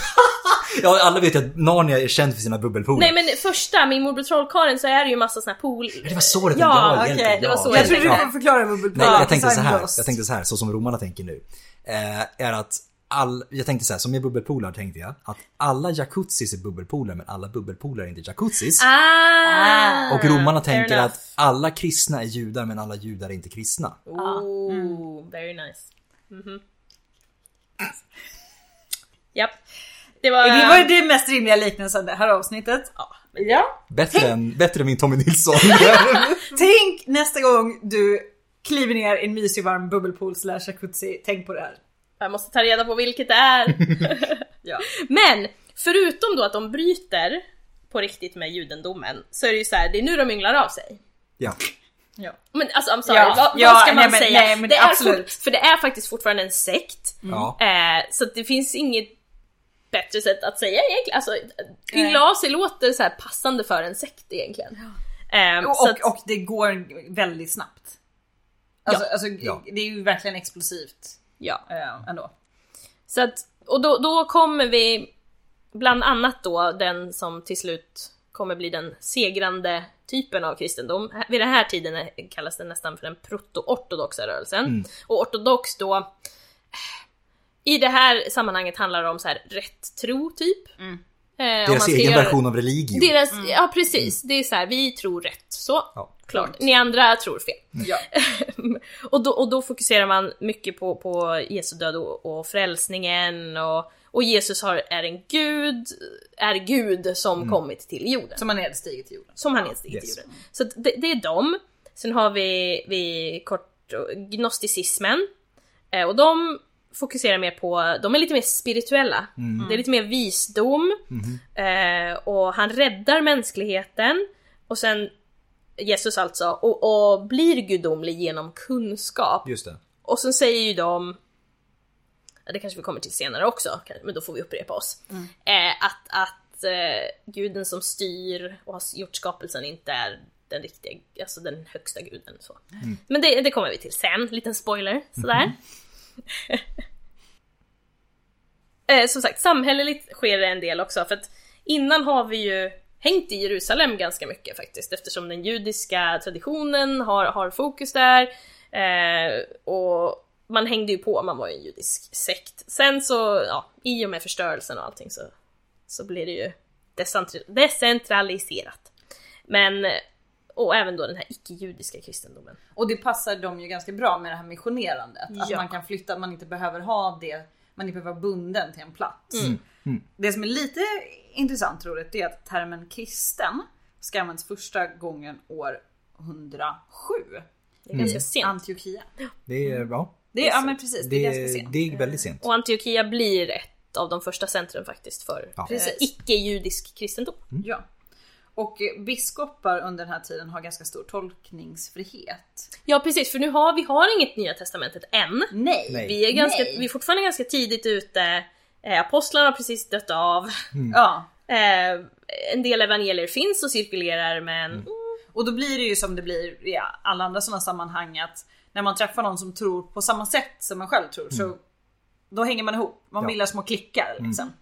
Ja, alla vet ju att Narnia är känd för sina bubbelpooler. Nej men första, Min morbror Trollkarlen så är det ju massa såna här pool... Det var så det tänkte Ja, jag Okej, egentligen. det var så Ja. jag trodde du Ja. får förklara bubbelplan. Nej, jag tänkte så här. Jag tänkte så här, så som romarna tänker nu. Eh, är att all, jag tänkte så här, som är bubbelpolare tänkte jag att alla jacuzzis är bubbelpolare men alla bubbelpolare är inte jacuzzis. Ah, och romarna fair tänker enough. att alla kristna är judar men alla judar är inte kristna. Oh, very nice. Mhm. Japp. Det var... Det var ju det mest rimliga liknelsen det här avsnittet. Ja. Bättre än, bättre än min Tommy Nilsson. Tänk nästa gång du kliver ner i en mysig varm bubbelpool slash jacuzzi. Tänk på det här. Jag måste ta reda på vilket det är. Ja. Men förutom då att de bryter på riktigt med judendomen så är det ju så här, det är nu de ynglar av sig. ja. Ja. Men alltså I'm sorry, Ja, vad, ja, vad ska man nej, men- säga? nej, men det är absolut. Mm. Fort, för det är faktiskt fortfarande en sekt. ja. Eh, så att det finns inget bättre sätt att säga egentligen. Alltså, Nej. yngla av sig låter så här passande för en sekt egentligen. Eh, Och, så att, och, och det går väldigt snabbt. Alltså, alltså, Ja. Det är ju verkligen explosivt ja. eh, ändå. Så att, och då, då kommer vi, bland annat då den som till slut kommer bli den segrande typen av kristendom. Här- Vid den här tiden är- kallas den nästan för den proto-ortodoxa rörelsen. Mm. Och ortodox då, eh, i det här sammanhanget handlar det om så här rätt tro typ. Mm. Deras egen version av religio. Deras, Ja precis, det är så här, vi tror rätt så. Ja. Klart. Ni andra tror fel. Ja. och, då, och då fokuserar man mycket på, på Jesu död och, och frälsningen och, och Jesus har, är en gud, är gud som kommit till jorden. Som har nedstigit till jorden. Som han instigit Yes. till jorden. Så att det, det är dem. Sen har vi, vi kort gnosticismen. Eh, och de fokuserar mer på, de är lite mer spirituella. Det är lite mer visdom. Eh, och han räddar mänskligheten. Och sen Jesus alltså, och, och blir gudomlig genom kunskap. Just det. Och sen säger ju de, ja, det kanske vi kommer till senare också, kanske- men då får vi upprepa oss. Eh, att att eh, guden som styr och har gjort skapelsen inte är den riktiga, alltså den högsta guden. Så. Men det, det kommer vi till sen, liten spoiler sådär. eh, som sagt, samhälleligt sker det en del också för att innan har vi ju hängt i Jerusalem ganska mycket faktiskt eftersom den judiska traditionen har, har fokus där eh, och man hängde ju på, man var ju en judisk sekt. Sen så, ja, i och med förstörelsen och allting så, så blir det ju decentri- decentraliserat. Men, eh, och även då den här icke-judiska kristendomen. Och det passar dem ju ganska bra med det här missionerandet. Att Ja. man kan flytta, man inte behöver ha det, man inte behöver vara bunden till en plats. Det som är lite intressant tror jag, det är att termen kristen ska användas första gången år 107. Det är ganska sent. Antiochia. Det är, ja. Det är, ja men precis, det, Det är ganska är, sent. det är väldigt sent. Och Antiochia blir ett av de första centren faktiskt för Ja. eh, Precis. icke-judisk kristendom. Ja. Och eh, biskopar under den här tiden har ganska stor tolkningsfrihet. Ja precis, för nu har vi har inget Nya Testamentet än. Nej! Nej. Vi är, ganska, Nej. vi är fortfarande ganska tidigt ute. Eh, Apostlarna har precis dött av. Mm. Ja, Eh, en del evangelier finns och cirkulerar men Mm. och då blir det ju som det blir i alla andra sådana sammanhang att när man träffar någon som tror på samma sätt som man själv tror så då hänger man ihop. Man Ja. bildar små klickar liksom.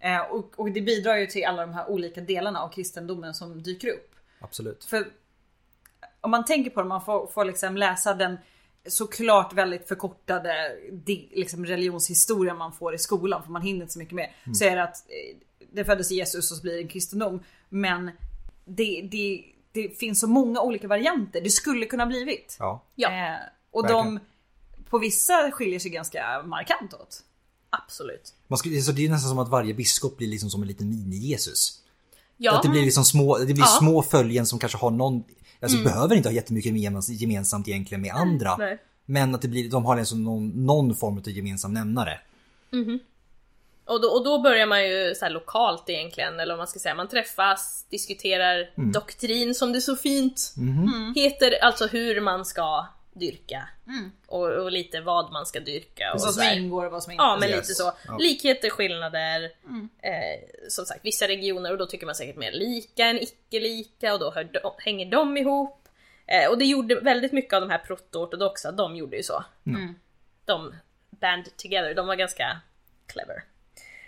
Eh, och, och det bidrar ju till alla de här olika delarna av kristendomen som dyker upp. Absolut. För om man tänker på det, man får, får liksom läsa den såklart väldigt förkortade di- liksom religionshistoria man får i skolan, för man hinner inte så mycket mer. Mm. Så är det att eh, det föddes Jesus och så blir det en kristendom. Men det, det, det finns så många olika varianter. Det skulle kunna blivit. Ja. Ja. Eh, och de Verkligen. på vissa skiljer sig ganska markant åt. absolut. Man skulle, så det är nästan som att varje biskop blir liksom som en liten mini-Jesus. Ja, Att det blir liksom små, det blir Ja. Mm. små följen som kanske har någon, alltså behöver inte ha jättemycket gemens- gemensamt egentligen med andra. nej. Men att det blir, de har liksom någon, någon form av gemensam nämnare. och, då, och då börjar man ju så här lokalt egentligen, eller om man ska säga, man träffas, diskuterar Mm. doktrin som det så fint Mhm. heter, alltså hur man ska dyrka. Och, och lite vad man ska dyrka. Vad Och som så här. ingår och vad som inte Ja men Yes. lite så. Ja. Likheter, skillnader. Eh, som sagt, vissa regioner och då tycker man säkert mer lika än icke lika och då hör de, hänger de ihop. Eh, och det gjorde väldigt mycket av de här proto-ortodoxa, de gjorde ju så. Mm. De band together, de var ganska clever.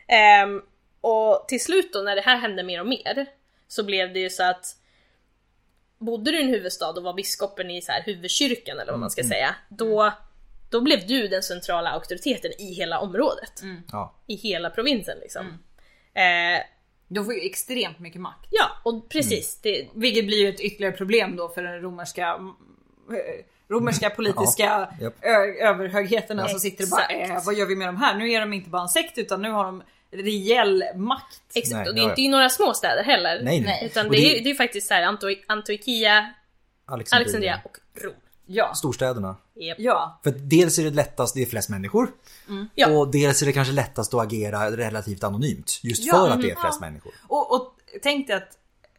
Ehm, och till slut då när det här hände mer och mer så blev det ju så att bodde du i en huvudstad och var biskopen i så här huvudkyrkan eller vad man ska Mm. säga, då, då blev du den centrala auktoriteten i hela området. Ja. I hela provinsen Mm. liksom. Eh, De får ju extremt mycket makt. ja, och precis. Mm. Det, Vilket blir ju ett ytterligare problem då för den romerska eh, Romerska politiska japp. ö- överhögheterna som sitter och bara Exakt. eh, vad gör vi med de här? Nu är de inte bara en sekt utan nu har de rejäl makt. exakt, Nej, och det är ja, inte i några små städer heller. Nej, nej. Utan Och det, det- är ju- det är ju faktiskt så här Anto- Antiochia, Alexandria. Alexandria och Rom. Ja. Storstäderna. Japp. Ja. För att dels är det lättast, det är flest människor. Mm. Ja. Och dels är det kanske lättast att agera relativt anonymt. Just Ja, för att mm, det är flest människor. Och, och tänk dig att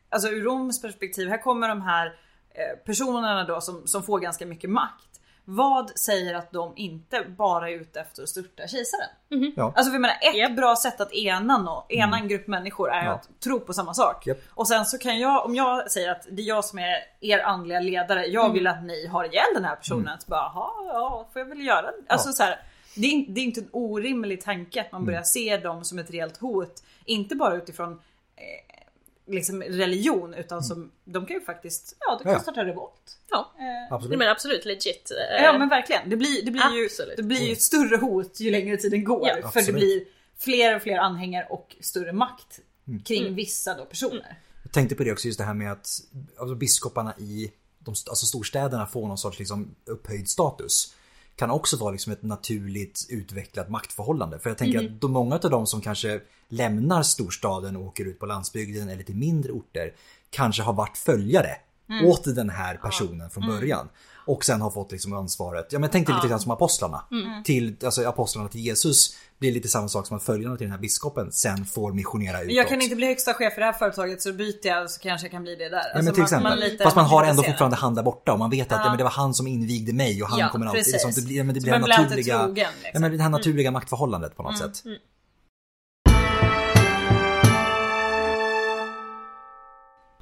alltså ur Roms perspektiv, här kommer de här eh, personerna då som, som får ganska mycket makt. Vad säger att de inte bara är ute efter att störta kejsaren? Ja. Mm. Alltså för jag menar, ett Japp. bra sätt att ena, nå, ena en grupp människor är Ja. att tro på samma sak. Japp. Och sen så kan jag, om jag säger att det är jag som är er andliga ledare, jag vill att ni har ihjäl den här Mm. personen. Så bara, "Jaha, ja, får jag väl göra det? Alltså så här, det, är, in- det är inte en orimlig tanke Mm. att man börjar se dem som ett reellt hot. Inte bara utifrån eh, liksom religion, utan som, de kan ju faktiskt, ja de kan Ja. starta revolt. Ja, Eh, nej, Absolut. men absolut legit. Eh, Ja men verkligen. Det blir, det blir, ju, Absolut. det blir ju ett större hot ju längre tiden går. Ja. för det Mm. Absolut. blir fler och fler anhängare och större makt Mm. kring vissa då personer. Jag tänkte på det också, just det här med att alltså, biskoparna i de, st- alltså, storstäderna får någon sorts liksom, upphöjd status. Kan också vara liksom, ett naturligt utvecklat maktförhållande. För jag tänker Mhm. att de, många av de som kanske lämnar storstaden och åker ut på landsbygden eller till mindre orter kanske har varit följare Mm. åt den här personen från början. Och sen har fått liksom ansvaret, ja men tänk dig lite grann som apostlarna. Mm. Till, alltså apostlarna till Jesus blir lite samma sak som att följarna till den här biskopen sen får missionera utåt. Jag kan inte bli högsta chef för det här företaget så byter jag så kanske jag kan bli det där. Alltså, Ja, men till exempel. litar- Fast man har ändå litar fortfarande han där borta och man vet att ja. men det var han som invigde mig och han Ja, kommer alltid... precis. Liksom, det blir, ja, men det Så blir, det man blir alltid naturliga, trogen, liksom. Mm, ja, men det här naturliga maktförhållandet på något sätt.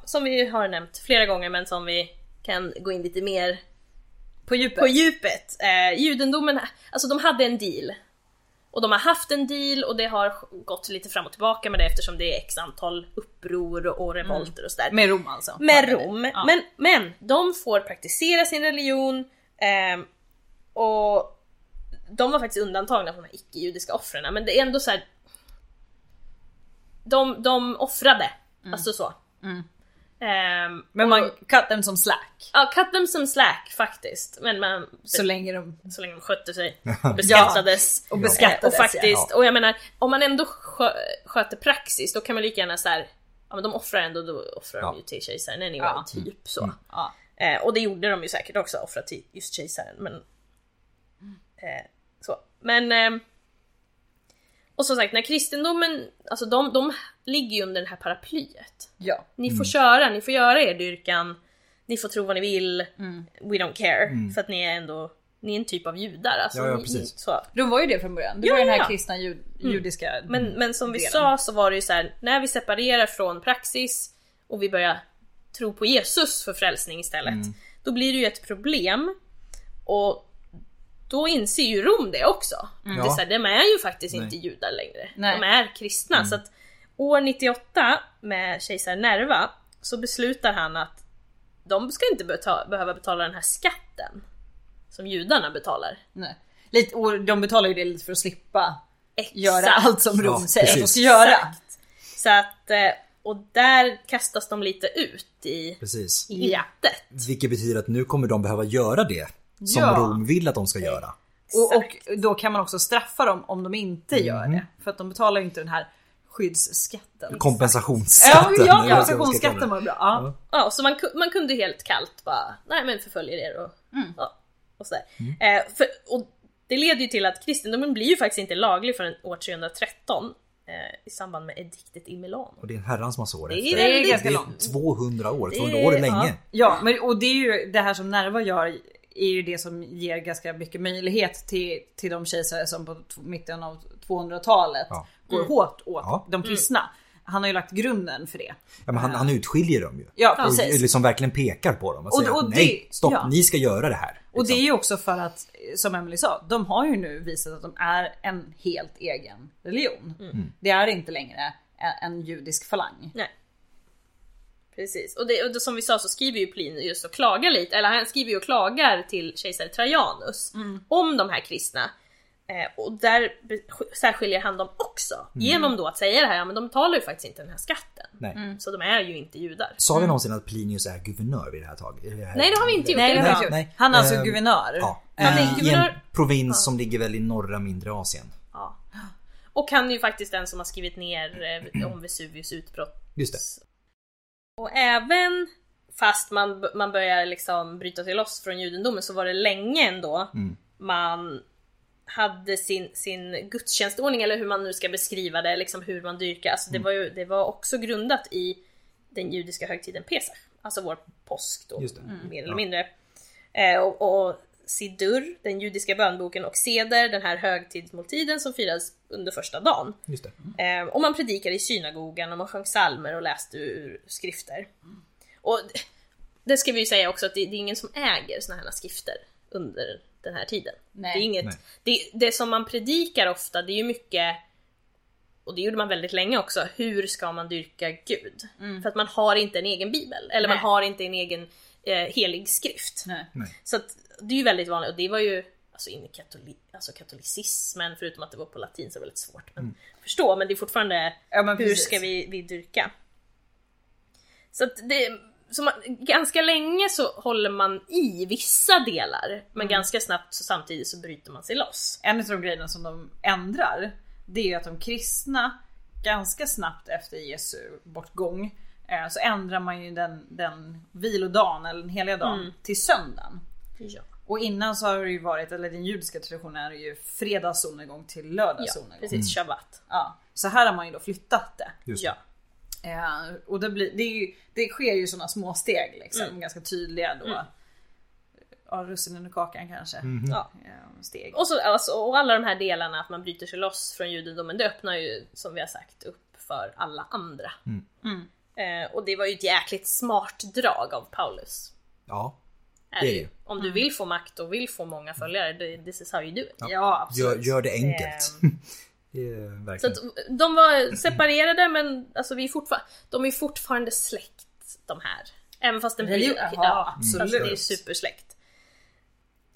Som vi har nämnt flera gånger men som vi kan gå in lite mer På djupet. på djupet. Eh, judendomen, alltså de hade en deal. Och de har haft en deal och det har gått lite fram och tillbaka med det eftersom det är x antal uppror och, och revolter och sådär. Med Rom alltså. Med Rom. Ja. Men, men de får praktisera sin religion ehm, och de var faktiskt undantagna från de här icke-judiska offren. Men det är ändå så här. De, de offrade. Alltså så. Ehm, Mm. Men och- man cut them som slack. Ja, cut them some slack faktiskt. Men man, Så länge de... så länge de skötte sig. Beskattades. Och Eh, beskattades, Och faktiskt, ja. och jag menar, om man ändå skö, sköter praxis, då kan man lika gärna så här, ja men de offrar ändå, då offrar Ja. de ju till kejsaren anyway, Ja. Mm. typ så. Ja. Eh, och det gjorde de ju säkert också, offra till just kejsaren. Men, eh, så. men eh, ehm, Och som sagt, när kristendomen, alltså de, de ligger ju under det här paraplyet. Ja. Ni får Mm. köra, ni får göra er dyrkan, ni får tro vad ni vill, Mm. we don't care. För att ni är ändå, ni är en typ av judar. Alltså, Ja, ja, ni- ni, precis. så. De var ju det från början. Det Ja, var ju den här ja, ja. kristna jud, judiska Men, men som vi delen. sa så var det ju så här: när vi separerar från praxis och vi börjar tro på Jesus för frälsning istället, Mm. då blir det ju ett problem. Och då inser ju Rom det också. Att det är Ja. så här, de är ju faktiskt Nej. inte judar längre. Mm. Nej. Mm. De är kristna. Så att år 98 med kejsar Nerva så beslutar han att de ska inte beta- behöva betala den här skatten som judarna betalar. Nej. Lite, och de betalar ju det lite för att slippa göra allt som Rom Ja, säger att de precis. ska göra. Exakt. Så att, eh, och där kastas de lite ut i Precis. i jätet. Vilket betyder att nu kommer de behöva göra det som Ja. Rom vill att de ska göra. Och, och då kan man också straffa dem om de inte Mm. gör det. För att de betalar ju inte den här skyddsskatten. Ja, Kompensationsskatten. eller ja vad man ska kalla det. kompensationsskatten var bra. Ja. Ja, så man, ku- man kunde ju helt kallt bara, nej men förföljer er och, ja, och sådär. Eh, för, och det leder ju till att kristendomen blir ju faktiskt inte laglig förrän år 313 eh, i samband med ediktet i Milano. Och det är en herrans massa år Det är efter. det väldigt- Det är ganska är långt. 200 år. Det 200 år är- är länge. Ja, men, och det är ju det här som Nerva gör är ju det som ger ganska mycket möjlighet till, till de kejsare som på t- mitten av 200-talet Ja. går hårt åt Ja. de kristna. Han har ju lagt grunden för det. Ja, men han, han utskiljer dem ju. Ja, precis. och liksom verkligen pekar på dem och, Och- säger och det- nej, stopp, ja. ni ska göra det här. Och det liksom. är ju också för att, eh, som Emily sa, de har ju nu visat att de är en helt egen religion. Mm. Det är inte längre en- en judisk falang. Nej. Precis, och, det, och det, som vi sa så skriver ju Plinius och klagar lite, eller han skriver ju och klagar till kejsare Trajanus om de här kristna. Eh, och där be- sk- särskiljer han dem också genom då att säga det här, ja men de betalar ju faktiskt inte den här skatten. Mm. Nej. Så de är ju inte judar. Sa vi Mm. någonsin att Plinius är guvernör vid det här taget? Nej det har vi inte gjort. Nej, det är har vi bra. inte gjort. Han är alltså guvernör. Ehm, Ja, Eh, Han är i, i en guvernör. provins som ligger väl i norra mindre Asien. Ja. Och han är ju faktiskt den som har skrivit ner eh, om Vesuvius utbrott Just det. Och även fast man, man börjar liksom bryta sig loss från judendomen så var det länge ändå Mm. man hade sin, sin gudstjänstordning eller hur man nu ska beskriva det, liksom hur man dyrkar. Alltså Mm. det, var ju, det var också grundat i den judiska högtiden Pesach, alltså vår påsk då, Just det. Mm. mer eller Ja. mindre. Eh, och, och Sidur, den judiska bönboken, och Seder, den här högtidsmåltiden som firas under första dagen. Just det. Mm. Eh, Och man predikade i synagogan och man sjöng psalmer och läste ur skrifter. Och d- det ska vi ju säga också att det, det är ingen som äger såna här skrifter under den här tiden. Nej. Det, är inget, Nej. det, det som man predikar ofta, det är ju mycket, och det gjorde man väldigt länge också, hur ska man dyrka Gud? För att man har inte en egen bibel, eller Mm. Nej. man har inte en egen eh, helig skrift. Nej. Nej. Så att, det är ju väldigt vanligt och det var ju alltså in i katoli, alltså katolicismen, förutom att det var på latin så var det väldigt svårt men förstå, men det är fortfarande Ja, men hur precis. ska vi, vi dyrka? Så att det, så man, ganska länge så håller man i vissa delar, men Mm. ganska snabbt så samtidigt så bryter man sig loss. En av de grejerna som de ändrar, det är ju att de kristna ganska snabbt efter Jesu bortgång eh, så ändrar man ju den, den vilodagen eller den heliga dagen till söndagen. Ja, Och innan så har det ju varit, eller den judiska traditionen är ju fredagssolnedgång till lördagssolnedgång. precis, shabbat. Ja, så här har man ju då flyttat det. Just Ja. Eh, och det, blir, det, är ju, det sker ju sådana små steg liksom, Mm. ganska tydliga då. Ja, russinen och kakan kanske. Mhm. ja. Eh, steg. Och, så, alltså, och alla de här delarna, att man bryter sig loss från judendomen, det öppnar ju som vi har sagt upp för alla andra. Eh, och det var ju ett jäkligt smart drag av Paulus. Ja. Är Det är ju. det. Om du vill få makt och vill få många följare, det- this is how you do it. Ja, absolut. Ehm. Gör, gör det enkelt. det är Så verkligen. att, de var separerade men alltså, vi är fortfar- de är fortfarande släkt de här. Även fast den Religi- ja, Jaha, fast absolut. det är supersläkt.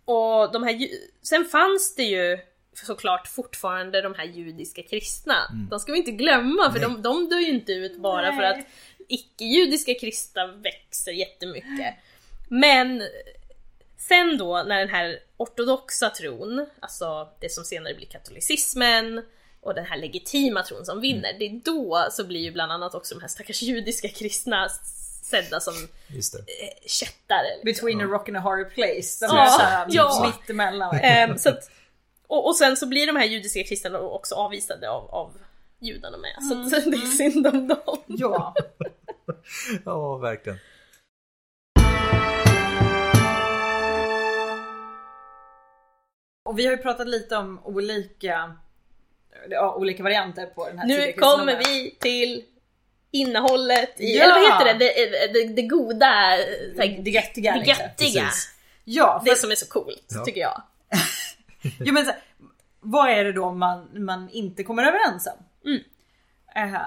Och de här, ju- sen fanns det ju såklart fortfarande de här judiska kristna. De ska vi inte glömma för de, de dör ju inte ut bara för Nej. att icke-judiska kristna växer jättemycket. Men sen då när den här ortodoxa tron, alltså det som senare blir katolicismen och den här legitima tron som vinner, det är då så blir ju bland annat också de här stackars judiska kristna sedda som Just det. eh, kättare. Liksom. Between a rock and a hard place. De Ja, är såhär ja. mitt typ emellan. Ehm, så att, Och, och sen så blir de här judiska kristna också avvisade av, av judarna med. Så att det är synd om dem. Ja. Ja, verkligen. Och vi har ju pratat lite om olika, ja, olika varianter på den här Nu tidiga kommer kristendomen. vi till innehållet i, Ja! eller vad heter det? Det, det, det goda, så här, Det göttiga. det liksom. göttiga. precis. Ja, Mm. Det för, som är så coolt, Ja. tycker jag. jo, men, så, här, vad är det då man, man inte kommer överens om? Mm. Eh,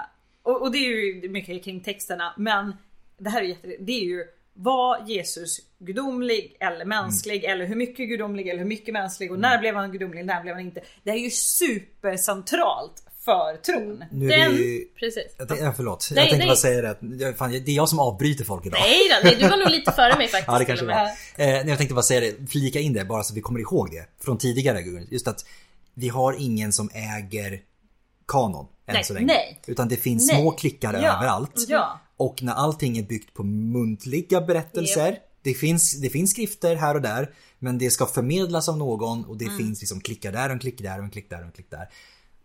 och, och det är ju mycket kring texterna, men det här är jätte, det är ju var Jesus gudomlig eller mänsklig Mm. eller hur mycket gudomlig eller hur mycket mänsklig och när blev han gudomlig, när blev han inte? Det här är ju supercentralt för tron. Nu är Den, det ju... precis. Jag tänkte, ja, förlåt, Nej, jag tänkte nej. bara säga det att jag- fan, det är jag som avbryter folk idag. Nej då, nej, du var nog lite före mig faktiskt. Ja, det kanske till var. och Eh, med. nej, jag tänkte bara säga det, flika in det bara så vi kommer ihåg det från tidigare. Gurun. Just att vi har ingen som äger kanon än Nej, så länge. nej. Utan det finns Nej. små klickar Ja, överallt. ja. Och när allting är byggt på muntliga berättelser. Det, finns, det finns skrifter här och där. Men det ska förmedlas av någon och det Mm. finns liksom klickar där och en klick där och en klick där och en klick där.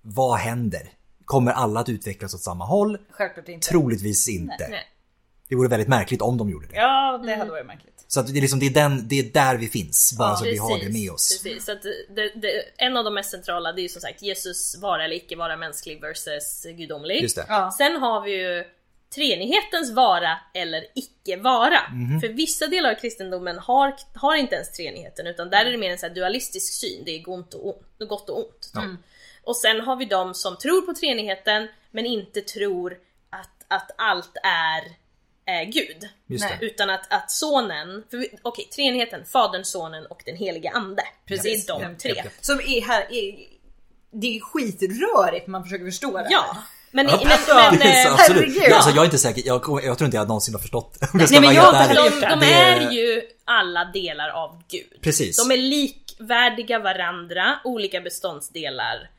Vad händer? Kommer alla att utvecklas åt samma håll? Självklart inte. Troligtvis inte. Nej. Det vore väldigt märkligt om de gjorde det. Ja, Mm. det hade varit märkligt. Så att det, är liksom, det, är den, det är där vi finns, bara så vi har det med oss. Precis. Så att det, det, en av de mest centrala det är ju som sagt Jesus vara eller icke vara mänsklig versus gudomlig. Just det. Ja. Sen har vi ju treenighetens vara eller icke vara. Mhm. För vissa delar av kristendomen har, har inte ens treenigheten utan där är det mer en så här dualistisk syn. Det är gott och ont. Gott och, ont Ja. och sen har vi de som tror på treenigheten men inte tror att, att allt är eh, Gud. Just Nej. det. Utan att, att sonen, för vi- okej treenigheten, fadern, sonen och den helige ande. Precis. Det är de Japp, tre. japp, japp. Som är här, är, det är skitrörigt man försöker förstå det. här. Ja, men, men, alltså, men, Det är så, eh, absolut. herregud. Jag, alltså, jag är inte säker, jag, kommer- jag tror inte jag någonsin har förstått. om ska Nej, men vara jag helt har ärlig. inte heller gjort de, det. Det de är- är ju alla delar av Gud. Precis. De är likvärdiga varandra, olika beståndsdelar.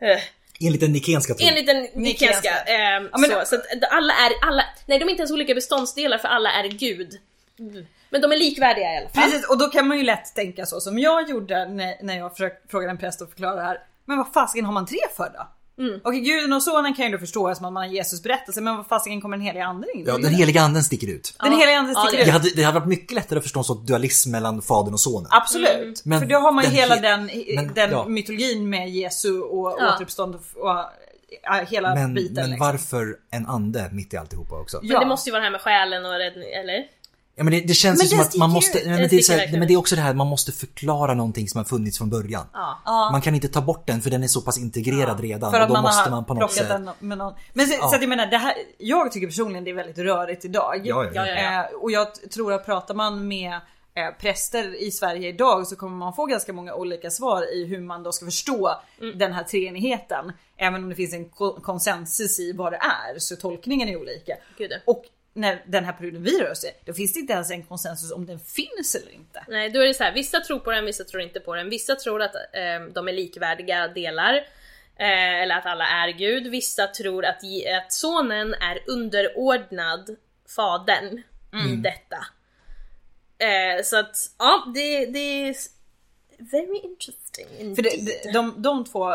Eh, Enligt den nikenska Typ tron. Enligt den nikenska. Eh, men- så, så att alla är, alla, nej de är inte ens olika beståndsdelar för alla är Gud. Mm. Men de är likvärdiga i alla fall. Precis, och då kan man ju lätt tänka så som jag gjorde när, när jag försökte fråga en präst och förklara det här. Men vad fasiken har man tre för då? Mm. Okej, guden och sonen kan ju då förstå som att man har Jesus berättelse, men vad fasiken kommer den heliga anden in? i Ja, det? den heliga anden sticker ut. den Ja. heliga anden Ja, sticker det- Det ut. hade, det hade varit mycket lättare att förstå en sån dualism mellan fadern och sonen. Mm. Absolut. Men För då har man ju den hela he- den, men- den ja. mytologin med Jesu och Ja. återuppstånd och, och, ja, hela Men, biten. men liksom. varför en ande mitt i alltihopa också? Men ja. det måste ju vara det här med själen och räddning, eller? Ja, men det, det känns Men ju som den att man måste... sticker ut. Nej, men, Den det är så sticker här, nej, verkligen men det är också det här, man måste förklara någonting som har funnits från början. Ja. Ja. Man kan inte ta bort den för den är så pass integrerad redan. För och att då man måste har man på något plockat sätt... den med någon. Men så, Ja. så att jag menar, det här, jag tycker personligen det är väldigt rörigt idag. Ja, ja, ja. Ja, ja, Eh, och jag t- tror att pratar man med eh, präster i Sverige idag så kommer man få ganska många olika svar i hur man då ska förstå Mm. den här treenigheten. Även om det finns en ko- konsensus i vad det är så tolkningen är olika. Gud, ja. Och när den här perioden vi rör oss i, då finns det inte ens en konsensus om den finns eller inte. Nej, då är det så här. Vissa tror på den, vissa tror inte på den. Vissa tror att eh, de är likvärdiga delar. Eh, eller att alla är Gud. Vissa tror att, ge- att sonen är underordnad fadern i Mm. detta. Eh, så att, ja, det, det är s- very interesting indeed. För det, det- de, de två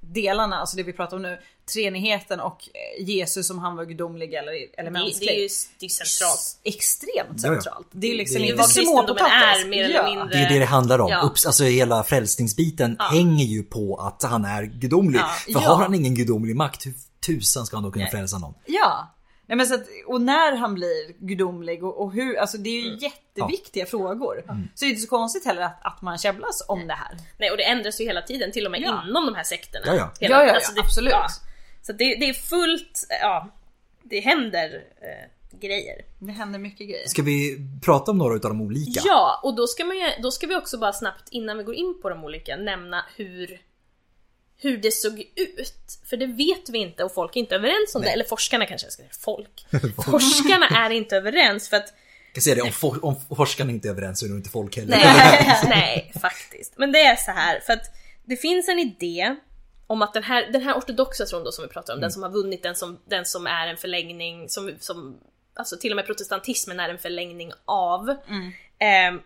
delarna, alltså det vi pratar om nu, treenigheten och eh, Jesus som han var gudomlig eller, eller det, mänsklig. det är ju det är centralt. Extremt Ja, ja. centralt. Det är liksom Det är inte vad kristendomen småpotatis. är, mer eller mindre. Det är det det handlar om. Ja. Upps, alltså hela frälsningsbiten hänger ju på att han är gudomlig. Ja. För Ja. har han ingen gudomlig makt, hur tusan ska han då kunna frälsa någon? Ja. Nej, men så att, och när han blir gudomlig och, och hur, alltså det är ju Mm. jätteviktiga frågor. Så det är inte så konstigt heller att, att man käbblas om det här. Nej och det ändras ju hela tiden till och med Ja. inom de här sekterna. Ja, ja. Hela, alltså Ja, ja, ja, det, absolut. Så det, det är fullt, ja. Det händer eh, grejer. Det händer mycket grejer. Ska vi prata om några utav de olika? Ja, och då ska, man ju, då ska vi också bara snabbt innan vi går in på de olika nämna hur hur det såg ut. För det vet vi inte och folk är inte överens om det. Eller forskarna kanske jag ska säga. Folk. forskarna är inte överens för att Jag kan säga det, om, for, om forskarna inte är överens så är nog inte folk heller. Nej, nej, faktiskt. Men det är så här, för att det finns en idé om att den här, den här ortodoxa tron då som vi pratar om, den som har vunnit, den som, den som är en förlängning, som, som, alltså till och med protestantismen är en förlängning av. Ehm,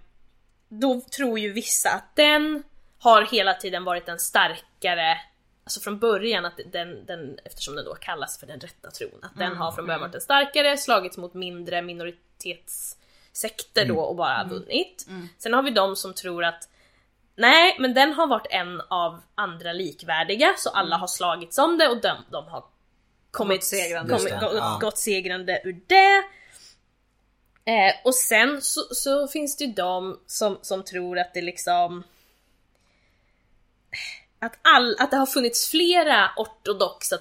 då tror ju vissa att den har hela tiden varit en starkare, alltså från början, att den, den, eftersom den då kallas för den rätta tron, att den har från början varit en starkare, slagits mot mindre minoritetssekter då och bara vunnit. Sen har vi de som tror att Nej, men den har varit en av andra likvärdiga, så alla har slagits om det och de, de har kommit, Gått segrande. kommit, Just det, gått, ja. gått segrande ur det. Eh, och sen så, så finns det ju de som, som tror att det liksom... Att, all, att det har funnits flera ortodoxa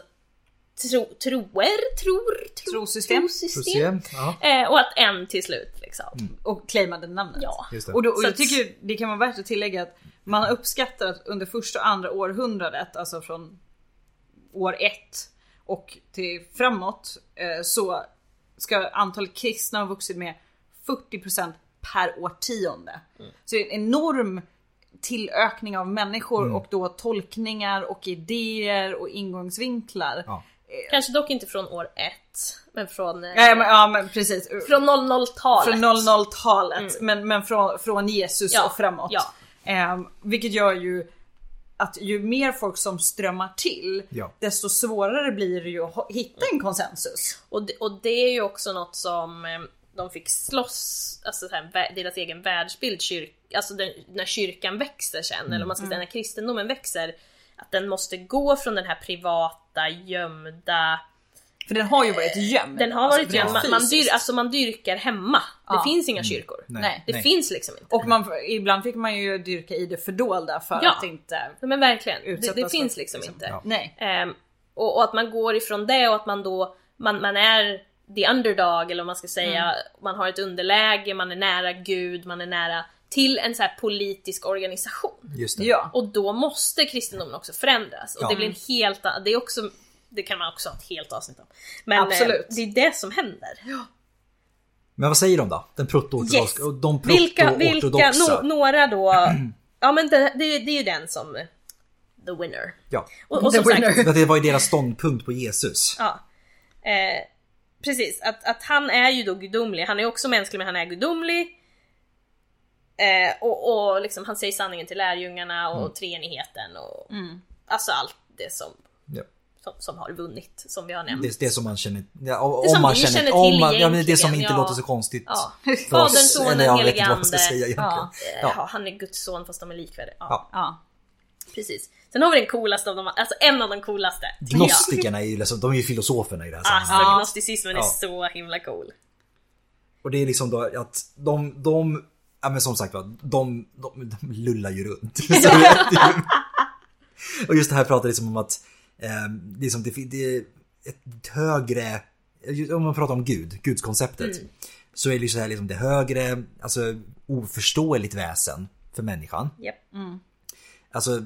tro, troer, tror, tro, Trosystem. System. trosystem. Ja, Eh, och att en till slut liksom. Och claimade namnet. Ja. just det. Och, då, och Så jag att- tycker ju det kan vara värt att tillägga att man uppskattar att under första och andra århundradet, alltså från år ett och till framåt, eh, så ska antalet kristna ha vuxit med 40% per årtionde. Så det är en enorm tillökning av människor och då tolkningar och idéer och ingångsvinklar. ja. Kanske dock inte från år ett, men från, eh, Ja, men, ja men precis. från 00-talet. Från 00-talet, men, men från, från Jesus Mm. Ja, och framåt. ja. Ehm, vilket gör ju att ju mer folk som strömmar till, Ja. desto svårare blir det ju att ha- hitta en konsensus. Och det, och det är ju också något som eh, de fick slåss, alltså så här, vä- deras egen världsbild, kyrk, alltså den, när kyrkan växer sen, Mm, eller om man ska säga när kristendomen växer, att den måste gå från den här privata, gömda, För den har ju varit gömd. den har Alltså, varit rent gömd, man, man, dyr, fysiskt. alltså man dyrkar hemma, Ja. Mm. det finns inga kyrkor. Nej, Det finns liksom inte. Och man, ibland fick man ju dyrka i det fördolda för Ja. att inte... Nej, Men verkligen, det, Utsättas det för- finns liksom, liksom. inte. Ja. Nej. Ehm, och, och att man går ifrån det och att man då, man, man är the underdog eller om man ska säga, man har ett underläge, man är nära Gud, man är nära till en så här politisk organisation. Just det. Ja. Och då måste kristendomen också förändras. Och Ja. det blir en helt a- det är också, det kan man också ha ett helt avsnitt om. Men eh, Absolut. det är det som händer. Men vad säger de då? Den Yes! proto-ortodoxa? De vilka, vilka, proto-ortodoxa? no, några då, ja men det, det, det är ju den som, eh, the winner. Ja. Och, och The som sagt, winner. Att det var ju deras ståndpunkt på Jesus. Ja. Eh, precis, att, att han är ju då gudomlig. Han är också mänsklig men han är gudomlig. Eh, och och liksom, han säger sanningen till lärjungarna och Mm. treenigheten och alltså allt det som, Ja. som, som har vunnit, som vi har nämnt. Det, det som man känner, ja, om som man vi känner, känner om till man, ja, men Det som egentligen, inte ja. låter så konstigt. Ja. för oss, Fadern, sonen, eller jag vet helige inte vad man ska ande. säga egentligen. Ja. Eh, Ja. ja, han är Guds son fast de är likvärdiga. Ja, Ja. Ja. precis. Sen har vi den coolaste av dem, alltså en av de coolaste. tycker jag. Gnostikerna är ju, liksom, de är ju filosoferna i det här Alltså sammanhanget. gnosticismen är Ja. så himla cool. Och det är liksom då att de, de ja men som sagt va, de, de, de lullar ju runt. Så det är ju- och just det här pratar liksom om att eh, liksom det, det är ett högre, om man pratar om Gud, gudskonceptet. Mm. Så är det ju så här liksom det högre, alltså oförståeligt väsen för människan. Japp. Alltså,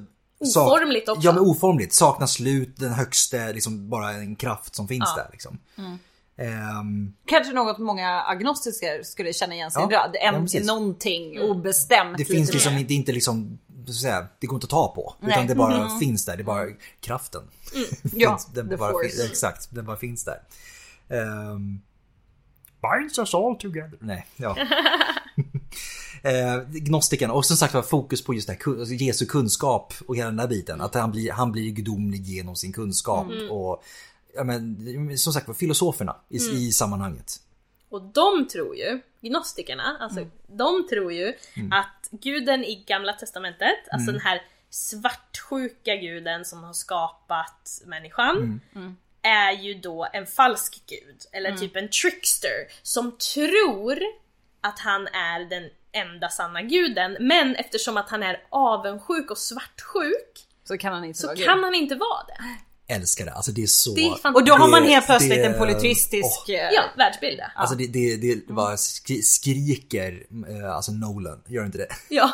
sak- Oformligt också. Ja men oformligt, saknar slut, den högste, liksom bara en kraft som finns Ja. där liksom. Mm. Ehm, Kanske något många agnostiker skulle känna igen sin Ja. röd. En Ja, till precis. någonting Mm. obestämt. Det lite finns mer. liksom inte, det är inte liksom, så att säga, det går inte att ta på. Nej. Mm-hmm. Utan det bara finns där, det är bara kraften. Ja, den the bara force. fin- exakt, den bara finns där. Ehm, Binds us all together. Nej, ja. Eh, Gnostikerna och som sagt var fokus på just det här, kun- alltså Jesu kunskap och hela den där biten. Att han blir, han blir gudomlig genom sin kunskap. Mm. Och ja, men, som sagt var filosoferna i, Mm. i sammanhanget. Och de tror ju, gnostikerna, alltså Mm. de tror ju att guden i gamla testamentet, Mm. alltså den här svartsjuka guden som har skapat människan, Mm. är ju då en falsk gud, eller typ en trickster, som tror att han är den enda sanna guden, men eftersom att han är avundsjuk och svartsjuk Så kan han inte så vara kan gud. han inte vara det. Äh. Älskar det, alltså det är så... Det är fantastiskt. Och då har man Det- helt plötsligt det- en politistisk... eh, Ja, Mm. världsbilden. Alltså det, det, det bara skri- skriker, eh, alltså Nolan, gör inte det? Ja.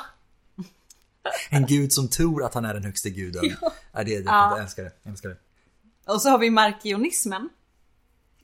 En gud som tror att han är den högste guden. Ja. Ja. Det, det, Ja. Jag älskar det, jag älskar det. Och så har vi markionismen.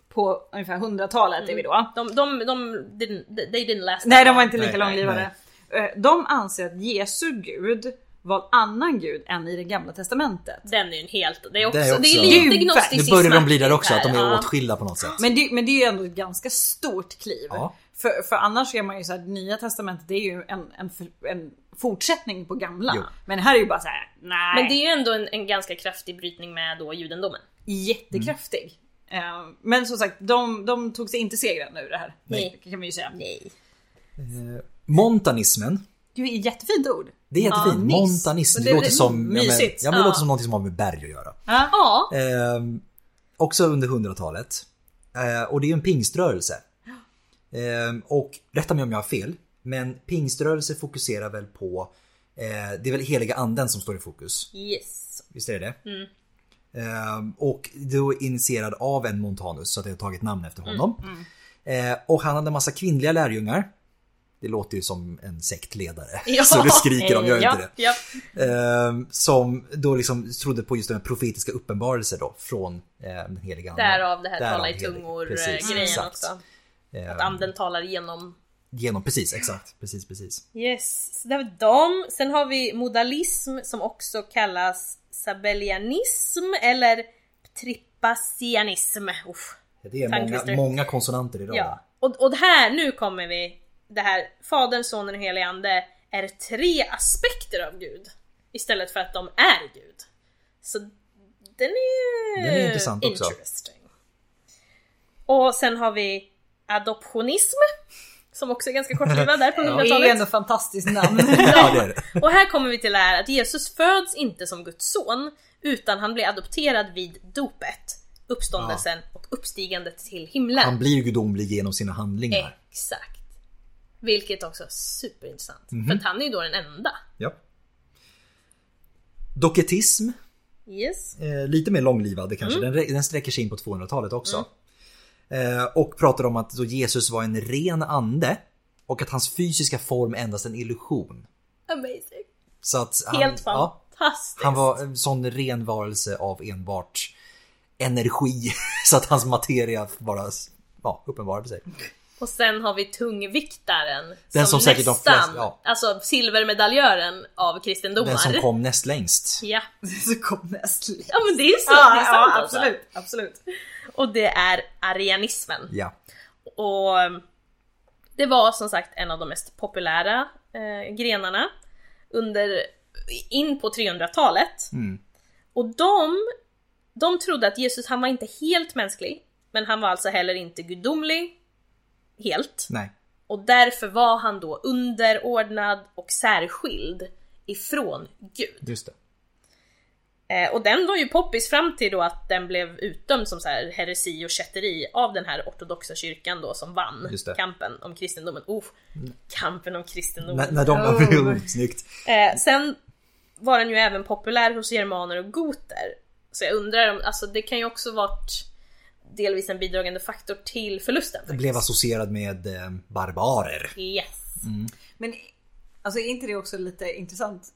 På ungefär 100-talet är vi då. De, de, de, didn't, they didn't last Nej, that de var long. inte Nej, lika nej, långlivade. Eh, De anser att Jesu gud var en annan gud än i det gamla testamentet. Den är ju en helt... Det är också, är det är, också- lite Gud, gnosticism. Nu börjar de bli där också, att de är Ja. åtskilda på något sätt. Men det, men det är ju ändå ett ganska stort kliv. Ja. För, för annars är man ju så här, Nya Testamentet det är ju en, en, en fortsättning på gamla. Jo. Men här är ju bara så här, nej. Men det är ju ändå en, en ganska kraftig brytning med då judendomen. jättekraftig. Mm. Eh, Men som sagt, de, de tog sig inte segrande ur det här. Nej. Det kan man ju säga. Nej. Eh, montanismen. Det är ett jättefint ord. Det är jättefint. Ja, nice. Montanism. Det, Det- låter det- som... ja, men- mysigt. Ja, men det Ja. låter som någonting som har med berg att göra. Ja. Ja, Ehm, också under 100-talet. Eh, och det är ju en pingströrelse. Ehm, och rätta mig om jag har fel, men pingströrelse fokuserar väl på... Eh, det är väl heliga anden som står i fokus? yes. Visst är det det? Ehm, och då initierad av en Montanus, så att det har tagit namn efter honom. Eh, och han hade en massa kvinnliga lärjungar. Det låter ju som en sektledare. Ja. Så det skriker om, gör ja, inte det? Ja. Eh, som då liksom trodde på just den här profetiska uppenbarelsen då från eh, den heliga anden. Därav det här Därav tala i helig- precis, tungor-grejen exakt. också. Eh, Att anden talar genom Genom, precis, exakt. Precis, precis. Yes, så det var dem. Sen har vi modalism som också kallas sabellianism eller trippasianism. Uff. Det är Tankklister. många, många konsonanter idag. Ja. Och, och det här, nu kommer vi. Det här, Fadern, Sonen och Helige Ande är tre aspekter av Gud. Istället för att de är Gud. Så den är, Den är intressant också. interesting. Och sen har vi adoptionism. Som också är ganska kortlivad där på 100-talet. Det är ju ändå ett fantastiskt namn. ja, det är det. Och här kommer vi till det här att Jesus föds inte som Guds son utan han blir adopterad vid dopet, uppståndelsen och uppstigandet till himlen. Han blir ju gudomlig genom sina handlingar. Exakt. Vilket också är superintressant. Mhm. För att han är ju då den enda. Ja. Doketism, Yes. eh, lite mer långlivad kanske. Mm. Den, rä- den sträcker sig in på 200-talet också. Eh, och pratar om att då Jesus var en ren ande och att hans fysiska form endast en illusion. Amazing. Så att han, Helt ja, fantastiskt. Han var en sån ren varelse av enbart energi så att hans materia bara ja, uppenbarade sig. Och sen har vi tungviktaren. Den som säkert de nästan, flesta- ja. alltså silvermedaljören av kristendomar. Den som kom näst längst. Ja. Så kom näst lite. ja, men det är ju så. det är sant Ja, alltså. absolut. absolut. Och det är arianismen. Ja. Och eh, det var som sagt en av de mest populära eh, grenarna under, in på 300-talet. Mm. Och de, de trodde att Jesus, han var inte helt mänsklig, men han var alltså heller inte gudomlig helt. Nej. Och därför var han då underordnad och särskild ifrån Gud. Just det. Eh, och den var ju poppis fram till då att den blev utdömd som så här heresi och kätteri av den här ortodoxa kyrkan då som vann Just det. Mm. kampen om kristendomen. Oh, kampen om kristendomen. När, när de var Oh. oh. snyggt. Eh, sen var den ju även populär hos germaner och goter. Så jag undrar om, alltså det kan ju också varit delvis en bidragande faktor till förlusten. faktiskt. Blev associerad med eh, barbarer. Yes. Men alltså, är inte det också lite intressant?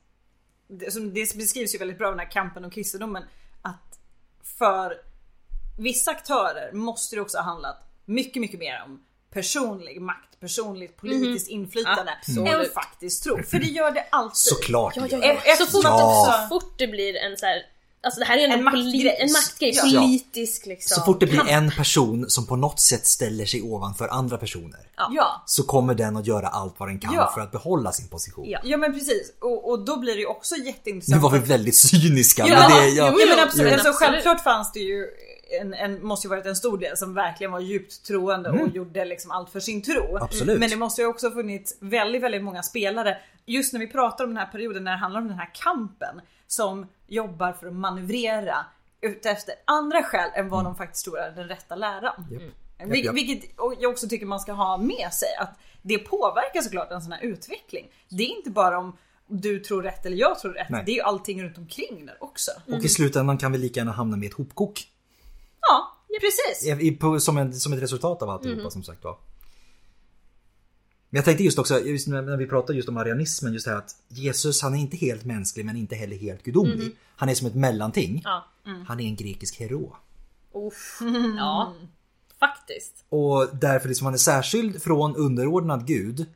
Det, som, det beskrivs ju väldigt bra den här kampen om kristendomen. Att för vissa aktörer måste det också ha handlat mycket, mycket mer om personlig makt, personligt politiskt inflytande än Mhm. Absolut. faktiskt tro. För det gör det alltid. Såklart det gör det. ja. Eh, Så fort, Ja. så fort det blir en så här, alltså det här är en, En poli- maktgrej. en maktgrej, Ja. politisk liksom. Så fort det blir en person som på något sätt ställer sig ovanför andra personer Ja. så kommer den att göra allt vad den kan Ja. för att behålla sin position. Ja. ja, men precis. Och, och då blir det ju också jätteintressant. Nu var vi att- väldigt cyniska. Ja, men det, ja, ja, men absolut. jo. Alltså, Absolut. självklart fanns det ju en, en, måste ju varit en stor del som verkligen var djupt troende och gjorde liksom allt för sin tro. Mm. Absolut. Men det måste ju också ha funnits väldigt, väldigt många spelare. Just när vi pratar om den här perioden när det handlar om den här kampen som jobbar för att manövrera utefter andra skäl än vad de faktiskt tror är den rätta läran. Vil- Mm. Japp, japp. Vilket och jag också tycker man ska ha med sig att det påverkar såklart en sån här utveckling. Det är inte bara om du tror rätt eller jag tror rätt. Nej. Mm. Det är ju allting runt omkring där också. Mm. Och i slutändan kan vi lika gärna hamna med ett hopkok. Ja, precis. I- i- på- som, en, som ett resultat av alltihopa Mm. som sagt var. Men jag tänkte just också, just när när vi pratade just om arianismen, just det här att Jesus han är inte helt mänsklig men inte heller helt gudomlig. Han är som ett mellanting. Mm. Ja. Mm. Han är en grekisk hero. Uff. Ja. Faktiskt. Och därför liksom han är särskild från underordnad Gud.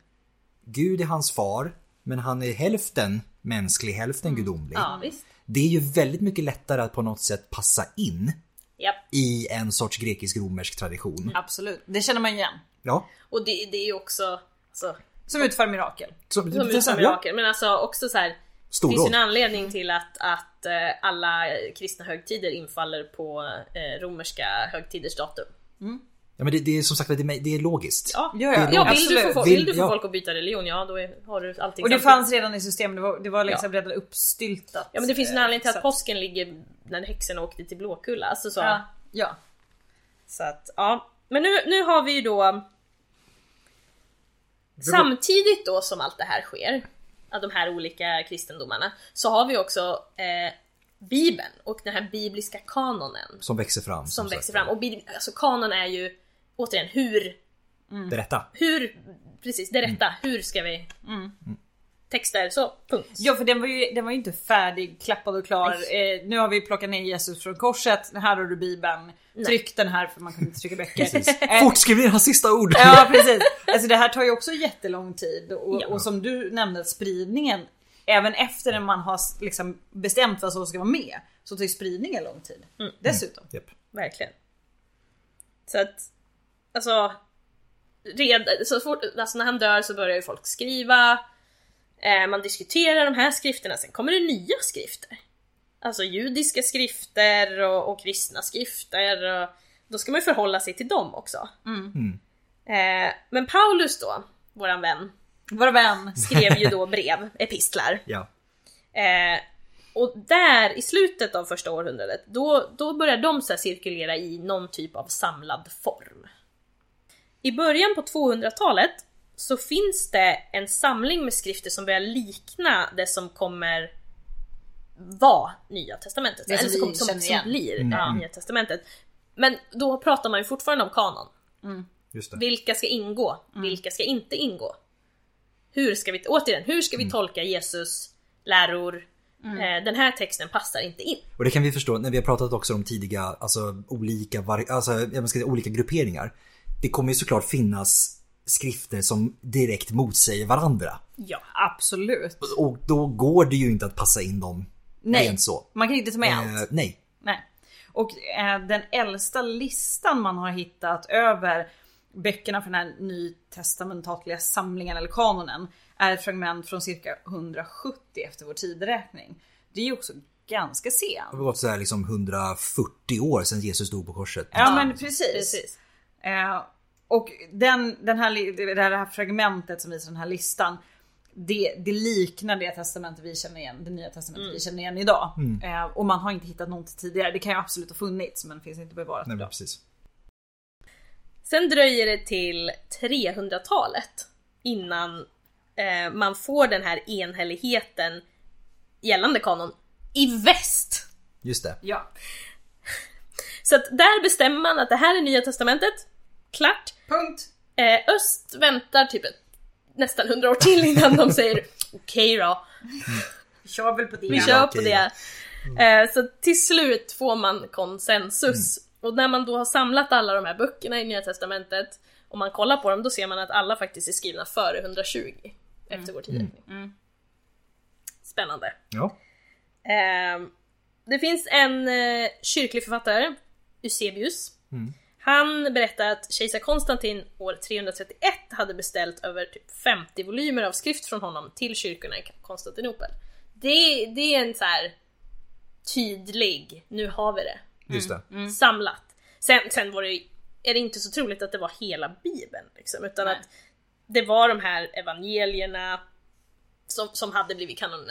Gud är hans far, men han är hälften mänsklig, hälften gudomlig. Mm. Ja, visst. Det är ju väldigt mycket lättare att på något sätt passa in Japp. i en sorts grekisk-romersk tradition. Absolut, det känner man igen. Ja, Och det, det är ju också, alltså, Som utför mirakel. som, som det, utför ja. mirakel, men alltså också så här. Det finns ju Storråd. en anledning till att, att eh, alla kristna högtider infaller på eh, romerska högtiders datum. Ja, men det, det är som sagt det är, det är logiskt. Ja, Ja, ja, ja vill, absolut. du få, Vill- vill du få ja. folk att byta religion, ja då är, har du allting Och det samtidigt. fanns redan i systemet, det var, det var liksom redan uppstyltat. Ja men det finns en anledning till Så att påsken ligger när häxorna åkte till Blåkulla. Alltså så. Ja, ja. så att, ja. Men nu, nu har vi ju då Samtidigt då som allt det här sker, av de här olika kristendomarna, så har vi också eh, Bibeln och den här bibliska kanonen Som växer fram. som sagt. växer fram. Och bib- alltså kanon är ju återigen hur, Mm. Det rätta. hur, precis det rätta, hur ska vi Mm. texter så, punkt. Ja för den var, ju, den var ju inte färdig, klappad och klar. Eh, nu har vi plockat ner Jesus från korset, här har du bibeln. Tryck den här för man kan inte trycka Precis. böcker. Eh, Fort skriv ner hans sista ord! ja precis. Alltså det här tar ju också jättelång tid och, Ja. och som du nämnde spridningen, även efter när man har s- liksom bestämt vad som ska vara med, så tar ju spridningen lång tid. Mm. Dessutom. Japp. Verkligen. Så att, alltså, red, så fort, alltså när han dör så börjar ju folk skriva, eh, man diskuterar de här skrifterna, sen kommer det nya skrifter. Alltså judiska skrifter och, och kristna skrifter, och, då ska man ju förhålla sig till dem också. Eh, men Paulus då, våran vän, Vår vän. skrev ju då brev, epistlar. Ja. Eh, och där i slutet av första århundradet, då, då börjar de så här cirkulera i någon typ av samlad form. I början på 200-talet så finns det en samling med skrifter som börjar likna det som kommer vara Nya Testamentet. Det som vi som, som, känner igen. som blir ja, Nya Testamentet. Men då pratar man ju fortfarande om kanon. Just det. Vilka ska ingå? Vilka ska inte ingå? Hur ska vi, återigen, hur ska vi tolka Jesus läror? Eh, den här texten passar inte in. Och det kan vi förstå när vi har pratat också om tidiga, alltså olika, var- alltså, jag menar, ska säga, olika grupperingar. Det kommer ju såklart finnas skrifter som direkt motsäger varandra. Ja. Absolut. Och då går det ju inte att passa in dem Nej. rent så. Man kan inte ta med Eh, allt. nej. Nej. Och eh, den äldsta listan man har hittat över böckerna för den här nytestamentliga samlingen eller kanonen är ett fragment från cirka 170 efter vår tideräkning. Det är ju också ganska Det sent. har gått så här liksom 140 år sedan Jesus dog på korset. Ja men precis. Precis. Eh, och den, den här, li- det här fragmentet som visar den här listan det, det liknar det testamentet vi känner igen, det nya testamentet Mm. vi känner igen idag. Eh, och man har inte hittat något tidigare. Det kan ju absolut ha funnits men finns inte bevarat Nej, men idag. precis. Sen dröjer det till 300-talet innan eh, man får den här enhälligheten gällande kanon i väst. Just det. Ja. Så att där bestämmer man att det här är Nya Testamentet, klart. Punkt. Eh, öst väntar typ ett, nästan 100 år till innan de säger okej då. Vi kör väl på det. Vi Ja, kör på okej, det. Eh, Så till slut får man konsensus. Och när man då har samlat alla de här böckerna i Nya Testamentet och man kollar på dem, då ser man att alla faktiskt är skrivna före 120 efter vår tidräkning. Spännande. Ja. Ehm, det finns en eh, kyrklig författare, Eusebius. Han berättar att kejsar Konstantin år 331 hade beställt över typ 50 volymer av skrift från honom till kyrkorna i Konstantinopel. Det, det är en så här tydlig, nu har vi det, Just det. Mm. samlat. Sen, sen var det, ju- är det inte så troligt att det var hela bibeln liksom, utan Nej. att det var de här evangelierna som, som hade blivit kanon,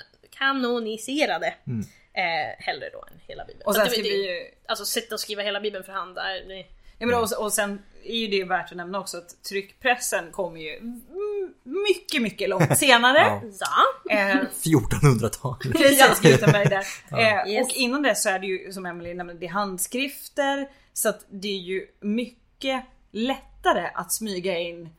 kanoniserade eh, hellre då än hela bibeln. Mm. Och Så sen att det- ska vi det- ju... Alltså sitta och skriva hela bibeln för hand, där, det, Ja, men och, Mm. och sen är ju det värt att nämna också att tryckpressen kommer ju mm, mycket, mycket långt senare. ja. eh, 1400-tal. precis, Gutenberg där. Eh, Yes. Och innan det så är det ju som Emily nämnde, det är handskrifter. Så att det är ju mycket lättare att smyga in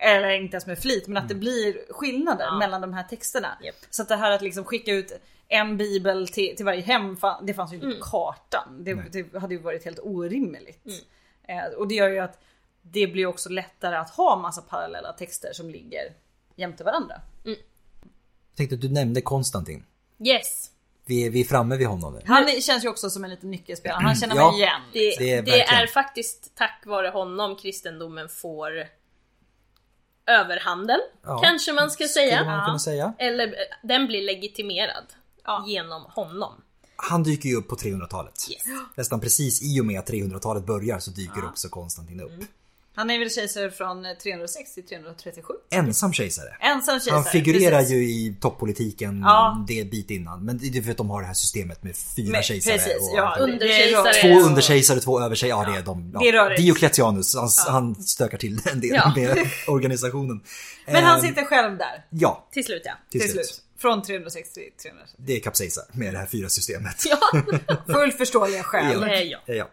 eller inte ens med flit, men att det blir skillnader Ja. mellan de här texterna. Japp. Så att det här att liksom skicka ut en bibel till, till varje hem, fa- det fanns ju inte Mm. på kartan. Det, det hade ju varit helt orimligt. Mm. Eh, och det gör ju att det blir också lättare att ha massa parallella texter som ligger jämte varandra. Jag tänkte att du nämnde Konstantin. Yes! Vi är, vi är framme vid honom nu. Han är- känns ju också som en liten nyckelspelare, han känner Mm, Ja. mig igen. Det, Det det, är är verkligen- faktiskt tack vare honom kristendomen får överhanden, Ja, kanske man ska skulle säga. man kunna säga. Eller eh, den blir legitimerad Ja. genom honom. Han dyker ju upp på 300-talet. Yes. Nästan precis i och med att 300-talet börjar så dyker också Konstantin Mm. upp. Han är väl kejsare från eh, 306 till 337? Ensam kejsare. Ensam kejsare. Han figurerar precis. ju i toppolitiken Ja. det bit innan. Men det är för att de har det här systemet med fyra Men- kejsare. Precis, och ja. allt det där. Underkejsare det är Två rörigt. och- underkejsare, två överkejsare. Ja, det är de. Det är Ja. rörigt. Diocletianus, han, han stökar till det en del Ja. med organisationen. Men han Eh, sitter själv där. Ja, Till slut ja. till, Till slut. slut. Från 306 till 337. Det är kapsejsar med det här fyra systemet. ja. Fullt förståeliga skäl. Eh, ja. Ja.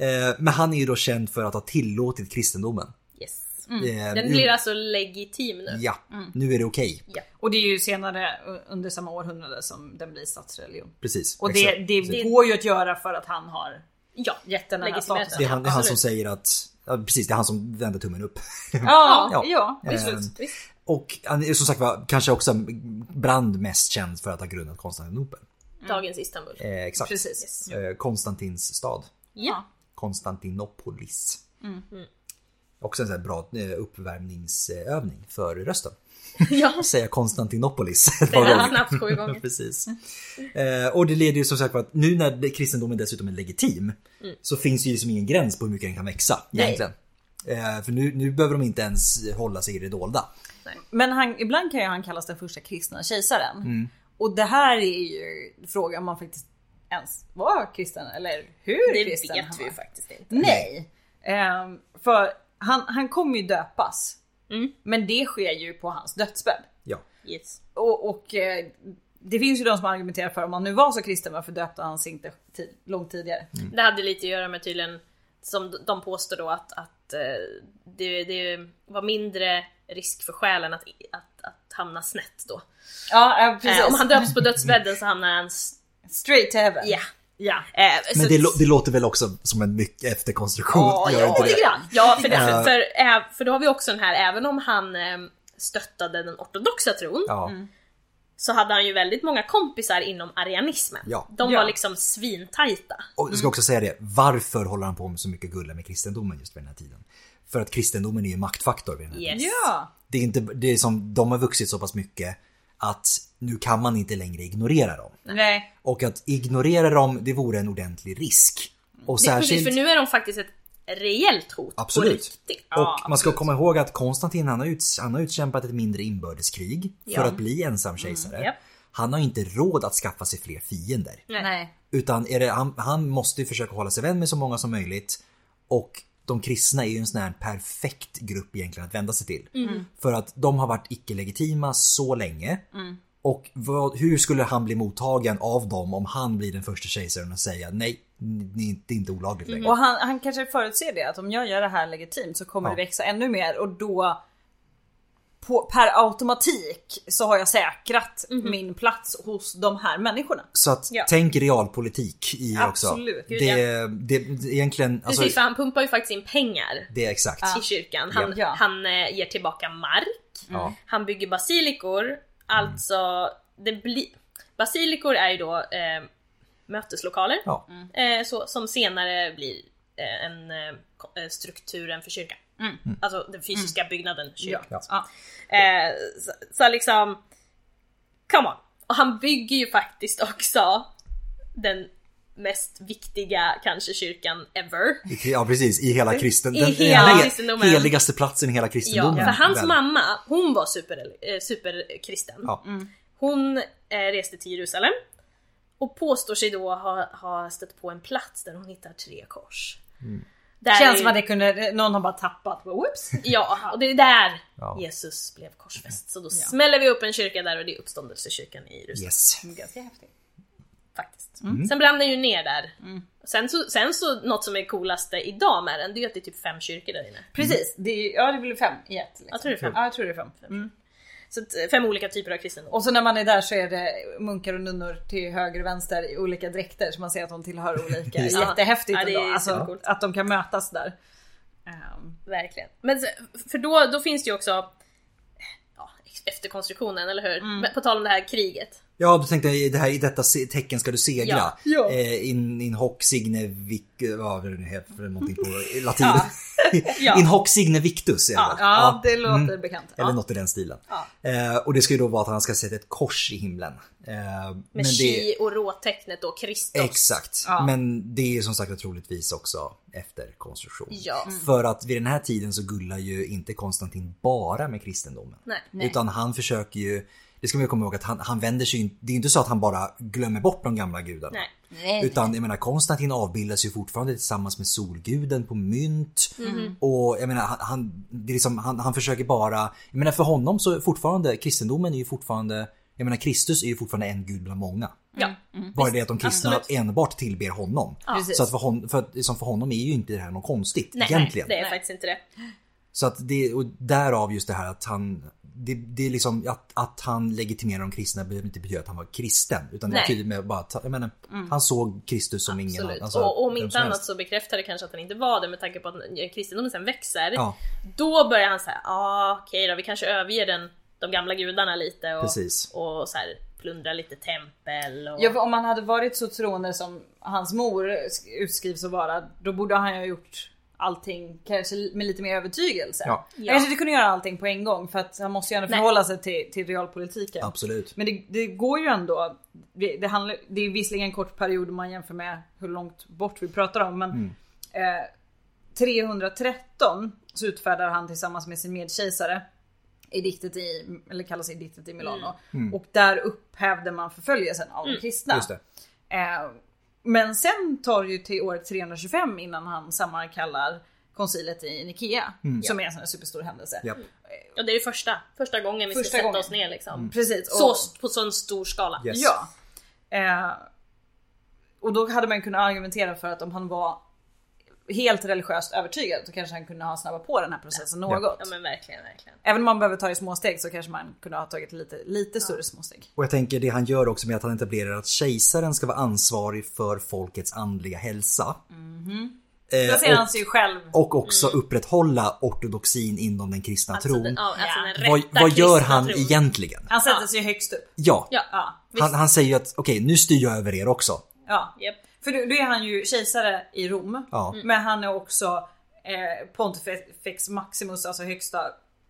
Eh, Men han är ju då känd för att ha tillåtit kristendomen. Yes. Eh, Den nu- blir alltså legitim nu. Ja, nu är det okej. Och det är ju senare u- under samma århundrade som den blir statsreligion. Precis. Och det, exakt. det Precis. går ju att göra för att han har Ja. gett den här Legitimerat. det statusen. är han, det är han som absolut. säger att... Ja, precis, det är han som vänder tummen upp. Ja, Mm. Ja. ja, absolut. Ehm, Visst. Och han är som sagt var kanske också brand mest känd för att ha grundat Konstantinopel. Mm. Dagens Istanbul. Eh, exakt. Precis. Eh, Konstantins stad. Ja. Konstantinopolis. Också en sån här bra eh, uppvärmningsövning för rösten. ja. Säga Konstantinopolis. Den har snabbt sju gånger. Precis. Eh, och det leder ju som sagt var att nu när kristendomen dessutom är legitim så finns ju liksom ingen gräns på hur mycket den kan växa egentligen. Eh, för nu, nu behöver de inte ens hålla sig i det dolda. Men han, ibland kan ju han kallas den första kristna kejsaren. Och det här är ju frågan om man faktiskt ens var kristen eller hur Det kristen han vet vi var. ju faktiskt inte. Nej! Ehm, för han, han kommer ju döpas. Mm. Men det sker ju på hans dödsbädd. Ja, Yes. Och, och eh, det finns ju de som argumenterar för om han nu var så kristen varför döpte han sig inte tid, långt tidigare? Det hade lite att göra med tydligen, som de påstår då att, att eh, det, det var mindre risk för själen att, att, att hamna snett då. Ja eh, precis. Eh, om han döps på dödsbädden så hamnar han... s- Straight to heaven. Ja. Ja. Eh, så- men det, lå- det låter väl också som en mycket efterkonstruktion. Ja, gör ja, inte det? lite grann. Ja, för, det, Ja. för, för, ä- för då har vi också den här, även om han eh, stöttade den ortodoxa tron, Ja, så hade han ju väldigt många kompisar inom arianismen. Ja. De Ja. var liksom svintajta. och jag ska också säga det. Varför håller han på med så mycket gulla med kristendomen just vid den här tiden? För att kristendomen är ju en maktfaktor vid den här Yes. Ja. Det är inte, det är som, de har vuxit så pass mycket att nu kan man inte längre ignorera dem. Nej. Och att ignorera dem, det vore en ordentlig risk. Och Det, precis, särskilt... för nu är de faktiskt ett reellt hot Absolut. på riktigt. Och man ska komma ihåg att Konstantin han har, ut, han har utkämpat ett mindre inbördeskrig Ja. Mm, för att bli ensam kejsare. japp. Han har inte råd att skaffa sig fler fiender. Nej. Nej. Utan är det, han, han måste ju försöka hålla sig vän med så många som möjligt. Och de kristna är ju en sån här perfekt grupp egentligen att vända sig till. Mm. För att de har varit icke-legitima så länge. Mm. Och vad, hur skulle han bli mottagen av dem om han blir den första kejsaren och säga nej, ni, det är inte olagligt längre. Mm. Och han, han kanske förutser det att om jag gör det här legitimt så kommer Ja. det växa ännu mer och då på, per automatik så har jag säkrat min plats hos de här människorna. Så att Ja. tänk realpolitik i Absolut, också. gud, Det, det, det egentligen, alltså, Precis, för han pumpar ju faktiskt in pengar det är exakt. i kyrkan. Han, Ja. han eh, ger tillbaka mark, Ja. han bygger basilikor, alltså det blir... Basilikor är ju då eh, möteslokaler, Ja. Mm. eh, så, som senare blir eh, en eh, ko- eh, strukturen för kyrkan. Alltså den fysiska byggnaden kyrkan. Mm. Ja. Mm. Ja. Eh, så, så liksom, come on. Och han bygger ju faktiskt också den mest viktiga kanske kyrkan ever. I- ja precis, i hela kristen... I den hela hel- kristendomen. heligaste platsen i hela Ja, kristendomen. för hans väl. mamma, hon var super, eh, superkristen. Ja. Hon eh, reste till Jerusalem och påstår sig då ha, ha stött på en plats där hon hittar tre kors. Mm. Där Känns som att det kunde, någon har bara tappat. Whoops. Ja, och det är där Ja. Jesus blev korsfäst. Så då smäller vi upp en kyrka där och det är uppståndelsekyrkan i Jerusalem. Yes. Mm. Ganska häftigt. faktiskt. Mm. Sen brann den ju ner där. Sen, så, sen så, något som är coolaste idag med den, det är ju att det är typ fem kyrkor där inne. Precis, det är, ja det blir fem i ett. Liksom. Jag tror det är fem. Ja, jag tror det är fem. Mm. Så att, eh, fem olika typer av kristendom. Och så när man är där så är det munkar och nunnor till höger och vänster i olika dräkter så man ser att de tillhör olika. Just det. Jättehäftigt Ja, det är ändå. Alltså, supercoolt. att de kan mötas där. Ehm, Verkligen. Men se- för då, Mm. då finns det ju också, ja, efterkonstruktionen, eller hur? Men På tal om det här kriget. Ja, du tänkte i, det här, i detta se- tecken ska du segra. Ja. Ja. Eh, in, in hoc signe vic... eh, Vad är det nu heter för någonting på latin? Ja. Ja. In hoc signe victus är det Ja, väl? ja, det låter Mm. bekant. Eller Ja. något i den stilen. Ja. Eh, och det ska ju då vara att han ska sätta ett kors i himlen. Eh, Med chi och råtecknet då, Kristus. Exakt. Ja. Men det är ju som sagt troligtvis också efter konstruktion. Ja. Mm. För att vid den här tiden så gullar ju inte Konstantin bara med kristendomen. Nej. Nej. Utan han försöker ju, det ska man ju komma ihåg att han, han vänder sig ju inte- det är ju inte så att han bara glömmer bort de gamla gudarna. Nej. Mm. Utan jag menar Konstantin avbildas ju fortfarande tillsammans med solguden på mynt. Och jag menar han, han, det är liksom, han, han försöker bara, jag menar för honom så är fortfarande, kristendomen är ju fortfarande, jag menar Kristus är ju fortfarande en gud bland många. Ja. Mm. Bara det att de kristna enbart tillber honom. Precis. Så att för, hon, för, att, liksom för honom är ju inte det här något konstigt Nej, nej, egentligen. det är Nej. faktiskt inte det. Så att det, och därav just det här att han, det, det är liksom att, att han legitimerar de kristna behöver inte betyda att han var kristen. Utan det Nej. Mm. betyder med bara att, jag menar, han såg Kristus som ingen Absolut. annan. och om alltså, vem inte som annat helst. så bekräftar det kanske att han inte var det med tanke på att kristendomen sen växer. Ja, Då börjar han säga, ah, okej då, vi kanske överger den, de gamla gudarna lite och, precis. och så här, plundra lite tempel. Och... Ja, för om han hade varit så troende som hans mor sk- utskrivs att vara, då borde han ju ha gjort allting kanske li- med lite mer övertygelse. Ja. Han Ja. kanske inte kunde göra allting på en gång för att han måste ju ändå Nej. förhålla sig till, till realpolitiken. Absolut. Men det, det går ju ändå, det, det, handlar, det är visserligen en kort period om man jämför med hur långt bort vi pratar om men eh, 313 så utfärdar han tillsammans med sin medkejsare ediktet i, eller kallas ediktet i Milano. Och där upphävde man förföljelsen av de kristna. Just det. Eh, men sen tar det ju till år 325 innan han sammankallar koncilet i Nikea. Som är en sån här superstor händelse. Japp. Ja, det är ju första, första gången vi Första ska sätta gången. oss ner liksom. Mm. Precis. Så, på sån stor skala. Yes. Ja. Eh, och då hade man ju kunnat argumentera för att om han var helt religiöst övertygad så kanske han kunde ha snabbat på den här processen något. Ja men verkligen, verkligen. Även om man behöver ta i små steg så kanske man kunde ha tagit lite, lite större små steg. Och jag tänker det han gör också med att han etablerar att kejsaren ska vara ansvarig för folkets andliga hälsa. Mhm. Eh, Placerar han och, sig ju själv. och också upprätthålla ortodoxin inom den kristna Mm. Alltså, tron. den, ja, alltså Ja. den vad, rätta vad gör kristna han tron. egentligen? Han sätter sig ju högst upp. Ja, Ja, Ja, visst. han, han säger ju att okej, nu styr jag över er också. ja. japp. För då, då är han ju kejsare i Rom. Ja. Mm. Men han är också eh, Pontifex Maximus, alltså högsta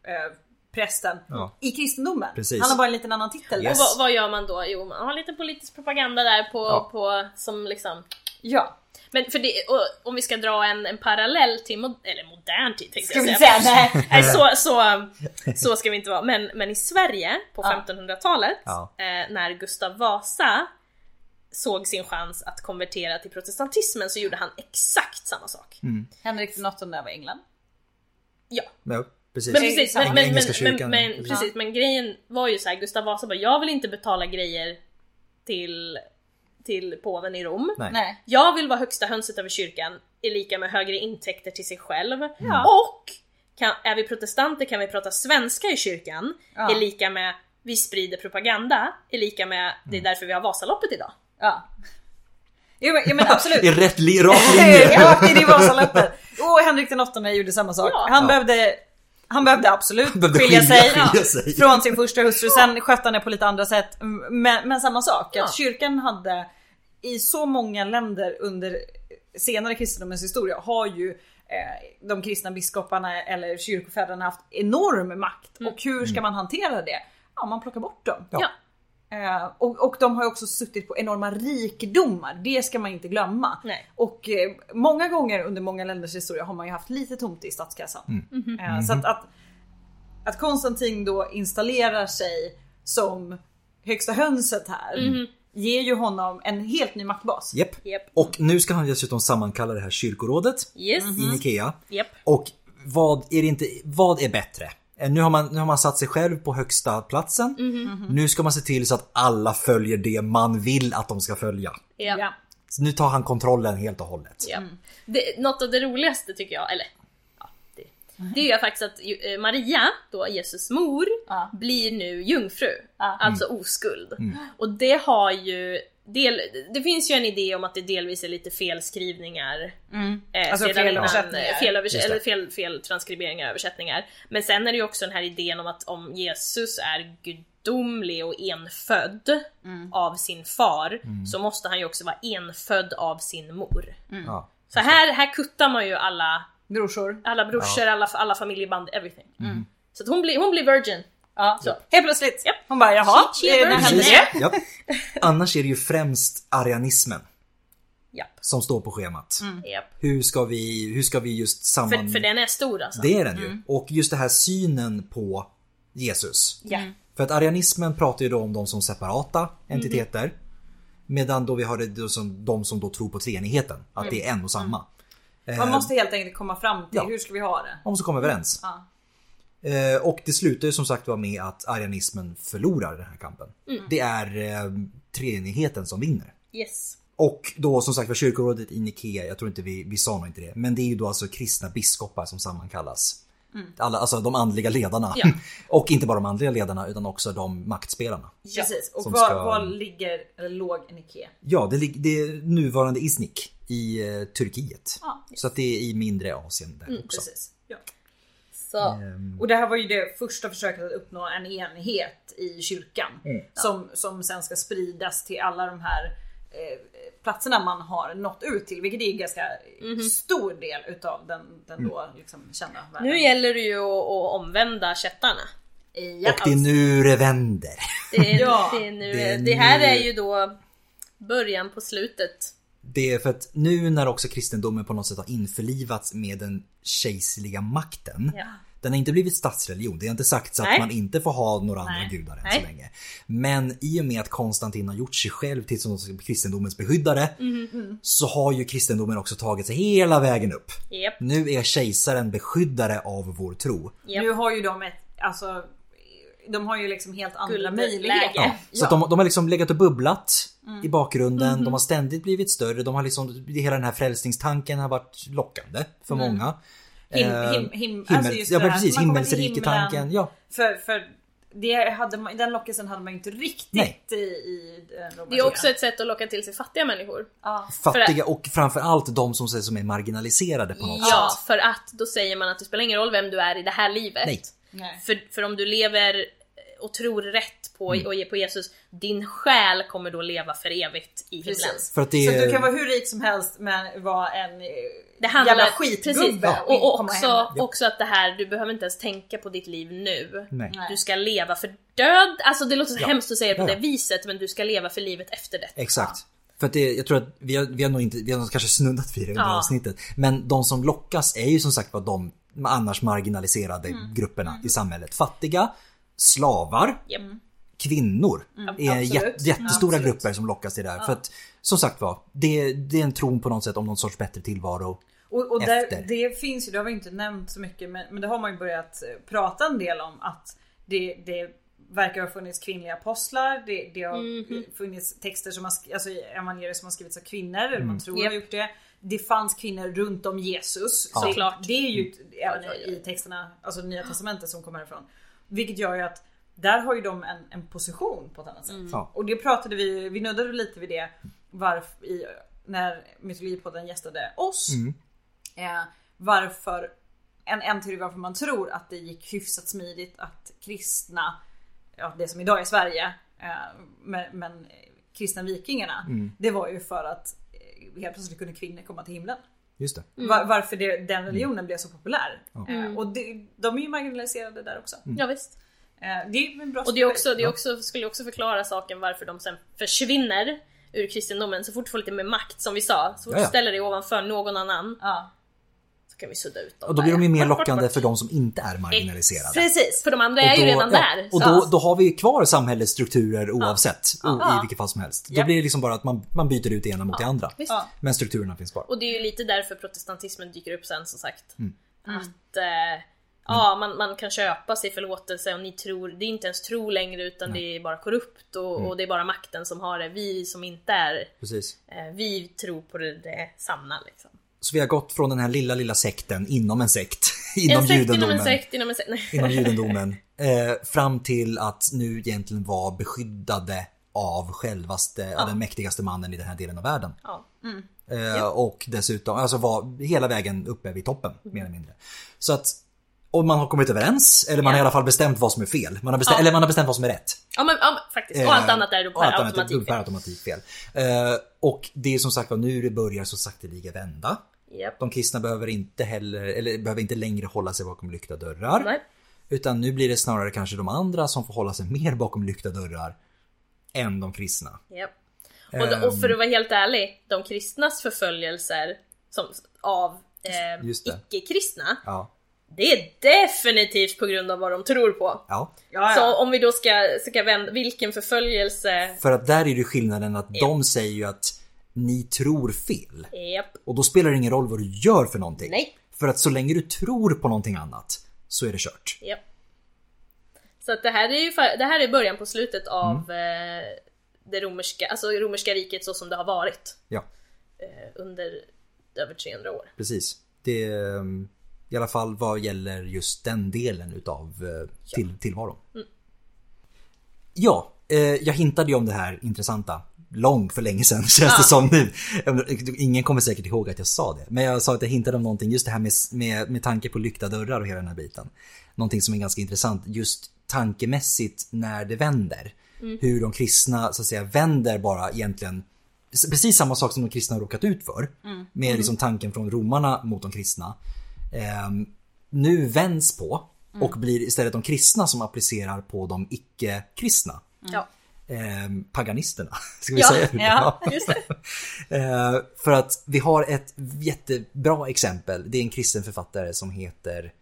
eh, prästen Ja. i kristendomen. Precis. Han har bara en liten annan titel. Yes. Och vad, vad gör man då? Jo, man har lite politisk propaganda där på, Ja. på som liksom Ja. Men för det, och om vi ska dra en, en parallell till, mod, eller modern tid tänkte Ska vi jag säga nej? Nej, så, så, så ska vi inte vara. Men, men i Sverige på Ja. 1500-talet, Ja. eh, när Gustav Vasa såg sin chans att konvertera till protestantismen så gjorde han exakt samma sak. Henrik den åttonde av England. Ja, Ja, precis. men precis. Men, Eng- men, men, Engelska men, kyrkan, liksom. men, precis. precis, men grejen var ju så här, Gustav Vasa bara, jag vill inte betala grejer till, till påven i Rom. Nej. Nej. Jag vill vara högsta hönset över kyrkan, är lika med högre intäkter till sig själv. Och kan, är vi protestanter kan vi prata svenska i kyrkan, Ja. är lika med vi sprider propaganda, är lika med det Mm. är därför vi har Vasaloppet idag. Ja. Jo men, ja, men absolut. I rätt li- rak linje. Rakt in i Vasaloppet. Och Henrik den åttonde gjorde samma sak. Ja. Han, Ja. behövde, han behövde absolut behövde skilja, skilja- sig, skilja ja, sig. från sin första hustru. Sen skötte han det på lite andra sätt. Men, men samma sak. Ja. Att kyrkan hade i så många länder under senare kristendomens historia har ju eh, de kristna biskoparna eller kyrkofäderna haft enorm makt. Och hur ska man hantera det? Ja, man plockar bort dem. Mm. Ja. Ja. Eh, och, och de har ju också suttit på enorma rikedomar, det ska man inte glömma. Nej. Och eh, många gånger under många länders historia har man ju haft lite tomt i statskassan. Mm. Mhm. Eh, så att, att, att Konstantin då installerar sig som högsta hönset här Mhm. ger ju honom en helt ny maktbas. Japp. Japp. Och nu ska han dessutom sammankalla det här kyrkorådet Yes. Mm. i Nikea. Japp. Och vad är, det inte, vad är bättre? Eh, Nu har, man, nu har man satt sig själv på högsta platsen. Mhm. Nu ska man se till så att alla följer det man vill att de ska följa. Japp. Ja. Så nu tar han kontrollen helt och hållet. Ja. Mm. Det, något av det roligaste tycker jag, eller ja, det, det är ju faktiskt att ju- eh, Maria, då Jesus mor, Ja. blir nu jungfru. Ja. Alltså oskuld. Mm. Och det har ju, del, det finns ju en idé om att det delvis är lite felskrivningar. Eh, Alltså sedan felöversättningar. innan, eh, felöversätt- Just det. eller fel, fel transkriberingar och översättningar. Men sen är det ju också den här idén om att om Jesus är gudomlig gudomlig och enfödd Mm. av sin far Mm. så måste han ju också vara enfödd av sin mor. Ja. Så här, här kuttar man ju alla, Brorsor. alla brorsor, alla, alla familjeband, everything. Mm. Mm. Så att hon, blir, hon blir virgin. Ja, så. Helt plötsligt. Japp. Hon bara jaha, Shit, eh, när shit, hände shit. det? Ja. Annars är det ju främst arianismen Japp. som står på schemat. Mm. Japp. Hur, ska vi, hur ska vi just samman... För, för den är stor alltså. Det är den ju. Och just den här synen på Jesus. Ja. För att arianismen pratar ju då om dem som separata entiteter. Medan då vi har det då som, de som då tror på treenigheten. Att det är en och samma. Man Eh, måste helt enkelt komma fram till Ja. hur ska vi ha det? Om så kommer överens. Ja. Eh, och det slutar ju som sagt var med att arianismen förlorar den här kampen. Det är eh, treenigheten som vinner. Yes. Och då som sagt var kyrkorådet i Nikea, jag tror inte vi, vi sa nog inte det, men det är ju då alltså kristna biskopar som sammankallas. Mm. Alla, alltså de andliga ledarna. Ja. Och inte bara de andliga ledarna utan också de maktspelarna. Ja. Precis. Och Som var, ska- var ligger, eller låg Nike? Ja, det, lig- det är nuvarande Iznik i eh, Turkiet. Ja, Mm, Så att det är i mindre Asien där också. Precis. Ja. Så. Ehm, Och det här var ju det första försöket att uppnå en enhet i kyrkan. Mm. Som, som sen ska spridas till alla de här eh, platserna man har nått ut till. Vilket är en ganska Mhm. stor del utav den, den Mm. då liksom kända världen. Nu gäller det ju att, att omvända kättarna. ja, alltså- och det är nu det vänder. Det, är, Ja. det, är nu, Det det, är här nu- är ju då början på slutet. Det är för att nu när också kristendomen på något sätt har införlivats med den kejserliga makten. Ja. Den har inte blivit statsreligion. Det har inte sagts att Nej. man inte får ha några andra Nej. gudar än Nej. så länge. Men i och med att Konstantin har gjort sig själv till som kristendomens beskyddare Mhm. så har ju kristendomen också tagit sig hela vägen upp. Japp. Nu är kejsaren beskyddare av vår tro. Japp. Nu har ju de ett, alltså, de har ju liksom helt andra Guldläge. möjligheter. Ja. Ja, så att de, de har liksom legat och bubblat Mm. i bakgrunden. Mhm. De har ständigt blivit större. De har liksom, hela den här frälsningstanken har varit lockande för många. Mm. Him, Eh, him, him, himmel, alltså just ja, det men här, precis, man kommer till himmelsriketanken. himlen. Ja. För, för det hade man, den lockelsen hade man ju inte riktigt Nej. i, i den romerska. Det är också ett sätt att locka till sig fattiga människor. ja. Fattiga och framförallt de som, som är marginaliserade på något Ja, sätt. för att då säger man att det spelar ingen roll vem du är i det här livet. Nej. Nej. För, för om du lever eh, och tror rätt på, Mm. och ger på Jesus, din själ kommer då leva för evigt i himlen. Precis. För att det Så att är- du kan vara hur rik som helst men vara en eh, Det handlar, jävla precis. skitgubbe Och, och komma också, hem. också att det här, du behöver inte ens tänka på ditt liv nu. Nej. Nej. Du ska leva för död, alltså det låter så hemskt att säga det på Ja, Mm. ja. det viset, men du ska leva för livet efter det. Exakt. För att det, jag tror att vi har, vi har nog inte, vi har nog kanske snuddat vid det under Ja. avsnittet. Men de som lockas är ju som sagt var de annars marginaliserade Mm. grupperna i samhället. Fattiga, slavar, Japp. Mm. kvinnor är Absolut. jätt, jättestora grupper som lockas till det här. För att som sagt var, det, det är en tron på något sätt om någon sorts bättre tillvaro. Och, och där, Efter. det finns ju, det har vi inte nämnt så mycket men, men det har man ju börjat eh, prata en del om att det, det verkar ha funnits kvinnliga apostlar, det, det har Mhm. eh, funnits texter som har, sk- alltså evangelier som har skrivits av kvinnor, eller Mm. man tror Japp. har gjort det. Det fanns kvinnor runt om Jesus. Ja. Så Såklart. Det är Mm. ju ett- även i texterna, alltså nya testamentet som kommer härifrån. Vilket gör ju att där har ju de en, en position på ett annat sätt. Mm. Ja. Och det pratade vi, vi nuddade lite vid det varf, i, när Mytologipodden gästade oss. Mm. Eh, varför, en, en teori varför man tror att det gick hyfsat smidigt att kristna, ja, det som idag är Sverige, eh, men, men eh, kristna vikingarna. Mm. Det var ju för att eh, helt plötsligt kunde kvinnor komma till himlen. Just det. Mm. Var, varför det, Mm. den religionen blev så populär. Eh, och det, de är ju marginaliserade där också. Mm. Ja, visst. Eh, det är ju en bra Och det, är också, det är också, skulle också förklara saken varför de sen försvinner ur kristendomen så fort du får lite mer makt som vi sa. Så fort Ja, ja. du ställer dig ovanför någon annan Ja. så kan vi sudda ut dem. Och då blir där. de ju mer Bort, bort, lockande bort. för de som inte är marginaliserade. Precis, för de andra Och är ju då- redan ja, där. Och så- då, då har vi ju kvar samhällets strukturer oavsett. o- I vilket fall som helst. Då Ja. blir det liksom bara att man, man byter ut det ena mot det andra. Visst. Ja. Men strukturerna finns kvar. Och det är ju lite därför protestantismen dyker upp sen som sagt. Mm. Att eh, ja, man, man kan köpa sig förlåtelse och ni tror, det är inte ens tro längre utan det är bara korrupt och, Mm. och det är bara makten som har det. Vi som inte är, Precis. eh, vi tror på det, det sanna liksom. Så vi har gått från den här lilla, lilla sekten inom en sekt. Inom en sekt inom judendomen. en sekt inom en sekt. Nej. Inom judendomen. Eh, fram till att nu egentligen vara beskyddade av självaste, den mäktigaste mannen i den här delen av världen. Ja. Eh, Och dessutom, alltså var hela vägen uppe vid toppen mer eller mindre. Så att Och man har kommit överens, eller man har i alla fall bestämt vad som är fel. Man har bestämt, Ja. Eller man har bestämt vad som är rätt. Ja men ja, men faktiskt. Och allt Eh, annat är då och allt per annat är automatik Per fel. automatik fel. Eh, och det är som sagt var nu det börjar så sakteliga vända. Japp. De kristna behöver inte heller, eller behöver inte längre hålla sig bakom lyckta dörrar. Nej. Utan nu blir det snarare kanske de andra som får hålla sig mer bakom lyckta dörrar än de kristna. Japp. Och, och för att vara helt ärlig, de kristnas förföljelser som, av eh, Just det. icke-kristna, Ja, det är definitivt på grund av vad de tror på. ja. Ja, Så om vi då ska, ska vända, vilken förföljelse? För att där är det skillnaden att de säger ju att ni tror fel. Japp. Och då spelar det ingen roll vad du gör för någonting. Nej. För att så länge du tror på någonting annat så är det kört. Japp. Så att det här är ju fa- det här är början på slutet av Mm. eh, det romerska, alltså romerska riket så som det har varit Ja, eh, under över 300 år. precis. Det eh, i alla fall vad gäller just den delen utav eh, till, tillvaron. Ja, eh, jag hintade ju om det här intressanta långt för länge sedan känns det som nu. Ingen kommer säkert ihåg att jag sa det. Men jag sa att jag hintade om någonting just det här med, med, med tanke på lyckta dörrar och hela den här biten. Någonting som är ganska intressant just tankemässigt när det vänder. Hur de kristna så att säga vänder bara egentligen s- precis samma sak som de kristna har råkat ut för. Med liksom tanken från romarna mot de kristna. Ehm, nu vänds på och Mm. blir istället de kristna som applicerar på de icke-kristna. Ja. Ehm, paganisterna, ska vi Ja, säga. ja, Just det. Ehm, för att vi har ett jättebra exempel. Det är en kristen författare som heter...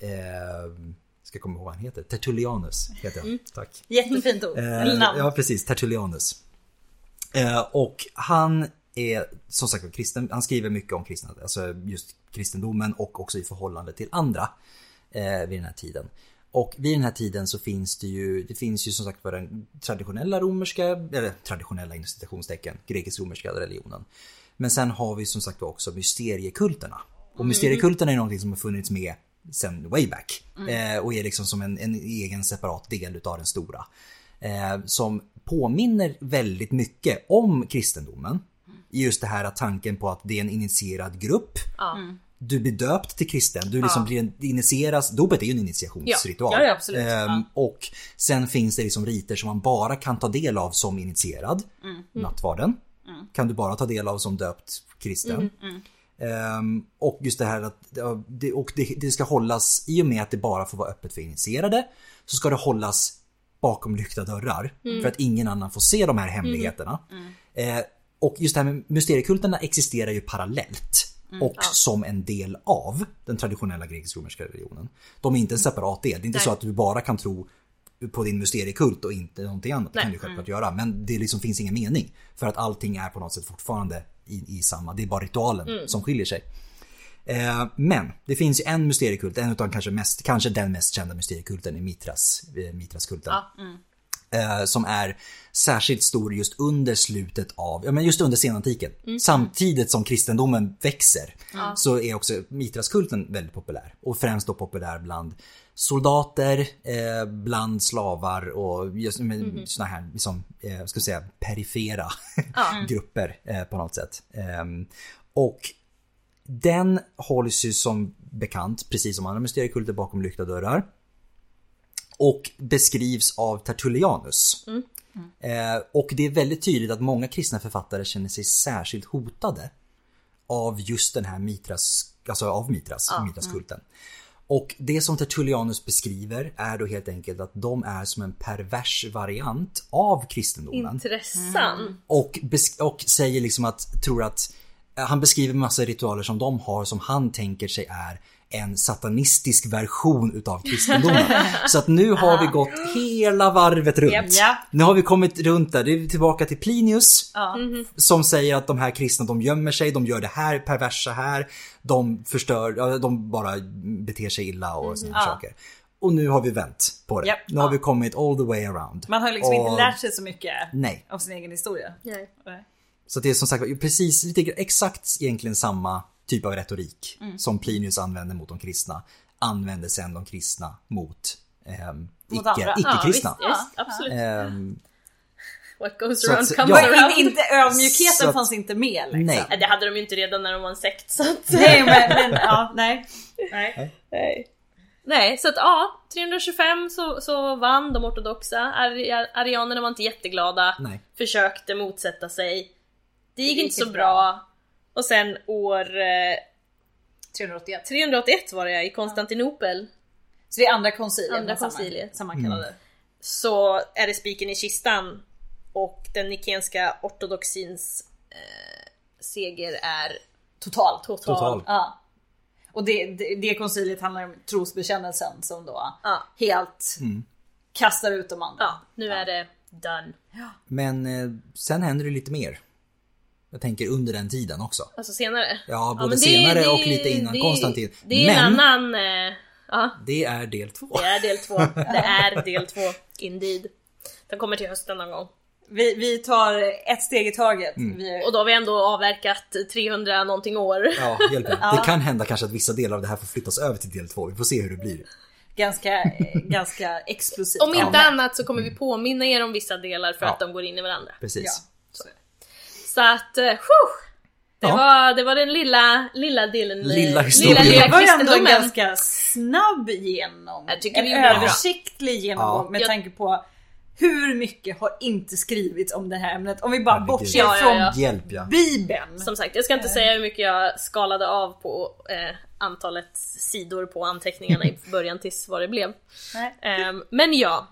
ehm, ska jag komma ihåg vad han heter? Tertullianus heter Mm. han. Tack. Jättefint ord. Eh, Eller namn. ja, precis. Tertullianus. Eh, och han är som sagt kristen. Han skriver mycket om kristna, alltså just kristendomen och också i förhållande till andra eh, vid den här tiden. Och vid den här tiden så finns det ju, det finns ju som sagt var den traditionella romerska, eller traditionella inom citationstecken, grekisk-romerska religionen. Men sen har vi som sagt var också mysteriekulterna. Och mysteriekulterna är någonting som har funnits med sen way back. Mm. Eh, och är liksom som en, en egen separat del utav den stora eh, som påminner väldigt mycket om kristendomen. Just det här att tanken på att det är en initierad grupp. Ja. Du blir döpt till kristen, du liksom blir en, initieras. Dopet är ju en initiationsritual. Ja, ja, ja, absolut. Ehm, Och sen finns det liksom riter som man bara kan ta del av som initierad. Mm. Nattvarden kan du bara ta del av som döpt kristen. Mm. Ehm, och just det här att ja, det, och det, det ska hållas, i och med att det bara får vara öppet för initierade, så ska det hållas bakom lyckta dörrar. För att ingen annan får se de här hemligheterna. Eh, och just det här med mysteriekulterna existerar ju parallellt. Och som en del av den traditionella grekisk-romerska religionen. De är inte en separat del. Det är inte Nej. så att du bara kan tro på din mysteriekult och inte någonting annat. Det kan Nej. Mm. du självklart göra. Men det liksom finns ingen mening. För att allting är på något sätt fortfarande i, i samma. Det är bara ritualen Mm. som skiljer sig. Eh, men det finns ju en mysteriekult, en utav kanske mest, kanske den mest kända mysteriekulten är Mitras, eh, Mitraskulten. Ja. Eh, som är särskilt stor just under slutet av, ja men just under senantiken. Samtidigt som kristendomen växer så är också Mitraskulten väldigt populär. Och främst då populär bland soldater, eh, bland slavar och just, mm. såna här, liksom, eh, ska vi säga, perifera grupper eh, på något sätt. Ehm, och den hålls ju som bekant, precis som andra mysteriekulter, bakom lyckta dörrar. Och beskrivs av Tertullianus. Eh, och det är väldigt tydligt att många kristna författare känner sig särskilt hotade av just den här Mitras, alltså av Mitras, Mitraskulten. Och det som Tertullianus beskriver är då helt enkelt att de är som en pervers variant av kristendomen. Intressant. Och, besk- och säger liksom att, tror att, eh, han beskriver massa ritualer som de har som han tänker sig är en satanistisk version utav kristendomen. Så att nu har vi gått hela varvet Japp. runt. Ja. Nu har vi kommit runt där, det är tillbaka till Plinius Ja. som säger att de här kristna de gömmer sig, de gör det här perversa här, de förstör, ja, de bara beter sig illa och såna här Mm. Ja. saker. Och nu har vi vänt på det. Japp. Nu har vi kommit all the way around. Man har ju liksom Och- inte lärt sig så mycket Nej. av sin egen historia. Nej. Nej. Så det är som sagt precis lite exakt egentligen samma typ av retorik som Plinius använde mot de kristna använde sen de kristna mot ehm, Mot icke- andra. icke-kristna. Ja, visst, yes, absolut. Ehm, What goes så att- around ja. comes Men Men around. inte, inte ödmjukheten Så att- fanns inte med liksom. nej. Nej, Det hade de ju inte redan när de var en sekt så att... Nej men, men ja, nej. nej. Nej. Nej, så att ja, 325 så, så vann de ortodoxa. Ar- arianerna var inte jätteglada, Nej. försökte motsätta sig. Det gick Det inte gick så bra. bra. Och sen år eh, 381. 381 var det ja, i Konstantinopel Så det är andra konciliet. Andra men samma- konciliet. Samma kallade. så är det spiken i kistan och den nikenska ortodoxins eh, seger är Totalt. total. Total. Ja. Och det, det, det konciliet handlar om trosbekännelsen som då Ja. helt kastar ut de andra. Ja, nu är det done. Men eh, sen händer det lite mer. Jag tänker under den tiden också. Alltså senare. Ja, både men det- senare det- och lite innan det- Konstantin. Det är Men en annan... Eh, ja, det är del två. det är del två. Det är del två, indeed. Den kommer till hösten någon gång. Vi, vi tar ett steg i taget. Vi, Och då har vi ändå avverkat 300 någonting år. Ja, hjälp mig. Det kan hända kanske att vissa delar av det här får flyttas över till del två. Vi får se hur det blir. ganska, eh, ganska explosivt. Om inte annat så kommer vi påminna er om vissa delar för Ja. att de går in i varandra. Precis. Ja. Så att, eh, whew, det, Ja. var, det var den lilla, lilla delen. eh, Lilla lilla, historien. lilla Det var ju ändå en kristendomen. ganska snabb genom. Jag tycker en vi gjorde det bra. översiktlig genomgång Ja. med Jag- tanke på hur mycket har inte skrivits om det här ämnet. Om vi bara Herregud. bortser Ja, ja, från ja. Hjälp ja. Bibeln. Som sagt, jag ska inte säga hur mycket jag skalade av på eh, antalet sidor på anteckningarna i början tills vad det blev. Nej. Ehm, men ja.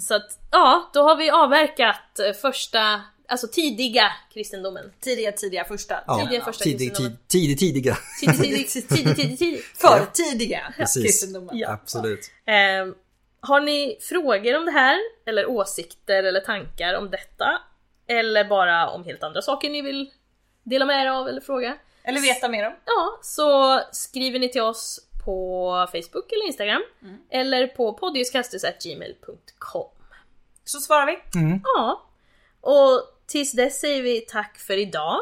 Så att, ja, då har vi avverkat eh, första, alltså tidiga kristendomen. Tidiga, tidiga första. ja. Tidiga första Tidig, kristendomen. tid, tidig, tidiga. Tidig, tidig, tidig, tidig, tidig. Förtidiga Precis. kristendomen. Ja. Absolut. Ehm, har ni frågor om det här, eller åsikter eller tankar om detta? Eller bara om helt andra saker ni vill dela med er av eller fråga? Eller veta mer om. Ja, så skriver ni till oss på Facebook eller Instagram. Eller på poddiuskastus.gmail.com. Så svarar vi. Ja, och tills dess säger vi tack för idag.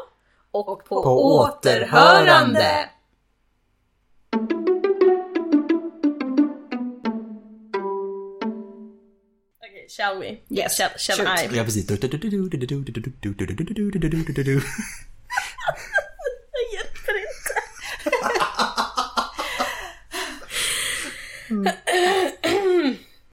Och, på, på återhörande! återhörande. Okej, shall we? Yes, Shall, shall shoot. I? Ja, precis. Jag hjälper inte.